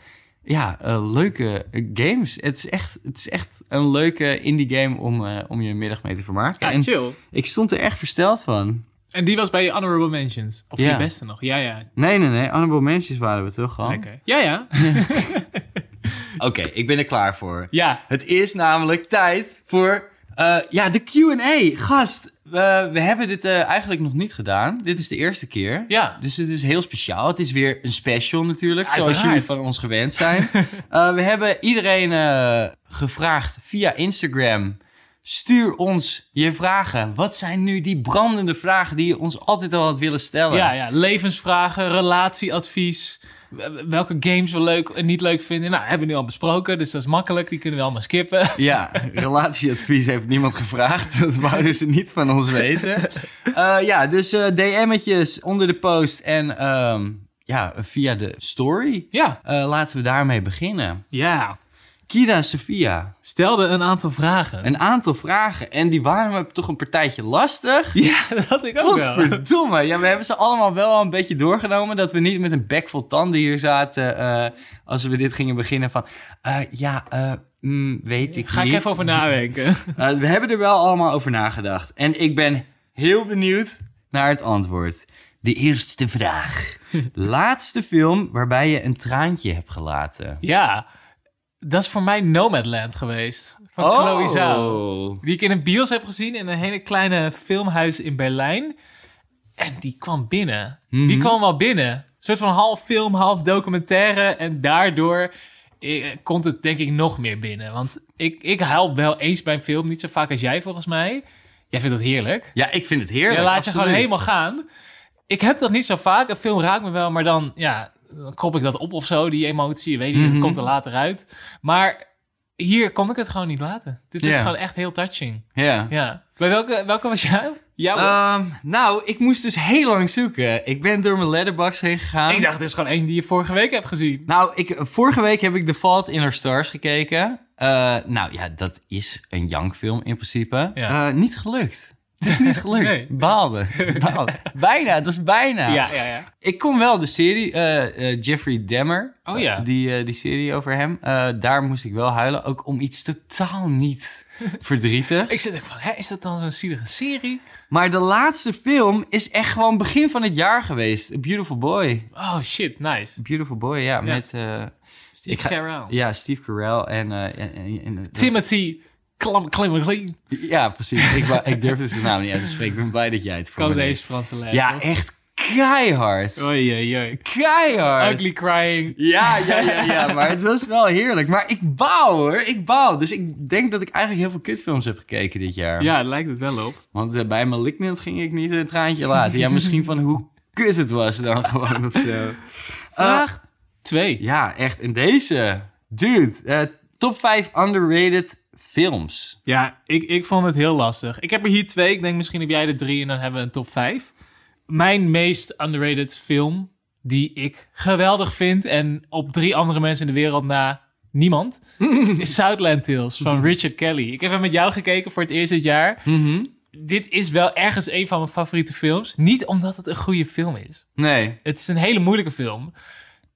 Speaker 1: ja, eh, leuke eh, games. Het is, echt, het is echt een leuke indie game om, eh, om je middag mee te vermaken.
Speaker 2: Ja,
Speaker 1: en
Speaker 2: chill.
Speaker 1: ik stond er echt versteld van.
Speaker 2: En die was bij je honorable mentions. Of
Speaker 1: Ja.
Speaker 2: je beste nog. Ja, Oh. ja.
Speaker 1: Nee, nee, nee. Honorable Mentions waren we toch al?
Speaker 2: Lekker. Ja, ja.
Speaker 1: Oké, ik ben er klaar voor.
Speaker 2: Ja.
Speaker 1: Het is namelijk tijd voor eh, ja, de Q&A. Gast, we- we hebben dit eh, eigenlijk nog niet gedaan. Dit is de eerste keer.
Speaker 2: Ja.
Speaker 1: Dus het is heel speciaal. Het is weer een special natuurlijk, zoals
Speaker 2: Uiteraard.
Speaker 1: jullie van ons gewend
Speaker 2: *laughs*
Speaker 1: zijn. Eh, we hebben iedereen eh, gevraagd via Instagram... Stuur ons je vragen. Wat zijn nu die brandende vragen die je ons altijd al had willen stellen?
Speaker 2: Ja, ja. Levensvragen, relatieadvies. w- Welke games we leuk en niet leuk vinden. Nou, hebben we nu al besproken, dus dat is makkelijk. Die kunnen we allemaal skippen. *laughs*
Speaker 1: Ja, relatieadvies heeft niemand gevraagd. *laughs* Dat wouden ze niet van ons weten. Eh, ja, dus eh DM'tjes onder de post en ehm, ja, via de story.
Speaker 2: Ja.
Speaker 1: Eh, laten we daarmee beginnen.
Speaker 2: Ja.
Speaker 1: Kira Sofia,
Speaker 2: Stelde een aantal vragen.
Speaker 1: een aantal vragen. En die waren me toch een partijtje lastig.
Speaker 2: Ja, *laughs* dat had ik ook wel.
Speaker 1: Godverdomme. Ja, we hebben ze allemaal wel al een beetje doorgenomen. Dat we niet met een bek vol tanden hier zaten. eh, als we dit gingen beginnen van... eh, ja, eh, mm, weet ik
Speaker 2: Ga ik
Speaker 1: niet.
Speaker 2: even over nadenken.
Speaker 1: Uh, we hebben er wel allemaal over nagedacht. En ik ben heel benieuwd naar het antwoord. De eerste
Speaker 2: *laughs*
Speaker 1: vraag. Laatste film waarbij je een traantje hebt gelaten.
Speaker 2: Ja, dat is voor mij Nomadland geweest. Van
Speaker 1: Oh.
Speaker 2: Chloe Zhao. Die ik in een bios heb gezien in een hele kleine filmhuis in Berlijn. En die kwam binnen.
Speaker 1: Mhm.
Speaker 2: Die kwam wel binnen. Een soort van half film, half documentaire. En daardoor eh, komt het denk ik nog meer binnen. Want ik, ik huil wel eens bij een film. Niet zo vaak als jij volgens mij. Jij vindt dat heerlijk.
Speaker 1: Ja, ik vind het heerlijk.
Speaker 2: Je laat je
Speaker 1: absoluut.
Speaker 2: gewoon helemaal gaan. Ik heb dat niet zo vaak. Een film raakt me wel, maar dan, ja, dan krop ik dat op of zo, die emotie. Je Weet je,
Speaker 1: Mhm.
Speaker 2: dat komt er later uit. Maar hier kon ik het gewoon niet laten. Dit is
Speaker 1: Ja.
Speaker 2: gewoon echt heel touching.
Speaker 1: Ja.
Speaker 2: Ja. Bij welke, welke was jou? Jouw?
Speaker 1: Ehm, nou, ik moest dus heel lang zoeken. Ik ben door mijn letterbox heen gegaan.
Speaker 2: ik dacht, dit is gewoon één die je vorige week hebt gezien.
Speaker 1: Nou, ik, vorige week heb ik The Fault in Our Stars gekeken. Eh, nou ja, dat is een jankfilm in principe.
Speaker 2: Ja.
Speaker 1: Eh, niet gelukt. Het is niet
Speaker 2: *laughs*
Speaker 1: gelukt.
Speaker 2: Nee.
Speaker 1: Baalde. Baalde. bijna, het was bijna.
Speaker 2: Ja, ja, ja. ja.
Speaker 1: Ik kon wel de serie, eh, eh, Jeffrey Dahmer.
Speaker 2: Oh ja.
Speaker 1: Eh, die, eh, die serie over hem. Eh, daar moest ik wel huilen. Ook om iets totaal
Speaker 2: *laughs*
Speaker 1: niet verdrietig.
Speaker 2: Ik zit ook van, hè, is dat dan zo'n zielige serie?
Speaker 1: Maar de laatste film is echt gewoon begin van het jaar geweest. A Beautiful Boy.
Speaker 2: Oh shit, nice.
Speaker 1: A Beautiful Boy, ja. Met... eh,
Speaker 2: Steve
Speaker 1: Ik ga-
Speaker 2: Carell.
Speaker 1: Ja, Steve Carell en... eh, en, en- en- dat-
Speaker 2: Timothy Clam Clemmerlin.
Speaker 1: Ja, precies. Ik, wou- ik durfde zijn naam niet uit te spreken. Ik ben blij dat jij het voor
Speaker 2: Kan
Speaker 1: me
Speaker 2: deze Franse les.
Speaker 1: deed. Ja, echt keihard.
Speaker 2: Oei, oei, oei.
Speaker 1: Keihard.
Speaker 2: Ugly crying.
Speaker 1: Ja, ja, ja,
Speaker 2: *laughs*
Speaker 1: ja. Maar het was wel heerlijk. Maar ik baal hoor. Ik baal. Dus ik denk dat ik eigenlijk heel veel kutfilms heb gekeken dit jaar.
Speaker 2: Ja, het lijkt het wel op.
Speaker 1: Want eh, bij Malignant ging ik niet een traantje laten. Ja, misschien van hoe kut het was
Speaker 2: *laughs*
Speaker 1: dan gewoon of zo. Eh,
Speaker 2: Vraag 2.
Speaker 1: Ja, echt. En deze. Dude. eh, top 5 underrated films.
Speaker 2: Ja, ik, ik vond het heel lastig. Ik heb er hier twee. Ik denk misschien heb jij er drie en dan hebben we een top 5. Mijn meest underrated film die ik geweldig vind en op drie andere mensen in de wereld na niemand, is Southland Tales van Richard Kelly. Ik heb hem met jou gekeken voor het eerst dit jaar.
Speaker 1: Mhm.
Speaker 2: Dit is wel ergens een van mijn favoriete films. Niet omdat het een goede film is.
Speaker 1: Nee.
Speaker 2: Het is een hele moeilijke film.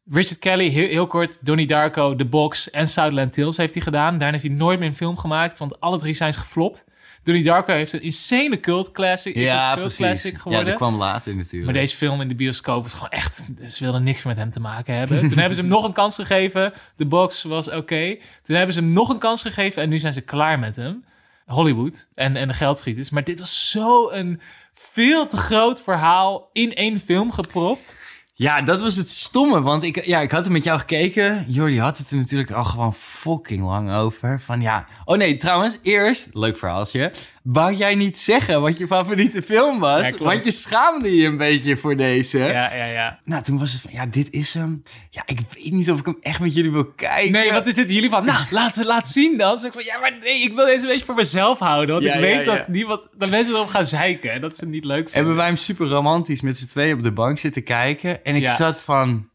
Speaker 2: Richard Kelly, heel, heel kort, Donnie Darko, The Box en Southland Tales heeft hij gedaan. Daarna heeft hij nooit meer een film gemaakt, want alle drie zijn ze geflopt. Donnie Darko heeft een insane cult classic, is
Speaker 1: ja,
Speaker 2: een cult
Speaker 1: precies.
Speaker 2: classic
Speaker 1: ja,
Speaker 2: geworden.
Speaker 1: dat kwam later natuurlijk.
Speaker 2: Maar deze film in de bioscoop was gewoon echt... Ze wilden niks met hem te maken hebben. Toen
Speaker 1: *laughs*
Speaker 2: hebben ze hem nog een kans gegeven. De box was oké. Toen hebben ze hem nog een kans gegeven. En nu zijn ze klaar met hem. Hollywood en, en de geldschieters. Maar dit was zo'n veel te groot verhaal in één film gepropt.
Speaker 1: Ja, dat was het stomme, want ik, ja, ik had het met jou gekeken. Jordi had het er natuurlijk al gewoon fucking lang over. Van ja, oh nee, trouwens, eerst, leuk verhaaltje. Wou jij niet zeggen wat je favoriete film was?
Speaker 2: Ja, klopt.
Speaker 1: want je schaamde je een beetje voor deze.
Speaker 2: Ja, ja, ja.
Speaker 1: Nou, toen was het van, ja, dit is hem. Ja, ik weet niet of ik hem echt met jullie wil kijken.
Speaker 2: Nee, wat is dit jullie van? Nou, laat, laat zien dan. Dus ik van, ja, maar nee, ik wil deze een beetje voor mezelf houden. Want
Speaker 1: Ja,
Speaker 2: ik weet
Speaker 1: ja, ja.
Speaker 2: Dat, niemand, dat mensen erop gaan zeiken. En dat ze het niet leuk vinden.
Speaker 1: Hebben wij hem super romantisch met z'n tweeën op de bank zitten kijken. En ik
Speaker 2: Ja.
Speaker 1: zat van,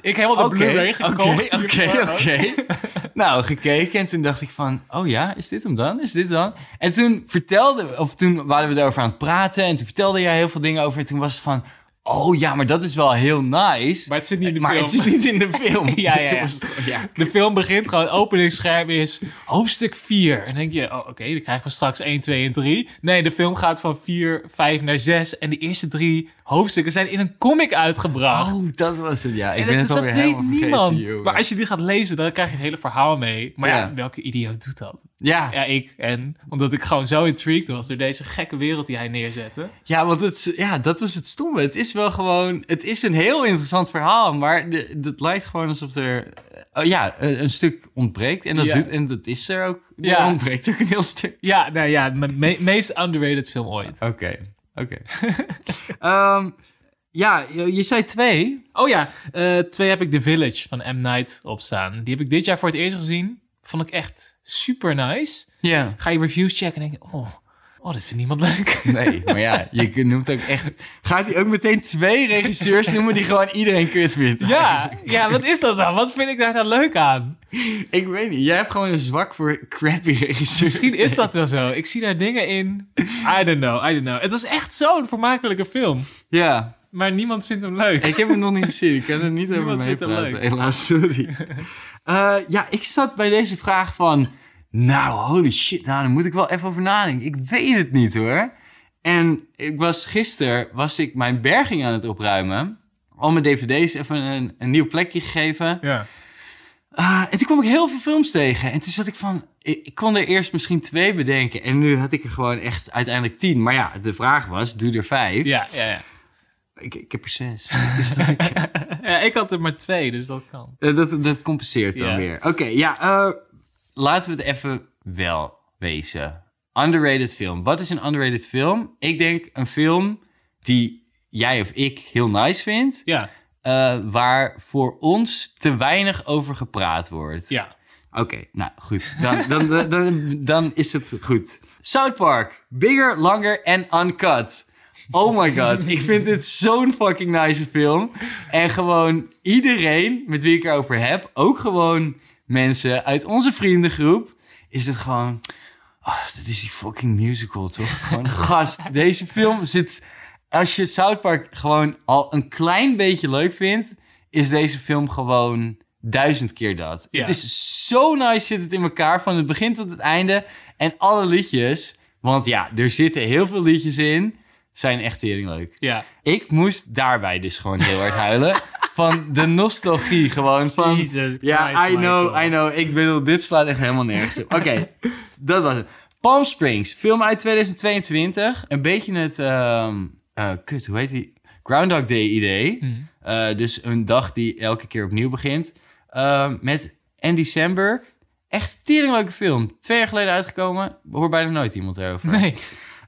Speaker 2: Ik heb helemaal de Blu-ray gekocht.
Speaker 1: Oké, oké,
Speaker 2: hiervoor ook.
Speaker 1: oké. *laughs*
Speaker 2: *laughs*
Speaker 1: Nou, gekeken en toen dacht ik van, oh ja, is dit hem dan? Is dit dan? En toen vertelde, of toen waren we erover aan het praten en toen vertelde jij heel veel dingen over. En toen was het van, oh ja, maar dat is wel heel nice.
Speaker 2: Maar het zit niet in de
Speaker 1: Maar
Speaker 2: film.
Speaker 1: het zit niet in *laughs* de film.
Speaker 2: Ja, ja,
Speaker 1: Toen
Speaker 2: ja.
Speaker 1: was het gewoon, ja.
Speaker 2: De film begint gewoon, openingsscherm is hoofdstuk 4. En dan denk je, oh, oké, dan krijgen we straks 1, 2 en 3. Nee, de film gaat van 4, 5 naar 6. En de eerste drie hoofdstukken zijn in een comic uitgebracht.
Speaker 1: Oh, dat was het, ja. Ik
Speaker 2: En
Speaker 1: ben het
Speaker 2: dat, dat
Speaker 1: alweer
Speaker 2: weet
Speaker 1: helemaal
Speaker 2: niemand.
Speaker 1: vergeten, joh.
Speaker 2: maar als je die gaat lezen, dan krijg je het hele verhaal mee. Maar ja,
Speaker 1: Ja.
Speaker 2: welke idioot doet dat?
Speaker 1: ja,
Speaker 2: Ja, ik. En omdat ik gewoon zo intrigued was door deze gekke wereld die hij neerzette.
Speaker 1: Ja, want het, is- ja, dat was het stomme. Het is wel gewoon... Het is een heel interessant verhaal, maar de- dat lijkt gewoon alsof er... oh ja, een, een stuk ontbreekt en dat,
Speaker 2: Ja.
Speaker 1: doet, en dat is er ook. Er
Speaker 2: Ja.
Speaker 1: ontbreekt ook een heel stuk.
Speaker 2: Ja, nou ja, mijn me- meest underrated film ooit.
Speaker 1: Oké, oké. Ehm, ja, je, je zei twee.
Speaker 2: Oh ja, eh, twee heb ik The Village van M. Night opstaan. Die heb ik dit jaar voor het eerst gezien. Vond ik echt super nice.
Speaker 1: Ja.
Speaker 2: Ga je reviews checken en denk je, oh, oh dit vindt niemand leuk. *laughs*
Speaker 1: Nee, maar ja, je noemt ook echt... Gaat hij ook meteen twee regisseurs noemen die gewoon iedereen kut vindt?
Speaker 2: ja, ja, wat is dat dan? Wat vind ik daar nou leuk aan?
Speaker 1: Ik weet niet, jij hebt gewoon een zwak voor crappy regisseurs.
Speaker 2: Misschien is dat wel zo. Ik zie daar dingen in. I don't know, I don't know. Het was echt zo'n vermakelijke film.
Speaker 1: Ja,
Speaker 2: Maar niemand vindt hem leuk.
Speaker 1: Ik heb hem nog niet gezien. Ik kan er niet over
Speaker 2: *laughs* Niemand
Speaker 1: mee
Speaker 2: vindt hem
Speaker 1: praten.
Speaker 2: leuk.
Speaker 1: Helaas, sorry.
Speaker 2: *laughs*
Speaker 1: Eh, ja, ik zat bij deze vraag van... Nou, holy shit, nou, daar moet ik wel even over nadenken. Ik weet het niet, hoor. En ik was gisteren was ik mijn berging aan het opruimen. Al mijn dvd's even een, een nieuw plekje gegeven.
Speaker 2: Ja.
Speaker 1: Ah, en toen kwam ik heel veel films tegen. En toen zat ik van... Ik, ik kon er eerst misschien twee bedenken. En nu had ik er gewoon echt uiteindelijk tien. Maar ja, de vraag was, doe er vijf.
Speaker 2: Ja, ja, ja.
Speaker 1: Ik, ik heb er zes. *laughs* Wat is dat?
Speaker 2: ja. Ik had er maar twee, dus dat kan.
Speaker 1: Eh, dat, dat compenseert dan
Speaker 2: Ja.
Speaker 1: weer. Oké, ja. eh, laten we het even wel wezen. Underrated film. Wat is een underrated film? Ik denk een film die jij of ik heel nice vindt.
Speaker 2: Ja,
Speaker 1: eh, waar voor ons te weinig over gepraat wordt.
Speaker 2: ja.
Speaker 1: Oké, nou goed. Dan, dan, dan, dan, dan is het goed. South Park. Bigger, longer en uncut. Oh my god. Ik vind dit zo'n fucking nice film. En gewoon iedereen met wie ik erover heb, ook gewoon mensen uit onze vriendengroep, is het gewoon. ah, dat is die fucking musical toch? Gewoon gast. Deze film zit. Als je South Park gewoon al een klein beetje leuk vindt, is deze film gewoon duizend keer dat.
Speaker 2: Ja.
Speaker 1: Het is zo nice zit het in elkaar van het begin tot het einde. En alle liedjes, want ja, er zitten heel veel liedjes in, zijn echt tering leuk.
Speaker 2: Ja.
Speaker 1: Ik moest daarbij dus gewoon heel hard
Speaker 2: *laughs*
Speaker 1: huilen. Van de nostalgie gewoon. Van,
Speaker 2: Jesus
Speaker 1: ja,
Speaker 2: Christ,
Speaker 1: I know,
Speaker 2: Michael.
Speaker 1: I know. Ik bedoel, dit slaat echt helemaal nergens op. Oké,
Speaker 2: *laughs*
Speaker 1: dat was het. Palm Springs, film uit 2022. Een beetje het, ehm, eh, kut, hoe heet die? Groundhog Day idee.
Speaker 2: Mhm.
Speaker 1: Eh, dus een dag die elke keer opnieuw begint. Ehm, met Andy Samberg. Echt een teringleuke film. Twee jaar geleden uitgekomen. Hoor bijna nooit iemand erover.
Speaker 2: Nee.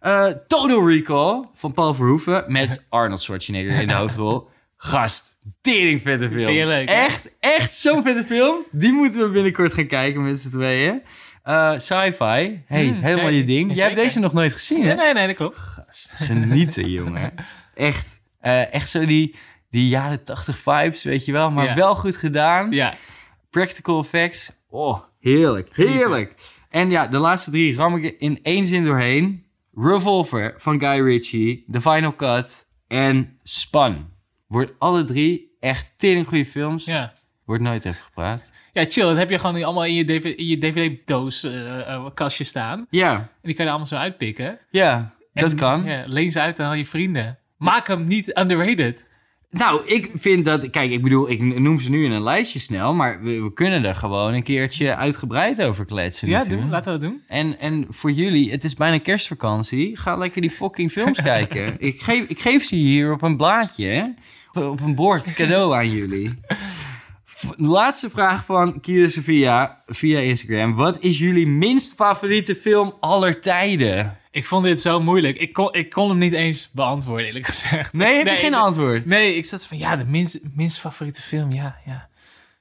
Speaker 1: Eh, Total Recall van Paul Verhoeven
Speaker 2: *laughs*
Speaker 1: met Arnold Schwarzenegger in de hoofdrol. Gast, tering vette film.
Speaker 2: Vind je leuk, hè?
Speaker 1: Echt, echt zo'n vette film. Die moeten we binnenkort gaan kijken met z'n tweeën. Eh, Sci-fi, hey,
Speaker 2: Hmm,
Speaker 1: helemaal
Speaker 2: nee,
Speaker 1: je ding. Jij hebt
Speaker 2: zeker.
Speaker 1: deze nog nooit gezien, hè?
Speaker 2: Nee, nee, nee, dat klopt.
Speaker 1: Genieten,
Speaker 2: *laughs*
Speaker 1: jongen. Echt, eh, echt zo die, die jaren 80 vibes, weet je wel. Maar
Speaker 2: Ja.
Speaker 1: wel goed gedaan.
Speaker 2: Ja.
Speaker 1: Practical effects. Oh, heerlijk. Heerlijk. En ja, de laatste drie ram ik er in één zin doorheen. Revolver van Guy Ritchie, The Final Cut en Span. Wordt alle drie echt tering goede films.
Speaker 2: Ja.
Speaker 1: Wordt nooit even gepraat.
Speaker 2: ja, chill. Dat heb je gewoon allemaal in je, DV in je DVD-doos eh, eh, kastje staan. En
Speaker 1: Ja,
Speaker 2: die kan je allemaal zo uitpikken.
Speaker 1: ja,
Speaker 2: En,
Speaker 1: dat kan.
Speaker 2: Ja, leen ze uit aan al je vrienden. Maak hem niet underrated.
Speaker 1: Nou, ik vind dat... Kijk, ik bedoel, ik noem ze nu in een lijstje snel... maar we, we kunnen er gewoon een keertje uitgebreid over kletsen
Speaker 2: Ja,
Speaker 1: natuurlijk.
Speaker 2: doen, laten we dat doen.
Speaker 1: En, en voor jullie, het is bijna kerstvakantie. Ga lekker die fucking films kijken. Ik geef, ik geef ze hier op een blaadje, hè? Op, op een bord, cadeau aan jullie. V- Laatste vraag van Kira Sofia via Instagram. Wat is jullie minst favoriete film aller tijden?
Speaker 2: Ik vond dit zo moeilijk. Ik kon, ik kon hem niet eens beantwoorden, eerlijk gezegd.
Speaker 1: Nee, heb je
Speaker 2: Nee,
Speaker 1: geen
Speaker 2: de-
Speaker 1: antwoord?
Speaker 2: Nee, ik zat van ja, de minst, minst favoriete film. Ja, ja.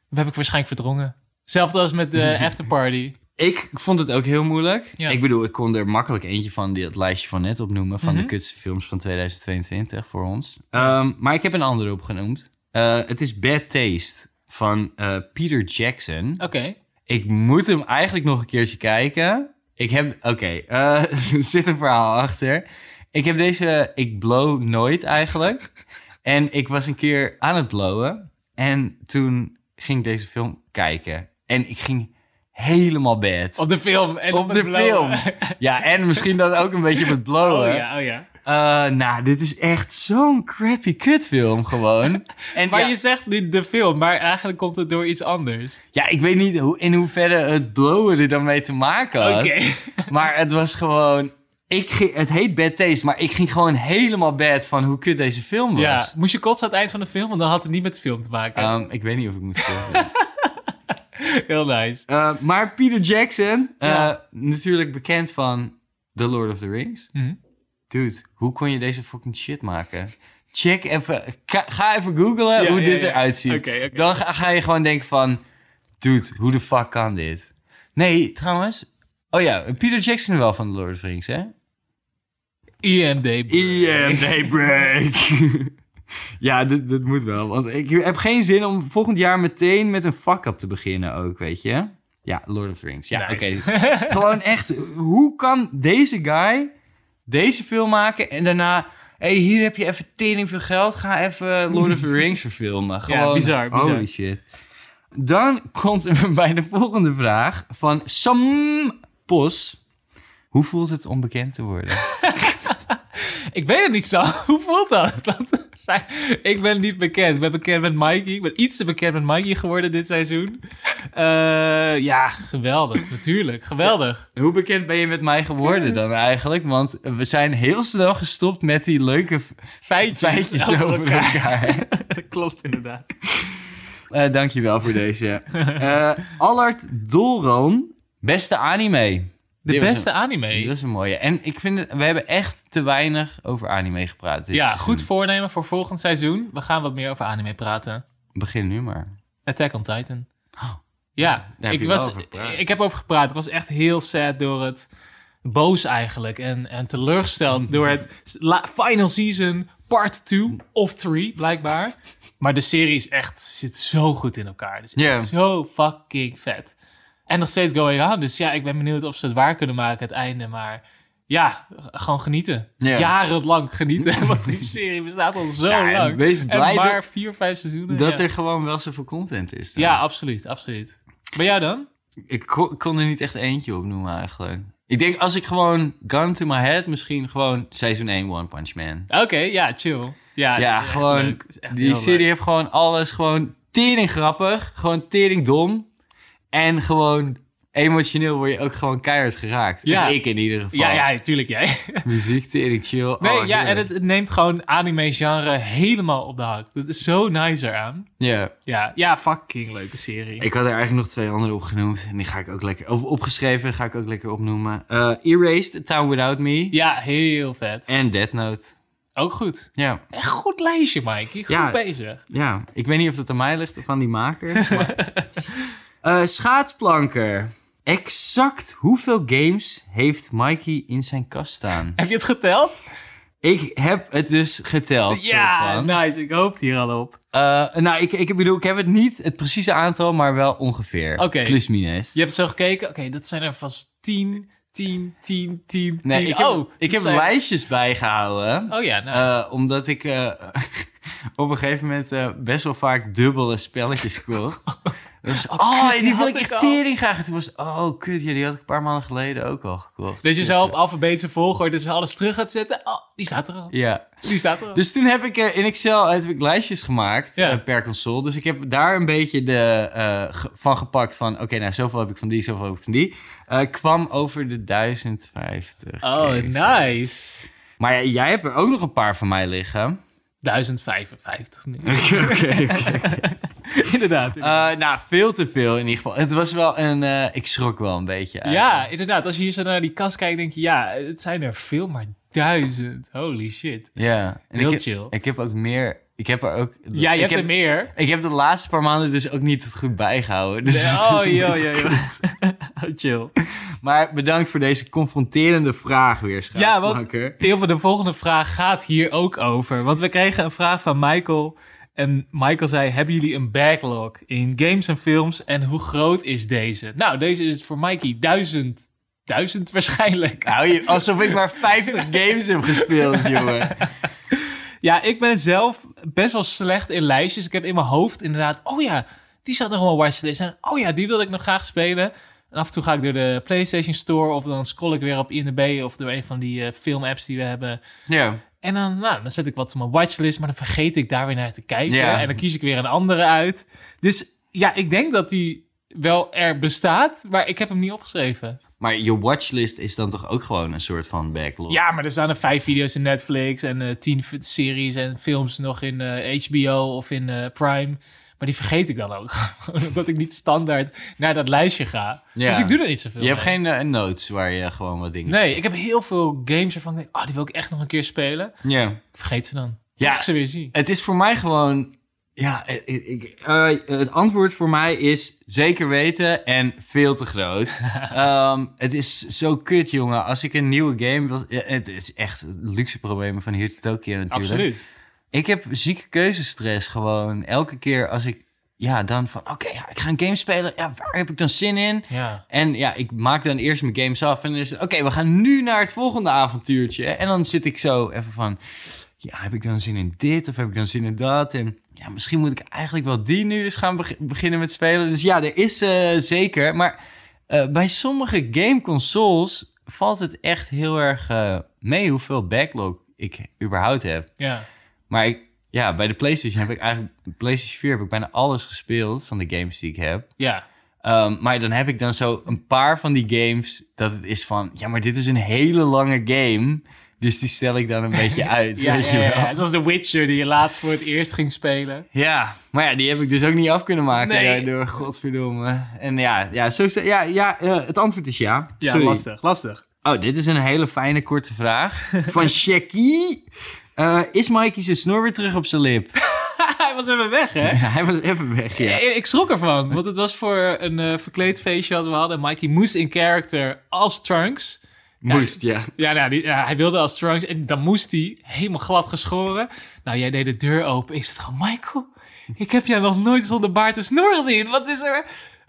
Speaker 2: Dat heb ik waarschijnlijk verdrongen. Hetzelfde als met *laughs* de afterparty.
Speaker 1: Ik vond het ook heel moeilijk.
Speaker 2: Ja.
Speaker 1: Ik bedoel, ik kon er makkelijk eentje van dit lijstje van net opnoemen. Van
Speaker 2: Mhm.
Speaker 1: de kutste films van 2022 voor ons. Ehm, maar ik heb een andere opgenoemd. Eh, het is Bad Taste van eh, Peter Jackson.
Speaker 2: Oké.
Speaker 1: Ik moet hem eigenlijk nog een keertje kijken. Ik heb... Oké, eh, *laughs* er zit een verhaal achter. Ik heb deze... Ik blow nooit eigenlijk.
Speaker 2: *laughs*
Speaker 1: en ik was een keer aan het blowen. En toen ging ik deze film kijken. En ik ging helemaal bad.
Speaker 2: Op de film. En
Speaker 1: Op
Speaker 2: op,
Speaker 1: de
Speaker 2: het blauwe.
Speaker 1: film. Ja, en misschien dan ook een beetje met blowen.
Speaker 2: *laughs* Oh ja, oh ja.
Speaker 1: Eh, nou, dit is echt zo'n crappy kutfilm
Speaker 2: *laughs*
Speaker 1: gewoon. En
Speaker 2: Maar
Speaker 1: ja,
Speaker 2: je zegt nu de film, maar eigenlijk komt het door iets anders.
Speaker 1: ja, ik weet niet hoe, in hoeverre het blowen er dan mee te maken
Speaker 2: Oké.
Speaker 1: had. Maar het was gewoon... Ik ging, het heet Bad Taste, maar ik ging gewoon helemaal bad van hoe kut deze film was.
Speaker 2: Ja, moest je kotsen aan het eind van de film, want dan had het niet met de film te maken.
Speaker 1: Ehm, ik weet niet of ik moet zeggen.
Speaker 2: Heel nice.
Speaker 1: Eh, maar Peter Jackson, eh,
Speaker 2: Ja.
Speaker 1: natuurlijk bekend van The Lord of the Rings.
Speaker 2: Mhm.
Speaker 1: Dude, hoe kon je deze fucking shit maken? Check even, ka- ga even googlen
Speaker 2: Ja,
Speaker 1: hoe
Speaker 2: ja,
Speaker 1: dit
Speaker 2: ja.
Speaker 1: eruit ziet.
Speaker 2: Oké, oké.
Speaker 1: Dan ga, ga je gewoon denken van, dude, hoe de fuck kan dit? Nee, trouwens, oh ja, Peter Jackson wel van The Lord of the Rings, hè?
Speaker 2: IMDb.
Speaker 1: IMD break. *laughs* ja, dit, dit moet wel. Want ik heb geen zin om volgend jaar meteen met een fuck-up te beginnen ook, weet je? Ja, Lord of the Rings. Ja,
Speaker 2: Nice. *laughs*
Speaker 1: oké. Gewoon echt, hoe kan deze guy deze film maken en daarna... Hé, hey, hier heb je even tering veel geld. Ga even Lord of the
Speaker 2: *laughs*
Speaker 1: Rings verfilmen. Gewoon,
Speaker 2: bizar, bizar.
Speaker 1: Holy shit. Dan komt we *laughs* bij de volgende vraag van Sam Pos. Hoe voelt het om bekend te worden?
Speaker 2: Ik weet het niet zo. *laughs* Hoe voelt dat? Want zij- ik ben niet bekend. Ik ben bekend met Mikey. Ik ben iets te bekend met Mikey geworden dit seizoen. Eh, *laughs* ja, geweldig. Natuurlijk. Geweldig.
Speaker 1: Hoe bekend ben je met mij geworden dan eigenlijk? Want we zijn heel snel gestopt met die leuke v-
Speaker 2: Feitjes,
Speaker 1: feitjes over elkaar.
Speaker 2: *laughs* dat klopt inderdaad.
Speaker 1: Eh, dankjewel voor
Speaker 2: *laughs*
Speaker 1: deze. Eh Allard Dolroon, beste anime.
Speaker 2: De
Speaker 1: Dit was
Speaker 2: beste
Speaker 1: een-
Speaker 2: anime.
Speaker 1: Dat is een mooie. En ik vind, het, we hebben echt te weinig over anime gepraat. Dus dit
Speaker 2: Ja,
Speaker 1: seizoen.
Speaker 2: goed voornemen voor volgend seizoen. We gaan wat meer over anime praten.
Speaker 1: Begin nu maar.
Speaker 2: Attack on Titan. Ja,
Speaker 1: Oh, Daar heb
Speaker 2: ik,
Speaker 1: je wel
Speaker 2: was,
Speaker 1: over gepraat.
Speaker 2: ik heb over gepraat. Ik was echt heel sad door het boos eigenlijk. En, en teleurgesteld door het s- la- final season part 2 of 3 blijkbaar. Maar de serie is echt, zit zo goed in elkaar. Het is echt
Speaker 1: Ja.
Speaker 2: zo fucking vet. En nog steeds going on. Dus ja, ik ben benieuwd of ze het waar kunnen maken het einde. Maar ja, g- gewoon genieten.
Speaker 1: Ja.
Speaker 2: Jarenlang
Speaker 1: *laughs*
Speaker 2: genieten. Want die serie bestaat al zo
Speaker 1: Ja, en
Speaker 2: lang.
Speaker 1: wees blij
Speaker 2: en maar
Speaker 1: dat-
Speaker 2: vier, vijf seizoenen.
Speaker 1: Dat
Speaker 2: ja.
Speaker 1: er gewoon wel zoveel content is. dan.
Speaker 2: Ja, absoluut, absoluut. Bij jou dan?
Speaker 1: Ik kon, ik kon er niet echt eentje op noemen eigenlijk. Ik denk als ik gewoon gun to my head, misschien gewoon seizoen 1 One Punch Man.
Speaker 2: Oké, ja, chill. Ja,
Speaker 1: Ja,
Speaker 2: echt
Speaker 1: gewoon
Speaker 2: leuk. Is echt
Speaker 1: Die
Speaker 2: heel
Speaker 1: serie
Speaker 2: leuk.
Speaker 1: heeft gewoon alles gewoon tering grappig, gewoon tering dom. En gewoon emotioneel word je ook gewoon keihard geraakt.
Speaker 2: Ja.
Speaker 1: Of Ik in ieder geval.
Speaker 2: Ja, ja, tuurlijk jij.
Speaker 1: *laughs* Muziek, tering, chill.
Speaker 2: Nee,
Speaker 1: Oh,
Speaker 2: ja, en
Speaker 1: heerlijk.
Speaker 2: het, het neemt gewoon anime-genre helemaal op de hak. Dat is zo nice eraan.
Speaker 1: Ja.
Speaker 2: Ja, ja, fucking leuke serie.
Speaker 1: Ik had er eigenlijk nog twee andere opgenoemd. En die ga ik ook lekker... Of opgeschreven, die ga ik ook lekker opnoemen. Eh, Erased, A Town Without Me.
Speaker 2: Ja, heel vet.
Speaker 1: En Dead Note.
Speaker 2: Ook goed.
Speaker 1: Ja.
Speaker 2: Echt goed lijstje, Mikey. Goed
Speaker 1: Ja.
Speaker 2: bezig.
Speaker 1: ja. Ik weet niet of dat aan mij ligt of aan die maker.
Speaker 2: *laughs*
Speaker 1: maar- Eh, schaatsplanker. Exact hoeveel games heeft Mikey in zijn kast staan?
Speaker 2: Heb je het geteld?
Speaker 1: Ik heb het dus geteld. soort
Speaker 2: Ja,
Speaker 1: van.
Speaker 2: nice. Ik hoop hier al op.
Speaker 1: Eh, nou, ik, ik bedoel, ik heb het niet het precieze aantal, maar wel ongeveer.
Speaker 2: Oké.
Speaker 1: Plus minus.
Speaker 2: Je hebt zo gekeken. Oké, dat zijn er vast 10, 10, 10, 10,
Speaker 1: Nee,
Speaker 2: 10.
Speaker 1: ik heb,
Speaker 2: oh, dat
Speaker 1: ik heb
Speaker 2: zijn-
Speaker 1: lijstjes bijgehouden.
Speaker 2: Oh ja, nou.
Speaker 1: eh, omdat ik eh, *laughs* op een gegeven moment eh, best wel vaak dubbele spelletjes
Speaker 2: *laughs*
Speaker 1: kocht. Dus, oh,
Speaker 2: kut, die
Speaker 1: die wil
Speaker 2: had
Speaker 1: ik
Speaker 2: ik
Speaker 1: echt
Speaker 2: al.
Speaker 1: tering graag. En toen was oh kut, ja, die had ik een paar maanden geleden ook al gekocht.
Speaker 2: dat je
Speaker 1: Dus,
Speaker 2: zo op
Speaker 1: eh,
Speaker 2: alfabetische volgorde dus alles terug gaat zetten. Oh, die staat er al.
Speaker 1: Ja,
Speaker 2: Die staat er al.
Speaker 1: dus toen heb ik eh, in Excel heb ik lijstjes gemaakt
Speaker 2: Ja.
Speaker 1: eh, per console. Dus ik heb daar een beetje de, eh, ge- van gepakt van... Oké, nou zoveel heb ik van die, zoveel heb ik van die. Eh, kwam over de 1050.
Speaker 2: oh,
Speaker 1: even.
Speaker 2: nice.
Speaker 1: Maar ja, jij hebt er ook nog een paar van mij liggen.
Speaker 2: 1055 nu.
Speaker 1: *laughs* Oké, oké, oké.
Speaker 2: *laughs* inderdaad.
Speaker 1: Eh, nou, veel te veel in ieder geval. Het was wel een... eh, ik schrok wel een beetje.
Speaker 2: ja,
Speaker 1: eigenlijk.
Speaker 2: inderdaad. Als je hier zo naar die kast kijkt, denk je, ja, het zijn er veel, maar duizend. Holy shit.
Speaker 1: Ja. En
Speaker 2: Heel
Speaker 1: ik, heb-
Speaker 2: chill.
Speaker 1: ik heb ook meer... Ik heb er ook...
Speaker 2: Ja, je
Speaker 1: ik
Speaker 2: hebt
Speaker 1: heb,
Speaker 2: er meer.
Speaker 1: Ik heb de laatste paar maanden dus ook niet het goed bijgehouden. *laughs* Dus
Speaker 2: Nee,
Speaker 1: het is
Speaker 2: oh,
Speaker 1: een
Speaker 2: joh,
Speaker 1: beetje
Speaker 2: joh, joh.
Speaker 1: kut.
Speaker 2: *laughs* Oh, chill.
Speaker 1: *laughs* Maar bedankt voor deze confronterende vraag weer,
Speaker 2: Ja, want-
Speaker 1: schaapsmaker.
Speaker 2: Heel veel de volgende vraag gaat hier ook over. Want we kregen een vraag van Michael. En Michael zei: Hebben jullie een backlog in games en films? En hoe groot is deze? Nou, deze is voor Mikey duizend. Duizend waarschijnlijk.
Speaker 1: Hou Nou, je alsof ik maar
Speaker 2: *laughs*
Speaker 1: 50 games heb gespeeld, jongen.
Speaker 2: Ja, ik ben zelf best wel slecht in lijstjes. Ik heb in mijn hoofd inderdaad, oh ja, die staat nog wel watchlist. En oh ja, die wilde ik nog graag spelen. En af en toe ga ik door de PlayStation Store of dan scroll ik weer op IMDb of door een van die eh, filmapps die we hebben.
Speaker 1: Ja.
Speaker 2: En dan, nou, dan zet ik wat op mijn watchlist, maar dan vergeet ik daar weer naar te kijken.
Speaker 1: Ja.
Speaker 2: En dan kies ik weer een andere uit. Dus ja, ik denk dat die wel er bestaat, maar ik heb hem niet opgeschreven.
Speaker 1: Maar je watchlist is dan toch ook gewoon een soort van backlog?
Speaker 2: Ja, maar er staan er vijf video's in Netflix en eh, tien v- series en films nog in eh, HBO of in eh, Prime. Maar die vergeet ik dan ook, *laughs* omdat ik niet standaard naar dat lijstje ga.
Speaker 1: Ja.
Speaker 2: Dus ik doe er niet zoveel
Speaker 1: Je hebt
Speaker 2: mee.
Speaker 1: geen eh, notes waar je gewoon wat dingen...
Speaker 2: Nee, ik heb heel veel games waarvan ik denk, oh, die wil ik echt nog een keer spelen.
Speaker 1: Ja.
Speaker 2: Ik vergeet ze dan.
Speaker 1: Ja.
Speaker 2: Ja. ik ze weer zie.
Speaker 1: Het is voor mij gewoon... Ja, ik, ik- eh, het antwoord voor mij is zeker weten en veel te groot. Ehm, het is zo kut, jongen. Als ik een nieuwe game wil... ja, het is echt luxe problemen van hier tot Tokio natuurlijk.
Speaker 2: Absoluut.
Speaker 1: Ik heb zieke keuzestress gewoon. Elke keer als ik... Ja, dan van... Oké, ja, ik ga een game spelen. Ja, waar heb ik dan zin in?
Speaker 2: Ja.
Speaker 1: En ja, ik maak dan eerst mijn games af. En dan is het... Oké, we gaan nu naar het volgende avontuurtje. En dan zit ik zo even van... Ja, heb ik dan zin in dit? Of heb ik dan zin in dat? En ja, misschien moet ik eigenlijk wel die nu eens gaan beg- beginnen met spelen. Dus ja, er is eh, zeker... Maar eh, bij sommige gameconsoles valt het echt heel erg eh, mee hoeveel backlog ik überhaupt heb.
Speaker 2: Ja.
Speaker 1: Maar ik, ja, bij de PlayStation heb ik eigenlijk... PlayStation 4 heb ik bijna alles gespeeld van de games die ik heb.
Speaker 2: Ja.
Speaker 1: Ehm, maar dan heb ik dan zo een paar van die games dat het is van... Ja, maar dit is een hele lange game. Dus die stel ik
Speaker 2: *laughs*
Speaker 1: dan een beetje uit,
Speaker 2: Ja,
Speaker 1: weet
Speaker 2: ja,
Speaker 1: je
Speaker 2: ja,
Speaker 1: wel.
Speaker 2: ja.
Speaker 1: Ja.
Speaker 2: Het was The Witcher die je laatst voor het eerst ging spelen.
Speaker 1: maar ja, die heb ik dus ook niet af kunnen maken
Speaker 2: Nee.
Speaker 1: daardoor, godverdomme. En ja, ja, zo, ja, ja eh, het antwoord is ja. Sorry.
Speaker 2: lastig.
Speaker 1: Oh, dit is een hele fijne korte vraag van Shaggy. Eh, is Mikey zijn snor weer terug op zijn lip?
Speaker 2: *laughs*
Speaker 1: *laughs*
Speaker 2: Hij was even weg, hè?
Speaker 1: Hij was even weg, ja.
Speaker 2: Ik- Ik schrok ervan, want het was voor een eh, verkleed feestje dat we hadden. Mikey moest in character als Trunks.
Speaker 1: Moest, ja.
Speaker 2: Ja, nou, die, ja, hij wilde als Trunks en dan moest hij helemaal glad geschoren. Nou, jij deed de deur open. Ik zat gewoon, Michael, ik heb jou nog nooit zonder baard en snor gezien. Wat is er?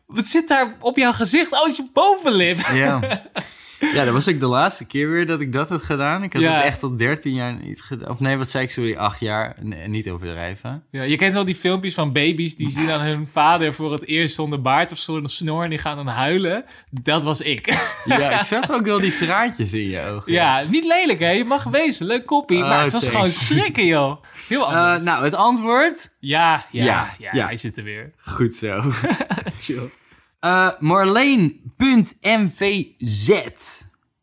Speaker 2: Wat zit daar op jouw gezicht? Oh, het is je bovenlip.
Speaker 1: Ja. *laughs* ja, dat was ook de laatste keer weer dat ik dat had gedaan. Ik had
Speaker 2: Ja.
Speaker 1: het echt al 13 jaar niet gedaan. Of nee, wat zei ik, sorry, 8 jaar. Nee, niet overdrijven.
Speaker 2: Ja, je kent wel die filmpjes van baby's die zien dan hun vader voor het eerst zonder baard of zonder snor en die gaan dan huilen. Dat was ik.
Speaker 1: *laughs*
Speaker 2: *laughs*
Speaker 1: Ja, ik zag ook wel die traantjes in je ogen.
Speaker 2: Ja, niet lelijk hè, je mag wezen, leuk koppie, maar
Speaker 1: Oh,
Speaker 2: het was
Speaker 1: thanks.
Speaker 2: gewoon schrikken joh. Heel
Speaker 1: Eh,
Speaker 2: anders.
Speaker 1: nou, het antwoord?
Speaker 2: ja, ja,
Speaker 1: ja,
Speaker 2: ja,
Speaker 1: ja.
Speaker 2: hij zit er weer.
Speaker 1: Goed zo. *laughs* Eh Marleen.mvz.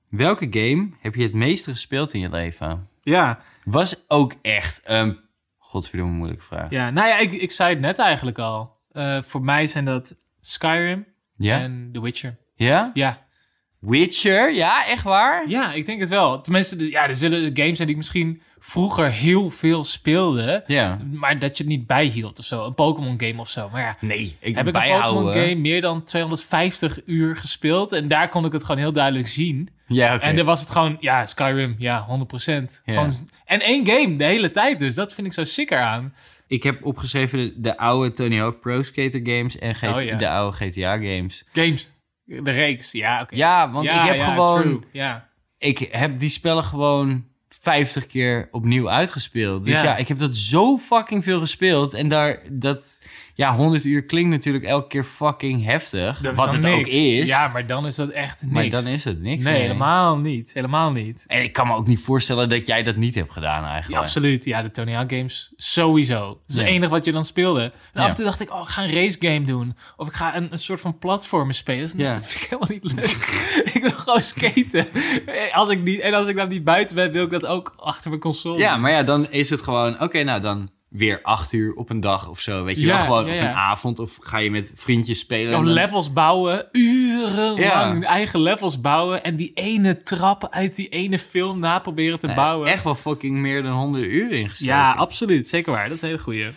Speaker 1: Welke game heb je het meeste gespeeld in je leven?
Speaker 2: Ja,
Speaker 1: Was ook echt een... Godverdomme moeilijke vraag.
Speaker 2: ja, nou ja, ik, ik zei het net eigenlijk al. Eh, voor mij zijn dat Skyrim
Speaker 1: Ja?
Speaker 2: en The Witcher.
Speaker 1: Ja?
Speaker 2: Ja.
Speaker 1: Witcher? Ja, echt waar?
Speaker 2: ja, ik denk het wel. Tenminste, de- ja, er zullen games zijn die ik misschien vroeger heel veel speelde,
Speaker 1: Ja.
Speaker 2: maar dat je het niet bijhield of zo. Een Pokémon game of zo, maar ja.
Speaker 1: Nee, ik
Speaker 2: Heb ik een Pokémon game meer dan 250 uur gespeeld en daar kon ik het gewoon heel duidelijk zien.
Speaker 1: Ja, oké.
Speaker 2: En dan was het gewoon, ja, Skyrim, ja, 100%. Gewoon- en één game de hele tijd dus. Dat vind ik zo sick eraan.
Speaker 1: Ik heb opgeschreven de, de oude Tony Hawk Pro Skater games en GT
Speaker 2: Oh, ja.
Speaker 1: de oude GTA games.
Speaker 2: Games. De reeks, ja, oké.
Speaker 1: Ja, want
Speaker 2: Ja,
Speaker 1: ik heb
Speaker 2: ja,
Speaker 1: gewoon...
Speaker 2: true. Ja.
Speaker 1: Ik heb die spellen gewoon 50 keer opnieuw uitgespeeld. Dus ja,
Speaker 2: Ja.
Speaker 1: ik heb dat zo fucking veel gespeeld. En daar, dat... Ja, 100 uur klinkt natuurlijk elke keer fucking heftig.
Speaker 2: Dat is
Speaker 1: wat
Speaker 2: dan
Speaker 1: het ook
Speaker 2: niks.
Speaker 1: is.
Speaker 2: Ja, maar dan is dat echt niks.
Speaker 1: maar dan is het niks.
Speaker 2: Nee, helemaal niet. Helemaal niet.
Speaker 1: En ik kan me ook niet voorstellen dat jij dat niet hebt gedaan
Speaker 2: Ja,
Speaker 1: eigenlijk.
Speaker 2: absoluut. Ja, de Tony Hawk games sowieso. Dat is
Speaker 1: Ja.
Speaker 2: het enige wat je dan speelde. En
Speaker 1: Ja.
Speaker 2: af en toe dacht ik, oh, ik ga een race game doen. Of ik ga een, een soort van platformen spelen. Dat,
Speaker 1: Ja.
Speaker 2: dat vind ik helemaal niet leuk. *laughs* ik wil gewoon skaten. Als ik niet, en als ik dan niet buiten ben, wil ik dat ook achter mijn console.
Speaker 1: Ja,
Speaker 2: doen.
Speaker 1: maar ja, dan is het gewoon, oké, nou dan weer acht uur op een dag of zo. Weet je
Speaker 2: Ja,
Speaker 1: wel, gewoon
Speaker 2: ja,
Speaker 1: of
Speaker 2: ja.
Speaker 1: een avond of ga je met vriendjes spelen.
Speaker 2: Of
Speaker 1: en dan-
Speaker 2: levels bouwen, urenlang
Speaker 1: Ja.
Speaker 2: eigen levels bouwen. En die ene trap uit die ene film na proberen te
Speaker 1: Nee,
Speaker 2: bouwen.
Speaker 1: eh, Echt wel fucking meer dan 100 uur ingestoken.
Speaker 2: Ja, absoluut. Zeker waar. Dat is een hele goeie.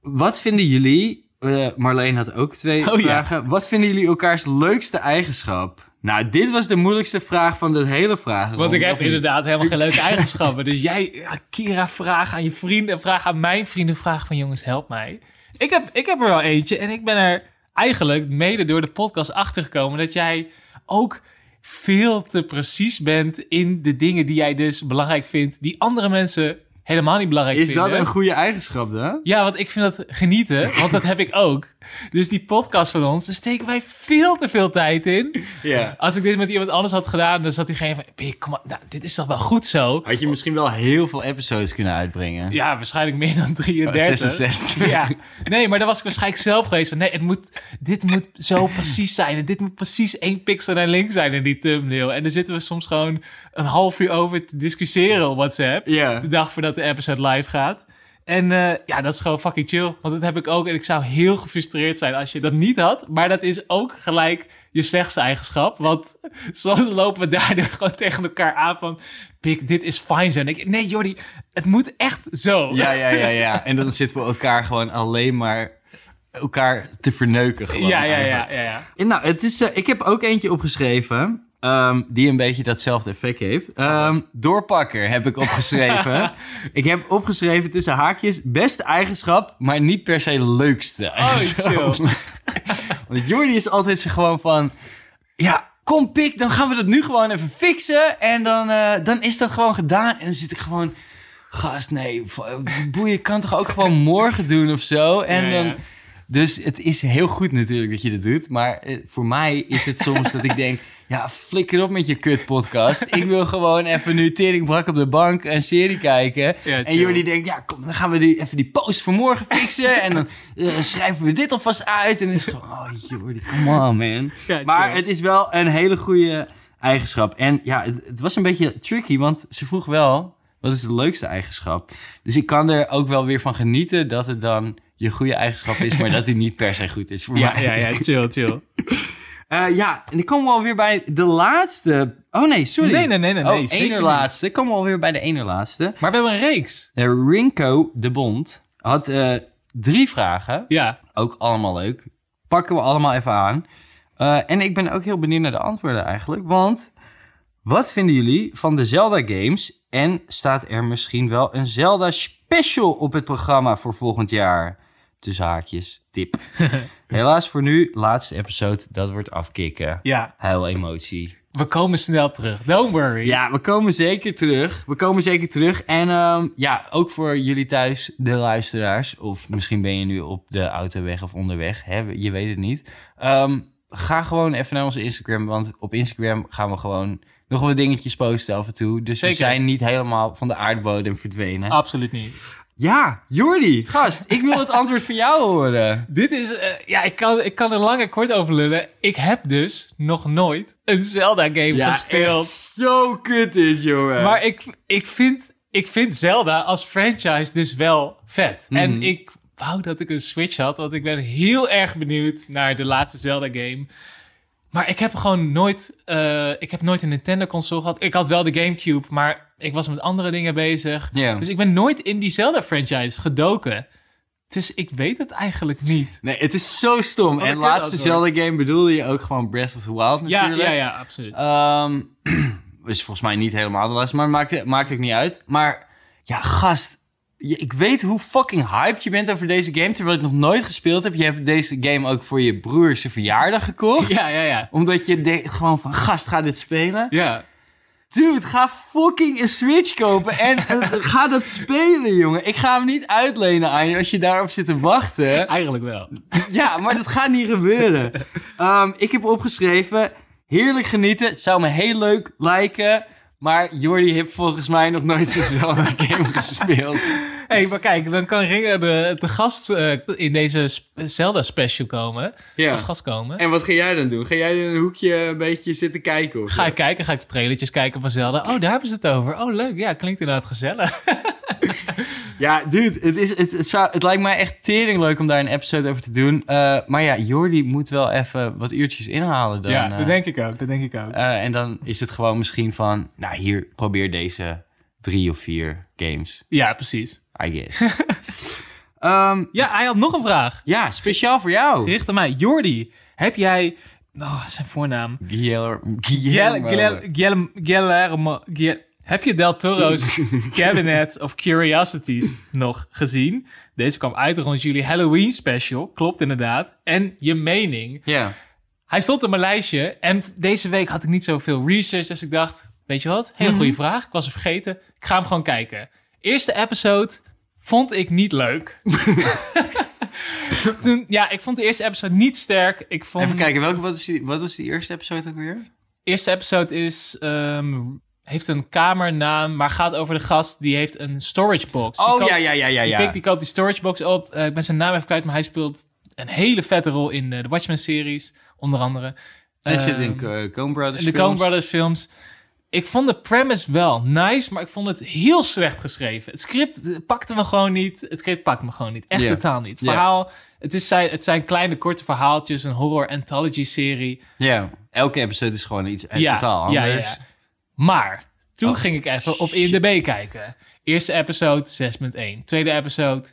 Speaker 1: Wat vinden jullie, eh, Marleen had ook twee
Speaker 2: Oh, ja.
Speaker 1: vragen. Wat vinden jullie elkaars leukste eigenschap? Nou, dit was de moeilijkste vraag van de hele vraag.
Speaker 2: Want ik heb inderdaad helemaal geen
Speaker 1: *laughs*
Speaker 2: leuke eigenschappen. Dus jij, ja, Kira, vraag aan je vrienden, vraag aan mijn vrienden, vraag van jongens, help mij. Ik heb, ik heb er wel eentje en ik ben er eigenlijk mede door de podcast achtergekomen dat jij ook veel te precies bent in de dingen die jij dus belangrijk vindt, die andere mensen helemaal niet belangrijk
Speaker 1: Is
Speaker 2: vinden.
Speaker 1: dat een goede eigenschap dan?
Speaker 2: Ja, want ik vind dat genieten, want dat heb ik ook. Dus die podcast van ons, daar steken wij veel te veel tijd in.
Speaker 1: Ja.
Speaker 2: Als ik dit met iemand anders had gedaan, dan zat diegene van... "Pik, Kom maar, nou, dit is toch wel goed zo?
Speaker 1: Had je misschien wel heel veel episodes kunnen uitbrengen.
Speaker 2: Ja, waarschijnlijk meer dan
Speaker 1: Oh,
Speaker 2: 33.
Speaker 1: 66.
Speaker 2: ja, nee, maar dan was ik waarschijnlijk zelf geweest van... Nee, het moet, dit moet zo precies zijn. En dit moet precies één pixel naar links zijn in die thumbnail. En dan zitten we soms gewoon een half uur over te discussiëren op WhatsApp.
Speaker 1: Ja.
Speaker 2: De dag voordat de episode live gaat. En eh, ja, dat is gewoon fucking chill. Want dat heb ik ook. En ik zou heel gefrustreerd zijn als je dat niet had. Maar dat is ook gelijk je slechtste eigenschap. Want *laughs* soms lopen we daardoor *laughs* gewoon tegen elkaar aan van... Pik, dit is fijn zo. En ik, nee Jordi, het moet echt zo.
Speaker 1: Ja, ja, ja, ja. En dan zitten we elkaar gewoon alleen maar elkaar te verneuken. Gewoon,
Speaker 2: *laughs* ja, ja, ja,
Speaker 1: eigenlijk.
Speaker 2: ja, ja.
Speaker 1: En nou, het is, eh, ik heb ook eentje opgeschreven. ehm, die een beetje datzelfde effect heeft. Ehm, doorpakker heb ik
Speaker 2: *laughs*
Speaker 1: opgeschreven. ik heb opgeschreven tussen haakjes beste eigenschap, maar niet per se leukste eigenschap.
Speaker 2: Oh,
Speaker 1: *laughs*
Speaker 2: chill.
Speaker 1: Want Jordi is altijd zo gewoon van... Ja, kom pik, dan gaan we dat nu gewoon even fixen. En dan, eh, dan is dat gewoon gedaan. En dan zit ik gewoon... Gast, nee, v- boeien kan toch ook gewoon morgen doen of zo? En
Speaker 2: Ja, ja.
Speaker 1: dan... Dus het is heel goed natuurlijk dat je dat doet. Maar eh, voor mij is het soms dat ik denk... *laughs* Ja, flikker op met je kut podcast. Ik wil gewoon even nu teringbrak op de bank een serie kijken.
Speaker 2: Ja,
Speaker 1: en
Speaker 2: chill.
Speaker 1: Jordi denkt, ja, kom, dan gaan we die, even die post voor morgen fixen. en dan eh, schrijven we dit alvast uit. En dan is het gewoon, oh Jordi, come on man.
Speaker 2: *laughs* Ja,
Speaker 1: maar
Speaker 2: chill.
Speaker 1: het is wel een hele goede eigenschap. En ja, het, het was een beetje tricky, want ze vroeg wel... Wat is de leukste eigenschap? Dus ik kan er ook wel weer van genieten dat het dan je goede eigenschap is, maar dat die niet per se goed is voor
Speaker 2: Ja,
Speaker 1: mij.
Speaker 2: ja, ja, chill,
Speaker 1: *laughs*
Speaker 2: chill.
Speaker 1: Eh, ja, en dan komen we alweer bij de laatste. Oh nee, sorry.
Speaker 2: Nee, nee, nee, nee, nee,
Speaker 1: oh,
Speaker 2: zeker
Speaker 1: ene
Speaker 2: niet.
Speaker 1: laatste. Komen we alweer bij de ene laatste.
Speaker 2: Maar we hebben een reeks.
Speaker 1: Eh, Rinko de Bond had eh, drie vragen.
Speaker 2: Ja,
Speaker 1: Ook allemaal leuk. Pakken we allemaal even aan. Eh, en ik ben ook heel benieuwd naar de antwoorden eigenlijk. Want wat vinden jullie van de Zelda-games? En staat er misschien wel een Zelda-special op het programma voor volgend jaar? Tussen haakjes, tip. Helaas voor nu, laatste episode, dat wordt afkicken.
Speaker 2: ja.
Speaker 1: Huil emotie.
Speaker 2: We komen snel terug. Don't worry.
Speaker 1: Ja, we komen zeker terug. We komen zeker terug. En ehm, ja, ook voor jullie thuis, de luisteraars. Of misschien ben je nu op de autoweg of onderweg. Hè? Je weet het niet. Ehm, ga gewoon even naar onze Instagram. Want op Instagram gaan we gewoon nog wat dingetjes posten af en toe. Dus we
Speaker 2: Zeker. Ah.
Speaker 1: zijn niet helemaal van de aardbodem verdwenen.
Speaker 2: Absoluut niet.
Speaker 1: Ja, Jordi, gast. ik wil het *laughs* antwoord van jou horen.
Speaker 2: Dit is, eh, ja, ik kan, ik kan er lang en kort over lullen. Ik heb dus nog nooit een Zelda-game gespeeld.
Speaker 1: zo kut dit, jongen.
Speaker 2: Maar ik, ik, vind, ik vind Zelda als franchise dus wel vet. En ik wou dat ik een Switch had, want ik ben heel erg benieuwd naar de laatste Zelda-game. Maar ik heb gewoon nooit, eh, ik heb nooit een Nintendo-console gehad. Ik had wel de GameCube, maar ik was met andere dingen bezig.
Speaker 1: Ja.
Speaker 2: Dus ik ben nooit in die Zelda-franchise gedoken. Dus ik weet het eigenlijk niet.
Speaker 1: Nee, het is zo stom.
Speaker 2: Wat
Speaker 1: en
Speaker 2: een
Speaker 1: laatste
Speaker 2: kutantwoord.
Speaker 1: Zelda game bedoelde je ook gewoon Breath of the Wild natuurlijk.
Speaker 2: Ja, ja, ja, absoluut.
Speaker 1: Ehm, *clears throat* is volgens mij niet helemaal de laatste, maar maakt, maakt ook niet uit. Maar ja, gast, je- ik weet hoe fucking hyped je bent over deze game, terwijl je het nog nooit gespeeld hebt. Je hebt deze game ook voor je broers zijn verjaardag gekocht.
Speaker 2: Ja, ja, ja.
Speaker 1: Omdat je denkt gewoon van, gast, ga dit spelen.
Speaker 2: Ja.
Speaker 1: Dude, ga fucking een Switch kopen en *laughs* eh, ga dat spelen, jongen. Ik ga hem niet uitlenen aan je als je daarop zit te wachten.
Speaker 2: Eigenlijk wel.
Speaker 1: Ja, maar dat gaat niet gebeuren. Ehm, ik heb opgeschreven, heerlijk genieten, zou me heel leuk lijken. Maar Jordi heeft volgens mij nog nooit zo'n game gespeeld.
Speaker 2: Hé, hey, maar kijk, dan kan Ringer de, de gast eh, in deze sp- Zelda special komen.
Speaker 1: Ja.
Speaker 2: Als gast komen.
Speaker 1: En wat ga jij dan doen? Ga jij in een hoekje een beetje zitten kijken? Of
Speaker 2: Ga
Speaker 1: zo?
Speaker 2: ik kijken, ga ik de trailertjes kijken van Zelda. Oh, daar hebben ze het over. Oh, leuk. Ja, klinkt inderdaad gezellig.
Speaker 1: Ja, dude, het, is, het, het, zou, het lijkt mij echt tering leuk om daar een episode over te doen. Eh, maar ja, Jordi moet wel even wat uurtjes inhalen dan. eh.
Speaker 2: ik ook. Dat denk ik ook.
Speaker 1: Eh, en dan is het gewoon misschien van, nou hier, probeer deze drie of vier games,
Speaker 2: Ja, precies.
Speaker 1: I guess. *laughs* Ehm,
Speaker 2: Ja, hij had nog een vraag.
Speaker 1: ja, speciaal voor jou.
Speaker 2: Gericht aan mij. Jordi, heb jij... Oh, zijn voornaam.
Speaker 1: Guillermo.
Speaker 2: Guillermo.
Speaker 1: Guillermo.
Speaker 2: Guillermo- Guil- Heb je Del Toro's Cabinets of Curiosities nog gezien? Deze kwam uit rond jullie Halloween special. Klopt inderdaad. En je mening.
Speaker 1: Ja.
Speaker 2: Hij stond op mijn lijstje. En deze week had ik niet zoveel research. Dus ik dacht, weet je wat? Hele goede vraag. Ik was het vergeten. Ik ga hem gewoon kijken. Eerste episode vond ik niet leuk. *laughs* Toen, ja, ik vond de eerste episode niet sterk. Ik vond...
Speaker 1: Even kijken, welke, wat, is die, wat was die eerste episode ook weer?
Speaker 2: eerste episode is. ehm, heeft een kamernaam, maar gaat over de gast die heeft een storage box. Die
Speaker 1: Oh,
Speaker 2: koopt-
Speaker 1: ja, ja, ja, ja,
Speaker 2: Die,
Speaker 1: ja.
Speaker 2: pik, die koopt die storage box op. Eh, ik ben zijn naam even kwijt, maar hij speelt een hele vette rol in eh, de Watchmen-series, onder andere.
Speaker 1: Hij zit
Speaker 2: Ehm,
Speaker 1: in eh, Coen Brothers
Speaker 2: in de Coen
Speaker 1: films.
Speaker 2: Brothers films. Ik vond de premise wel nice, maar ik vond het heel slecht geschreven. Het script eh, pakte me gewoon niet. Het script pakte me gewoon niet. Echt
Speaker 1: Ja.
Speaker 2: totaal niet. Het
Speaker 1: Ja.
Speaker 2: Verhaal, het, is zijn, het zijn kleine korte verhaaltjes, een horror anthology serie.
Speaker 1: Ja, elke episode is gewoon iets eh, totaal anders.
Speaker 2: Maar toen
Speaker 1: Oh,
Speaker 2: ging ik even op IMDb kijken. Eerste episode 6.1, tweede episode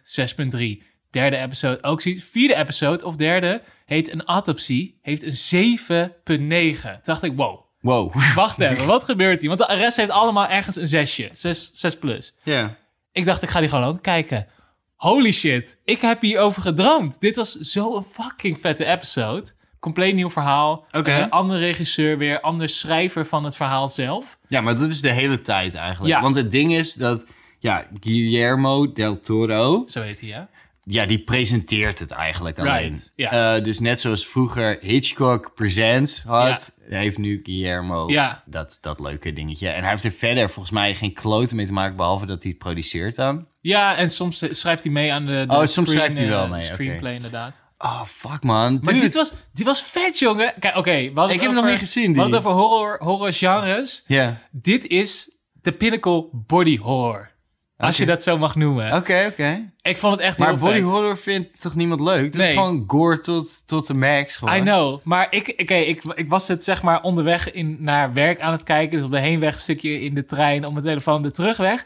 Speaker 2: 6.3, derde episode ook zoiets. Vierde episode of derde heet een autopsie, heeft een 7.9. Toen dacht ik, wow,
Speaker 1: Wow. *laughs*
Speaker 2: wacht even, wat gebeurt hier? Want de rest heeft allemaal ergens een zesje, 6, 6 plus.
Speaker 1: Ja.
Speaker 2: Ik dacht, ik ga die gewoon ook kijken. Holy shit, ik heb hierover gedroomd. Dit was zo'n fucking vette episode. Compleet nieuw verhaal.
Speaker 1: Oké.
Speaker 2: Eh, andere regisseur weer, ander schrijver van het verhaal zelf.
Speaker 1: Ja, maar dat is de hele tijd eigenlijk.
Speaker 2: Ja.
Speaker 1: Want het ding is dat ja, Guillermo del Toro,
Speaker 2: Zo heet hij, ja?
Speaker 1: ja, die presenteert het eigenlijk alleen.
Speaker 2: Right, ja.
Speaker 1: Eh, dus net zoals vroeger Hitchcock Presents had, heeft nu Guillermo
Speaker 2: Ja.
Speaker 1: dat, dat leuke dingetje. En hij heeft er verder volgens mij geen kloten mee te maken, behalve dat hij het produceert dan.
Speaker 2: Ja, en soms eh, schrijft hij mee aan de, de
Speaker 1: Oh, soms schrijft hij
Speaker 2: eh,
Speaker 1: wel mee, oké.
Speaker 2: Screenplay, inderdaad.
Speaker 1: Oh, fuck man.
Speaker 2: Maar
Speaker 1: Dude.
Speaker 2: dit was, dit was vet, jongen. Kijk, oké. we hadden
Speaker 1: Ik
Speaker 2: het
Speaker 1: heb hem nog
Speaker 2: over-
Speaker 1: niet gezien,
Speaker 2: We hadden
Speaker 1: die.
Speaker 2: het over horror, horror genres.
Speaker 1: Ja,
Speaker 2: Dit is de pinnacle body horror. Als
Speaker 1: Oké.
Speaker 2: je dat zo mag noemen.
Speaker 1: oké, oké.
Speaker 2: Ik vond het echt
Speaker 1: Maar
Speaker 2: heel
Speaker 1: body
Speaker 2: vet.
Speaker 1: horror vindt toch niemand leuk? Dat
Speaker 2: Nee.
Speaker 1: is gewoon gore tot, tot de max gewoon.
Speaker 2: I know, maar ik, oké, ik, ik was het zeg maar onderweg in, naar werk aan het kijken. Dus op de heenweg een stukje in de trein, op mijn telefoon, de terugweg.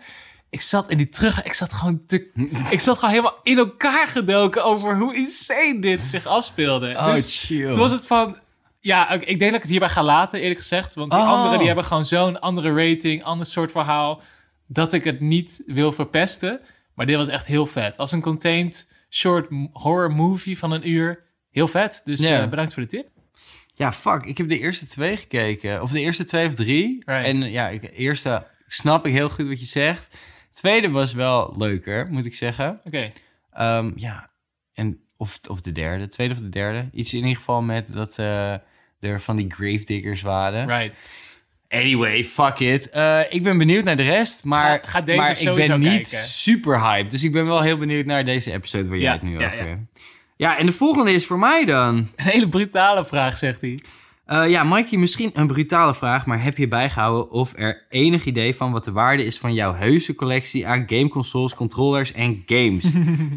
Speaker 2: Ik zat in die terug, ik zat gewoon te, ik zat gewoon helemaal in elkaar gedoken over hoe insane dit zich afspeelde.
Speaker 1: Oh,
Speaker 2: dus
Speaker 1: chill.
Speaker 2: toen was het van, ja, ik, ik denk dat ik het hierbij ga laten eerlijk gezegd. Want die
Speaker 1: Oh.
Speaker 2: anderen die hebben gewoon zo'n andere rating, ander soort verhaal, dat ik het niet wil verpesten. Maar dit was echt heel vet. Als een contained short m- horror movie van een uur, heel vet. Dus
Speaker 1: Ja.
Speaker 2: eh, bedankt voor de tip.
Speaker 1: Ja, fuck. Ik heb de eerste twee gekeken. Of de eerste twee of drie.
Speaker 2: Right.
Speaker 1: En ja, ik, eerste snap ik heel goed wat je zegt. Tweede was wel leuker, moet ik zeggen.
Speaker 2: Oké.
Speaker 1: Ehm, ja, en of, of de derde. Tweede of de derde. Iets in ieder geval met dat eh, er van die gravediggers waren.
Speaker 2: Right.
Speaker 1: Anyway, fuck it. Eh, ik ben benieuwd naar de rest, maar,
Speaker 2: Ga- ga deze
Speaker 1: maar ik
Speaker 2: sowieso
Speaker 1: ben niet
Speaker 2: kijken.
Speaker 1: super hyped. Dus ik ben wel heel benieuwd naar deze episode waar jij
Speaker 2: Ja,
Speaker 1: het nu
Speaker 2: ja,
Speaker 1: over
Speaker 2: ja.
Speaker 1: hebt. Ja, en de volgende is voor mij dan.
Speaker 2: Een hele brutale vraag, zegt hij.
Speaker 1: Eh, ja, Mikey, misschien een brutale vraag, maar heb je bijgehouden of er enig idee van wat de waarde is van jouw heuse collectie aan gameconsoles, controllers en
Speaker 2: *laughs*
Speaker 1: games?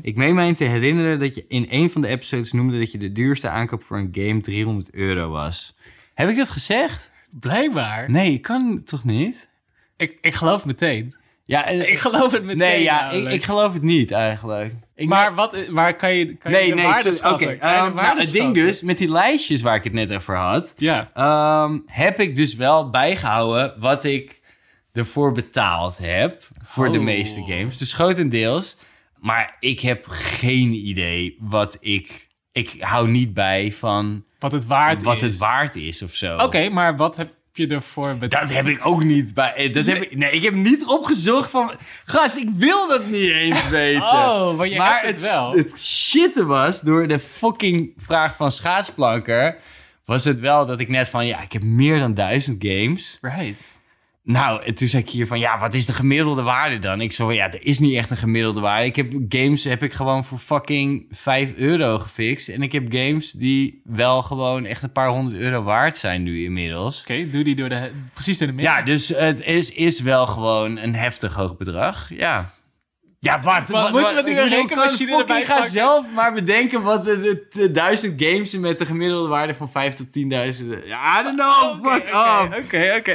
Speaker 1: ik meen mij te herinneren dat je in een van de episodes noemde dat je de duurste aankoop voor een game 300 euro was. Heb ik dat gezegd?
Speaker 2: Blijkbaar.
Speaker 1: Nee, kan toch niet?
Speaker 2: Ik, ik geloof meteen.
Speaker 1: Ja, en-
Speaker 2: Ik geloof het meteen.
Speaker 1: Nee, ja, ik,
Speaker 2: namelijk.
Speaker 1: ik geloof het niet eigenlijk. Ik
Speaker 2: maar wat, maar kan je, kan je
Speaker 1: nee,
Speaker 2: de
Speaker 1: nee,
Speaker 2: waarde
Speaker 1: sorry,
Speaker 2: schatten?
Speaker 1: oké.
Speaker 2: Kan je de
Speaker 1: Ehm, nou,
Speaker 2: waarde
Speaker 1: het ding
Speaker 2: schatten?
Speaker 1: dus, met die lijstjes waar ik het net over had,
Speaker 2: Ja.
Speaker 1: ehm, heb ik dus wel bijgehouden wat ik ervoor betaald heb voor de
Speaker 2: Oh.
Speaker 1: meeste games. Dus grotendeels. Maar ik heb geen idee wat ik... Ik hou niet bij van
Speaker 2: Wat het waard
Speaker 1: wat
Speaker 2: is.
Speaker 1: het waard is of zo.
Speaker 2: Oké, maar wat heb je ervoor betaald?
Speaker 1: Dat heb ik ook niet bij... eh, Dat heb ik, nee, ik heb niet opgezocht van... Gast, ik wil dat niet eens weten.
Speaker 2: *laughs* Oh, maar je
Speaker 1: maar
Speaker 2: hebt
Speaker 1: het,
Speaker 2: het wel.
Speaker 1: het shitte was, door de fucking vraag van Schaatsplanker, was het wel dat ik net van, ja, ik heb meer dan duizend games.
Speaker 2: Right.
Speaker 1: Nou, en toen zei ik hier van, ja, wat is de gemiddelde waarde dan? Ik zo van, ja, er is niet echt een gemiddelde waarde. Ik heb games, heb ik gewoon voor fucking 5 euro gefixt. En ik heb games die wel gewoon echt een paar honderd euro waard zijn nu inmiddels.
Speaker 2: Oké, doe die door de, precies door de midden.
Speaker 1: Ja, dus het is, is wel gewoon een heftig hoog bedrag, ja. Ja, wat?
Speaker 2: Wat moeten we nu
Speaker 1: ik
Speaker 2: een
Speaker 1: bedoel,
Speaker 2: rekenmachine
Speaker 1: kan fucking
Speaker 2: erbij
Speaker 1: ga
Speaker 2: pakken?
Speaker 1: zelf maar bedenken wat de, de, de duizend games met de gemiddelde waarde van 5 tot 10.000... Ja, I don't know,
Speaker 2: Oké,
Speaker 1: fuck
Speaker 2: oké,
Speaker 1: off.
Speaker 2: Oké, oké.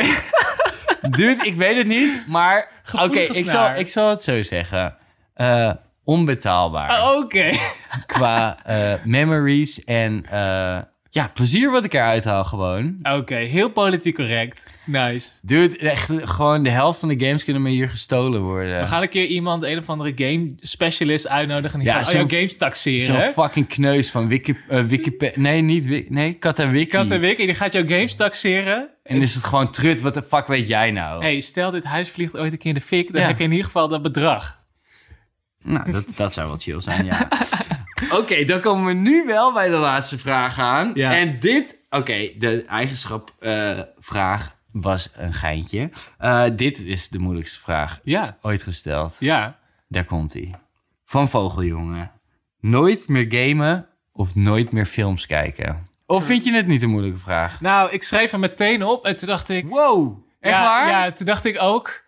Speaker 1: Dude, ik weet het niet, maar... Oké, ik, zal,
Speaker 2: Gevoelsnaar.
Speaker 1: ik zal het zo zeggen. Eh, onbetaalbaar
Speaker 2: *laughs* Ah, Oké.
Speaker 1: qua eh, memories en eh, ja, plezier wat ik eruit haal gewoon.
Speaker 2: Oké, heel politiek correct. Nice.
Speaker 1: Dude, echt gewoon de helft van de games kunnen me hier gestolen worden.
Speaker 2: We gaan een keer iemand, een of andere game specialist uitnodigen. En die
Speaker 1: Ja,
Speaker 2: gaat al jouw
Speaker 1: zo'n-
Speaker 2: games taxeren.
Speaker 1: Zo'n fucking kneus van Wiki, eh, Wikipedia... Nee, niet Wiki... Nee, Katawiki.
Speaker 2: Kat en Wik, en die gaat jouw games taxeren.
Speaker 1: En is het gewoon trut, wat de fuck weet jij nou?
Speaker 2: hey, stel dit huis vliegt ooit een keer in de fik, dan
Speaker 1: Ja.
Speaker 2: heb je in ieder geval dat bedrag.
Speaker 1: Nou, dat, dat zou wel chill zijn,
Speaker 2: *laughs*
Speaker 1: ja. Oké, dan komen we nu wel bij de laatste vraag aan.
Speaker 2: Ja.
Speaker 1: En dit... Oké, de eigenschapvraag was een geintje. Eh, dit is de moeilijkste vraag
Speaker 2: Ja,
Speaker 1: ooit gesteld.
Speaker 2: ja.
Speaker 1: Daar komt ie. Van Vogeljongen. Nooit meer gamen of nooit meer films kijken? Of vind je het niet een moeilijke vraag?
Speaker 2: Nou, ik schreef hem meteen op en toen dacht ik...
Speaker 1: Wow, echt
Speaker 2: ja,
Speaker 1: waar?
Speaker 2: Ja, toen dacht ik ook...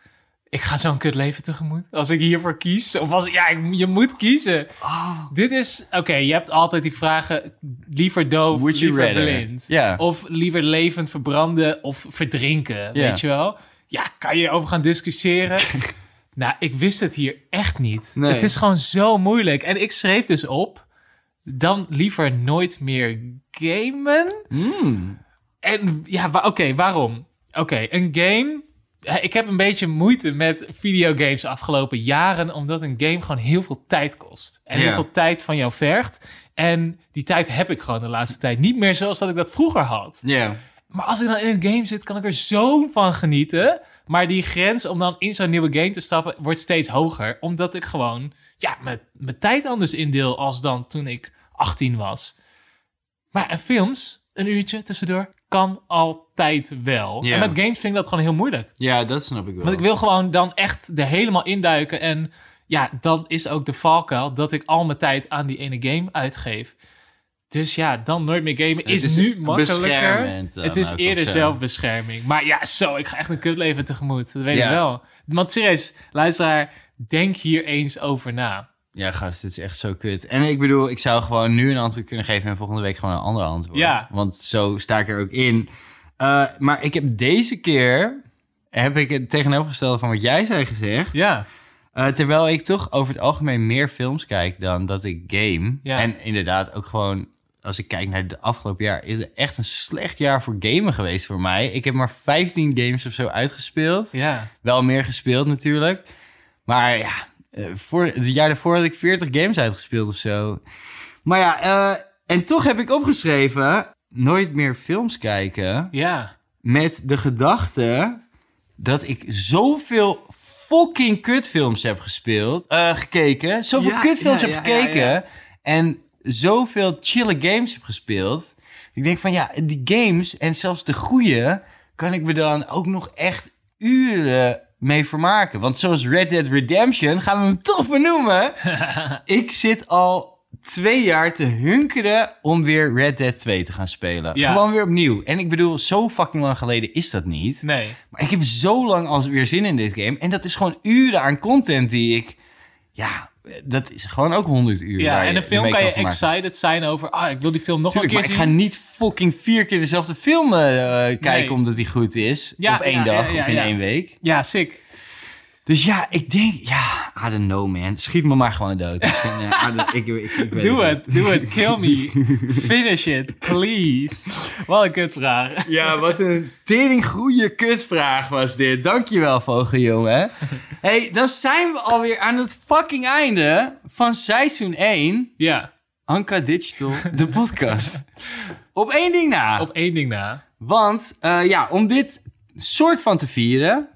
Speaker 2: Ik ga zo'n kut leven tegemoet. Als ik hiervoor kies. Of als... Ja, ik- je moet kiezen.
Speaker 1: Oh.
Speaker 2: Dit is... Oké, je hebt altijd die vragen... Liever doof,
Speaker 1: Would you
Speaker 2: liever
Speaker 1: rather?
Speaker 2: blind.
Speaker 1: Ja.
Speaker 2: Of liever levend verbranden of verdrinken. Weet je wel? Ja, kan je over gaan discussiëren?
Speaker 1: *laughs*
Speaker 2: nou, ik wist het hier echt niet.
Speaker 1: Nee.
Speaker 2: Het is gewoon zo moeilijk. En ik schreef dus op... Dan liever nooit meer gamen...
Speaker 1: Hmm.
Speaker 2: En ja, wa- oké, waarom? Oké, een game. eh, Ik heb een beetje moeite met videogames de afgelopen jaren, omdat een game gewoon heel veel tijd kost. En
Speaker 1: Ja.
Speaker 2: heel veel tijd van jou vergt. En die tijd heb ik gewoon de laatste tijd niet meer zoals dat ik dat vroeger had.
Speaker 1: Ja.
Speaker 2: Maar als ik dan in een game zit, kan ik er zo van genieten. Maar die grens om dan in zo'n nieuwe game te stappen wordt steeds hoger. Omdat ik gewoon ja, mijn, mijn tijd anders indeel als dan toen ik 18 was. Maar en films, een uurtje tussendoor, kan altijd wel.
Speaker 1: Ja.
Speaker 2: En met games vind ik dat gewoon heel moeilijk.
Speaker 1: Ja, dat snap ik wel.
Speaker 2: Want ik wil gewoon dan echt er helemaal induiken. En ja, dan is ook de valkuil dat ik al mijn tijd aan die ene game uitgeef. Dus ja, dan nooit meer gamen is,
Speaker 1: is
Speaker 2: nu makkelijker.
Speaker 1: beschermend dan
Speaker 2: Het is
Speaker 1: ook of
Speaker 2: eerder
Speaker 1: zo.
Speaker 2: zelfbescherming. Maar ja, zo, ik ga echt een kutleven tegemoet. Dat weet
Speaker 1: Ja.
Speaker 2: ik wel. Want serieus, luisteraar, denk hier eens over na.
Speaker 1: Ja, gast, dit is echt zo kut. En ik bedoel, ik zou gewoon nu een antwoord kunnen geven en volgende week gewoon een ander antwoord.
Speaker 2: Ja.
Speaker 1: Want zo sta ik er ook in. Eh, maar ik heb deze keer, heb ik het tegenovergestelde van wat jij zei gezegd.
Speaker 2: Ja,
Speaker 1: Eh, terwijl ik toch over het algemeen meer films kijk dan dat ik game.
Speaker 2: Ja.
Speaker 1: En inderdaad ook gewoon, als ik kijk naar de afgelopen jaar, is het echt een slecht jaar voor gamen geweest voor mij. Ik heb maar 15 games of zo uitgespeeld.
Speaker 2: ja.
Speaker 1: Wel meer gespeeld natuurlijk. Maar ja, eh, voor, het jaar daarvoor had ik 40 games uitgespeeld of zo. Maar ja, eh, en toch heb ik opgeschreven, nooit meer films kijken
Speaker 2: Ja.
Speaker 1: met de gedachte dat ik zoveel fucking kutfilms heb gespeeld, eh, gekeken. Zoveel
Speaker 2: Ja,
Speaker 1: kutfilms
Speaker 2: ja,
Speaker 1: heb
Speaker 2: ja, ja,
Speaker 1: gekeken en zoveel chille games heb gespeeld. Ik denk van ja, die games en zelfs de goede kan ik me dan ook nog echt uren mee vermaken. Want zoals Red Dead Redemption, gaan we hem toch
Speaker 2: *laughs*
Speaker 1: benoemen. ik zit al twee jaar te hunkeren om weer Red Dead 2 te gaan spelen.
Speaker 2: Ja.
Speaker 1: Gewoon weer opnieuw. En ik bedoel, zo fucking lang geleden is dat niet.
Speaker 2: Nee.
Speaker 1: Maar ik heb zo lang als weer zin in dit game. En dat is gewoon uren aan content die ik... Ja, dat is gewoon ook 100 uur.
Speaker 2: Ja,
Speaker 1: waar
Speaker 2: en een film
Speaker 1: mee
Speaker 2: kan je
Speaker 1: vermaken.
Speaker 2: excited zijn over... Ah, ik wil die film nog
Speaker 1: Tuurlijk,
Speaker 2: een
Speaker 1: maar
Speaker 2: keer
Speaker 1: ik
Speaker 2: zien.
Speaker 1: ga niet fucking vier keer dezelfde film eh, eh, kijken
Speaker 2: Nee.
Speaker 1: omdat die goed is.
Speaker 2: Ja,
Speaker 1: op één
Speaker 2: ja,
Speaker 1: dag
Speaker 2: ja, ja,
Speaker 1: of in
Speaker 2: ja.
Speaker 1: één week.
Speaker 2: Ja, sick.
Speaker 1: Dus ja, ik denk, ja, I don't know man. Schiet me maar gewoon dood. Misschien, eh, I don't- ik, ik, ik weet
Speaker 2: *laughs* Doe
Speaker 1: niet.
Speaker 2: het, doe het, kill me. *laughs* Finish it, please. Wat een kutvraag.
Speaker 1: Ja, wat een tering goede kutvraag was dit. Dankjewel, vogeljongen. hey, dan zijn we alweer aan het fucking einde van seizoen 1.
Speaker 2: Ja,
Speaker 1: Anka Digital, de podcast. Op één ding na.
Speaker 2: op één ding na.
Speaker 1: Want eh, ja, om dit soort van te vieren,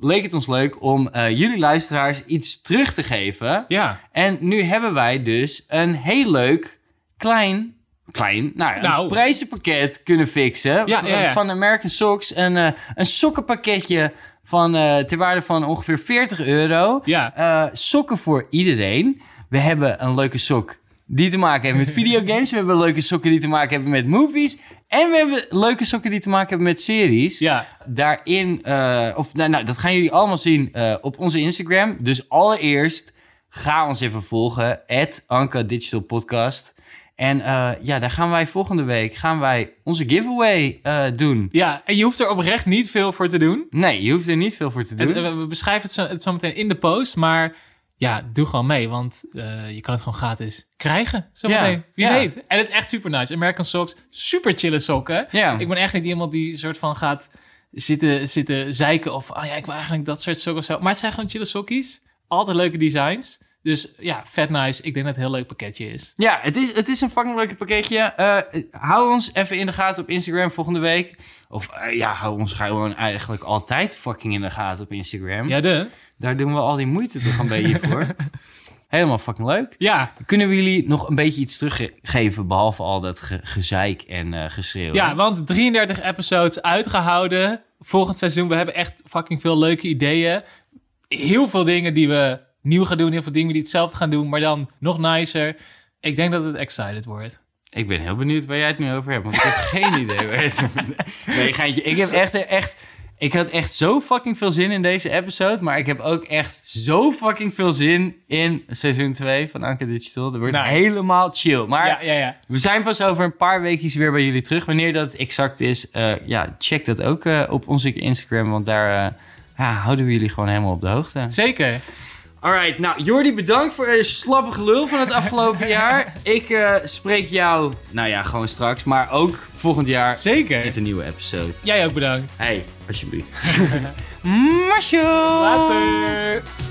Speaker 1: leek het ons leuk om eh, jullie luisteraars iets terug te geven.
Speaker 2: Ja,
Speaker 1: En nu hebben wij dus een heel leuk klein, klein nou, ja,
Speaker 2: Nou.
Speaker 1: Een prijzenpakket kunnen fixen.
Speaker 2: Ja,
Speaker 1: v-
Speaker 2: ja, ja.
Speaker 1: Van American Socks. Een, eh, een sokkenpakketje van, eh ter waarde van ongeveer 40 euro.
Speaker 2: ja.
Speaker 1: Eh, sokken voor iedereen. We hebben een leuke sok die te maken heeft
Speaker 2: *laughs*
Speaker 1: met videogames. We hebben leuke sokken die te maken hebben met movies. En we hebben leuke sokken die te maken hebben met series.
Speaker 2: Ja,
Speaker 1: Daarin, eh, of nou, nou, dat gaan jullie allemaal zien eh, op onze Instagram. Dus allereerst ga ons even volgen. At Anka Digital Podcast. En eh, ja, daar gaan wij volgende week gaan wij onze giveaway eh, doen.
Speaker 2: ja, en je hoeft er oprecht niet veel voor te doen.
Speaker 1: Nee, je hoeft er niet veel voor te doen.
Speaker 2: Het- we- we beschrijven het zo, het zo meteen in de post, maar ja, doe gewoon mee, want eh, je kan het gewoon gratis krijgen. Zo
Speaker 1: Ja,
Speaker 2: meteen. Wie
Speaker 1: ja.
Speaker 2: weet. En het is echt super nice. American Socks, super chille sokken.
Speaker 1: Ja.
Speaker 2: Ik ben echt niet iemand die soort van gaat zitten, zitten zeiken of, oh ja, ik wil eigenlijk dat soort sokken of zo. Maar het zijn gewoon chille sokkies. Altijd leuke designs. Dus ja, vet nice. Ik denk dat het een heel leuk pakketje is.
Speaker 1: Ja, het is, het is een fucking leuke pakketje. Eh, hou ons even in de gaten op Instagram volgende week. Of eh, ja, hou ons gewoon eigenlijk altijd fucking in de gaten op Instagram.
Speaker 2: Ja, de.
Speaker 1: Daar doen we al die moeite toch een beetje voor. Helemaal fucking leuk.
Speaker 2: Ja,
Speaker 1: Kunnen we jullie nog een beetje iets teruggeven, behalve al dat ge- gezeik en eh, geschreeuw?
Speaker 2: Ja, want 33 episodes uitgehouden. Volgend seizoen, we hebben echt fucking veel leuke ideeën. Heel veel dingen die we nieuw gaan doen. Heel veel dingen die hetzelfde gaan doen, maar dan nog nicer. Ik denk dat het excited wordt.
Speaker 1: Ik ben heel benieuwd waar jij het nu over hebt, want ik *laughs* heb geen idee waar je het over Nee, geintje. Ik heb echt, echt... Ik had echt zo fucking veel zin in deze episode, maar ik heb ook echt zo fucking veel zin in seizoen 2 van Anke Digital. Dat wordt
Speaker 2: Nice.
Speaker 1: helemaal chill. Maar
Speaker 2: ja, ja, ja.
Speaker 1: we zijn pas over een paar weekjes weer bij jullie terug. Wanneer dat exact is, eh, ja, check dat ook eh, op onze Instagram, want daar eh, ja, houden we jullie gewoon helemaal op de hoogte.
Speaker 2: Zeker.
Speaker 1: Alright, nou Jordi, bedankt voor je slappe gelul van het
Speaker 2: *laughs*
Speaker 1: afgelopen jaar. Ik eh, spreek jou, nou ja, gewoon straks, maar ook volgend jaar
Speaker 2: Zeker.
Speaker 1: met een nieuwe episode. *laughs*
Speaker 2: Jij ook bedankt.
Speaker 1: Hey, alsjeblieft. Masjo!
Speaker 2: *laughs* Later.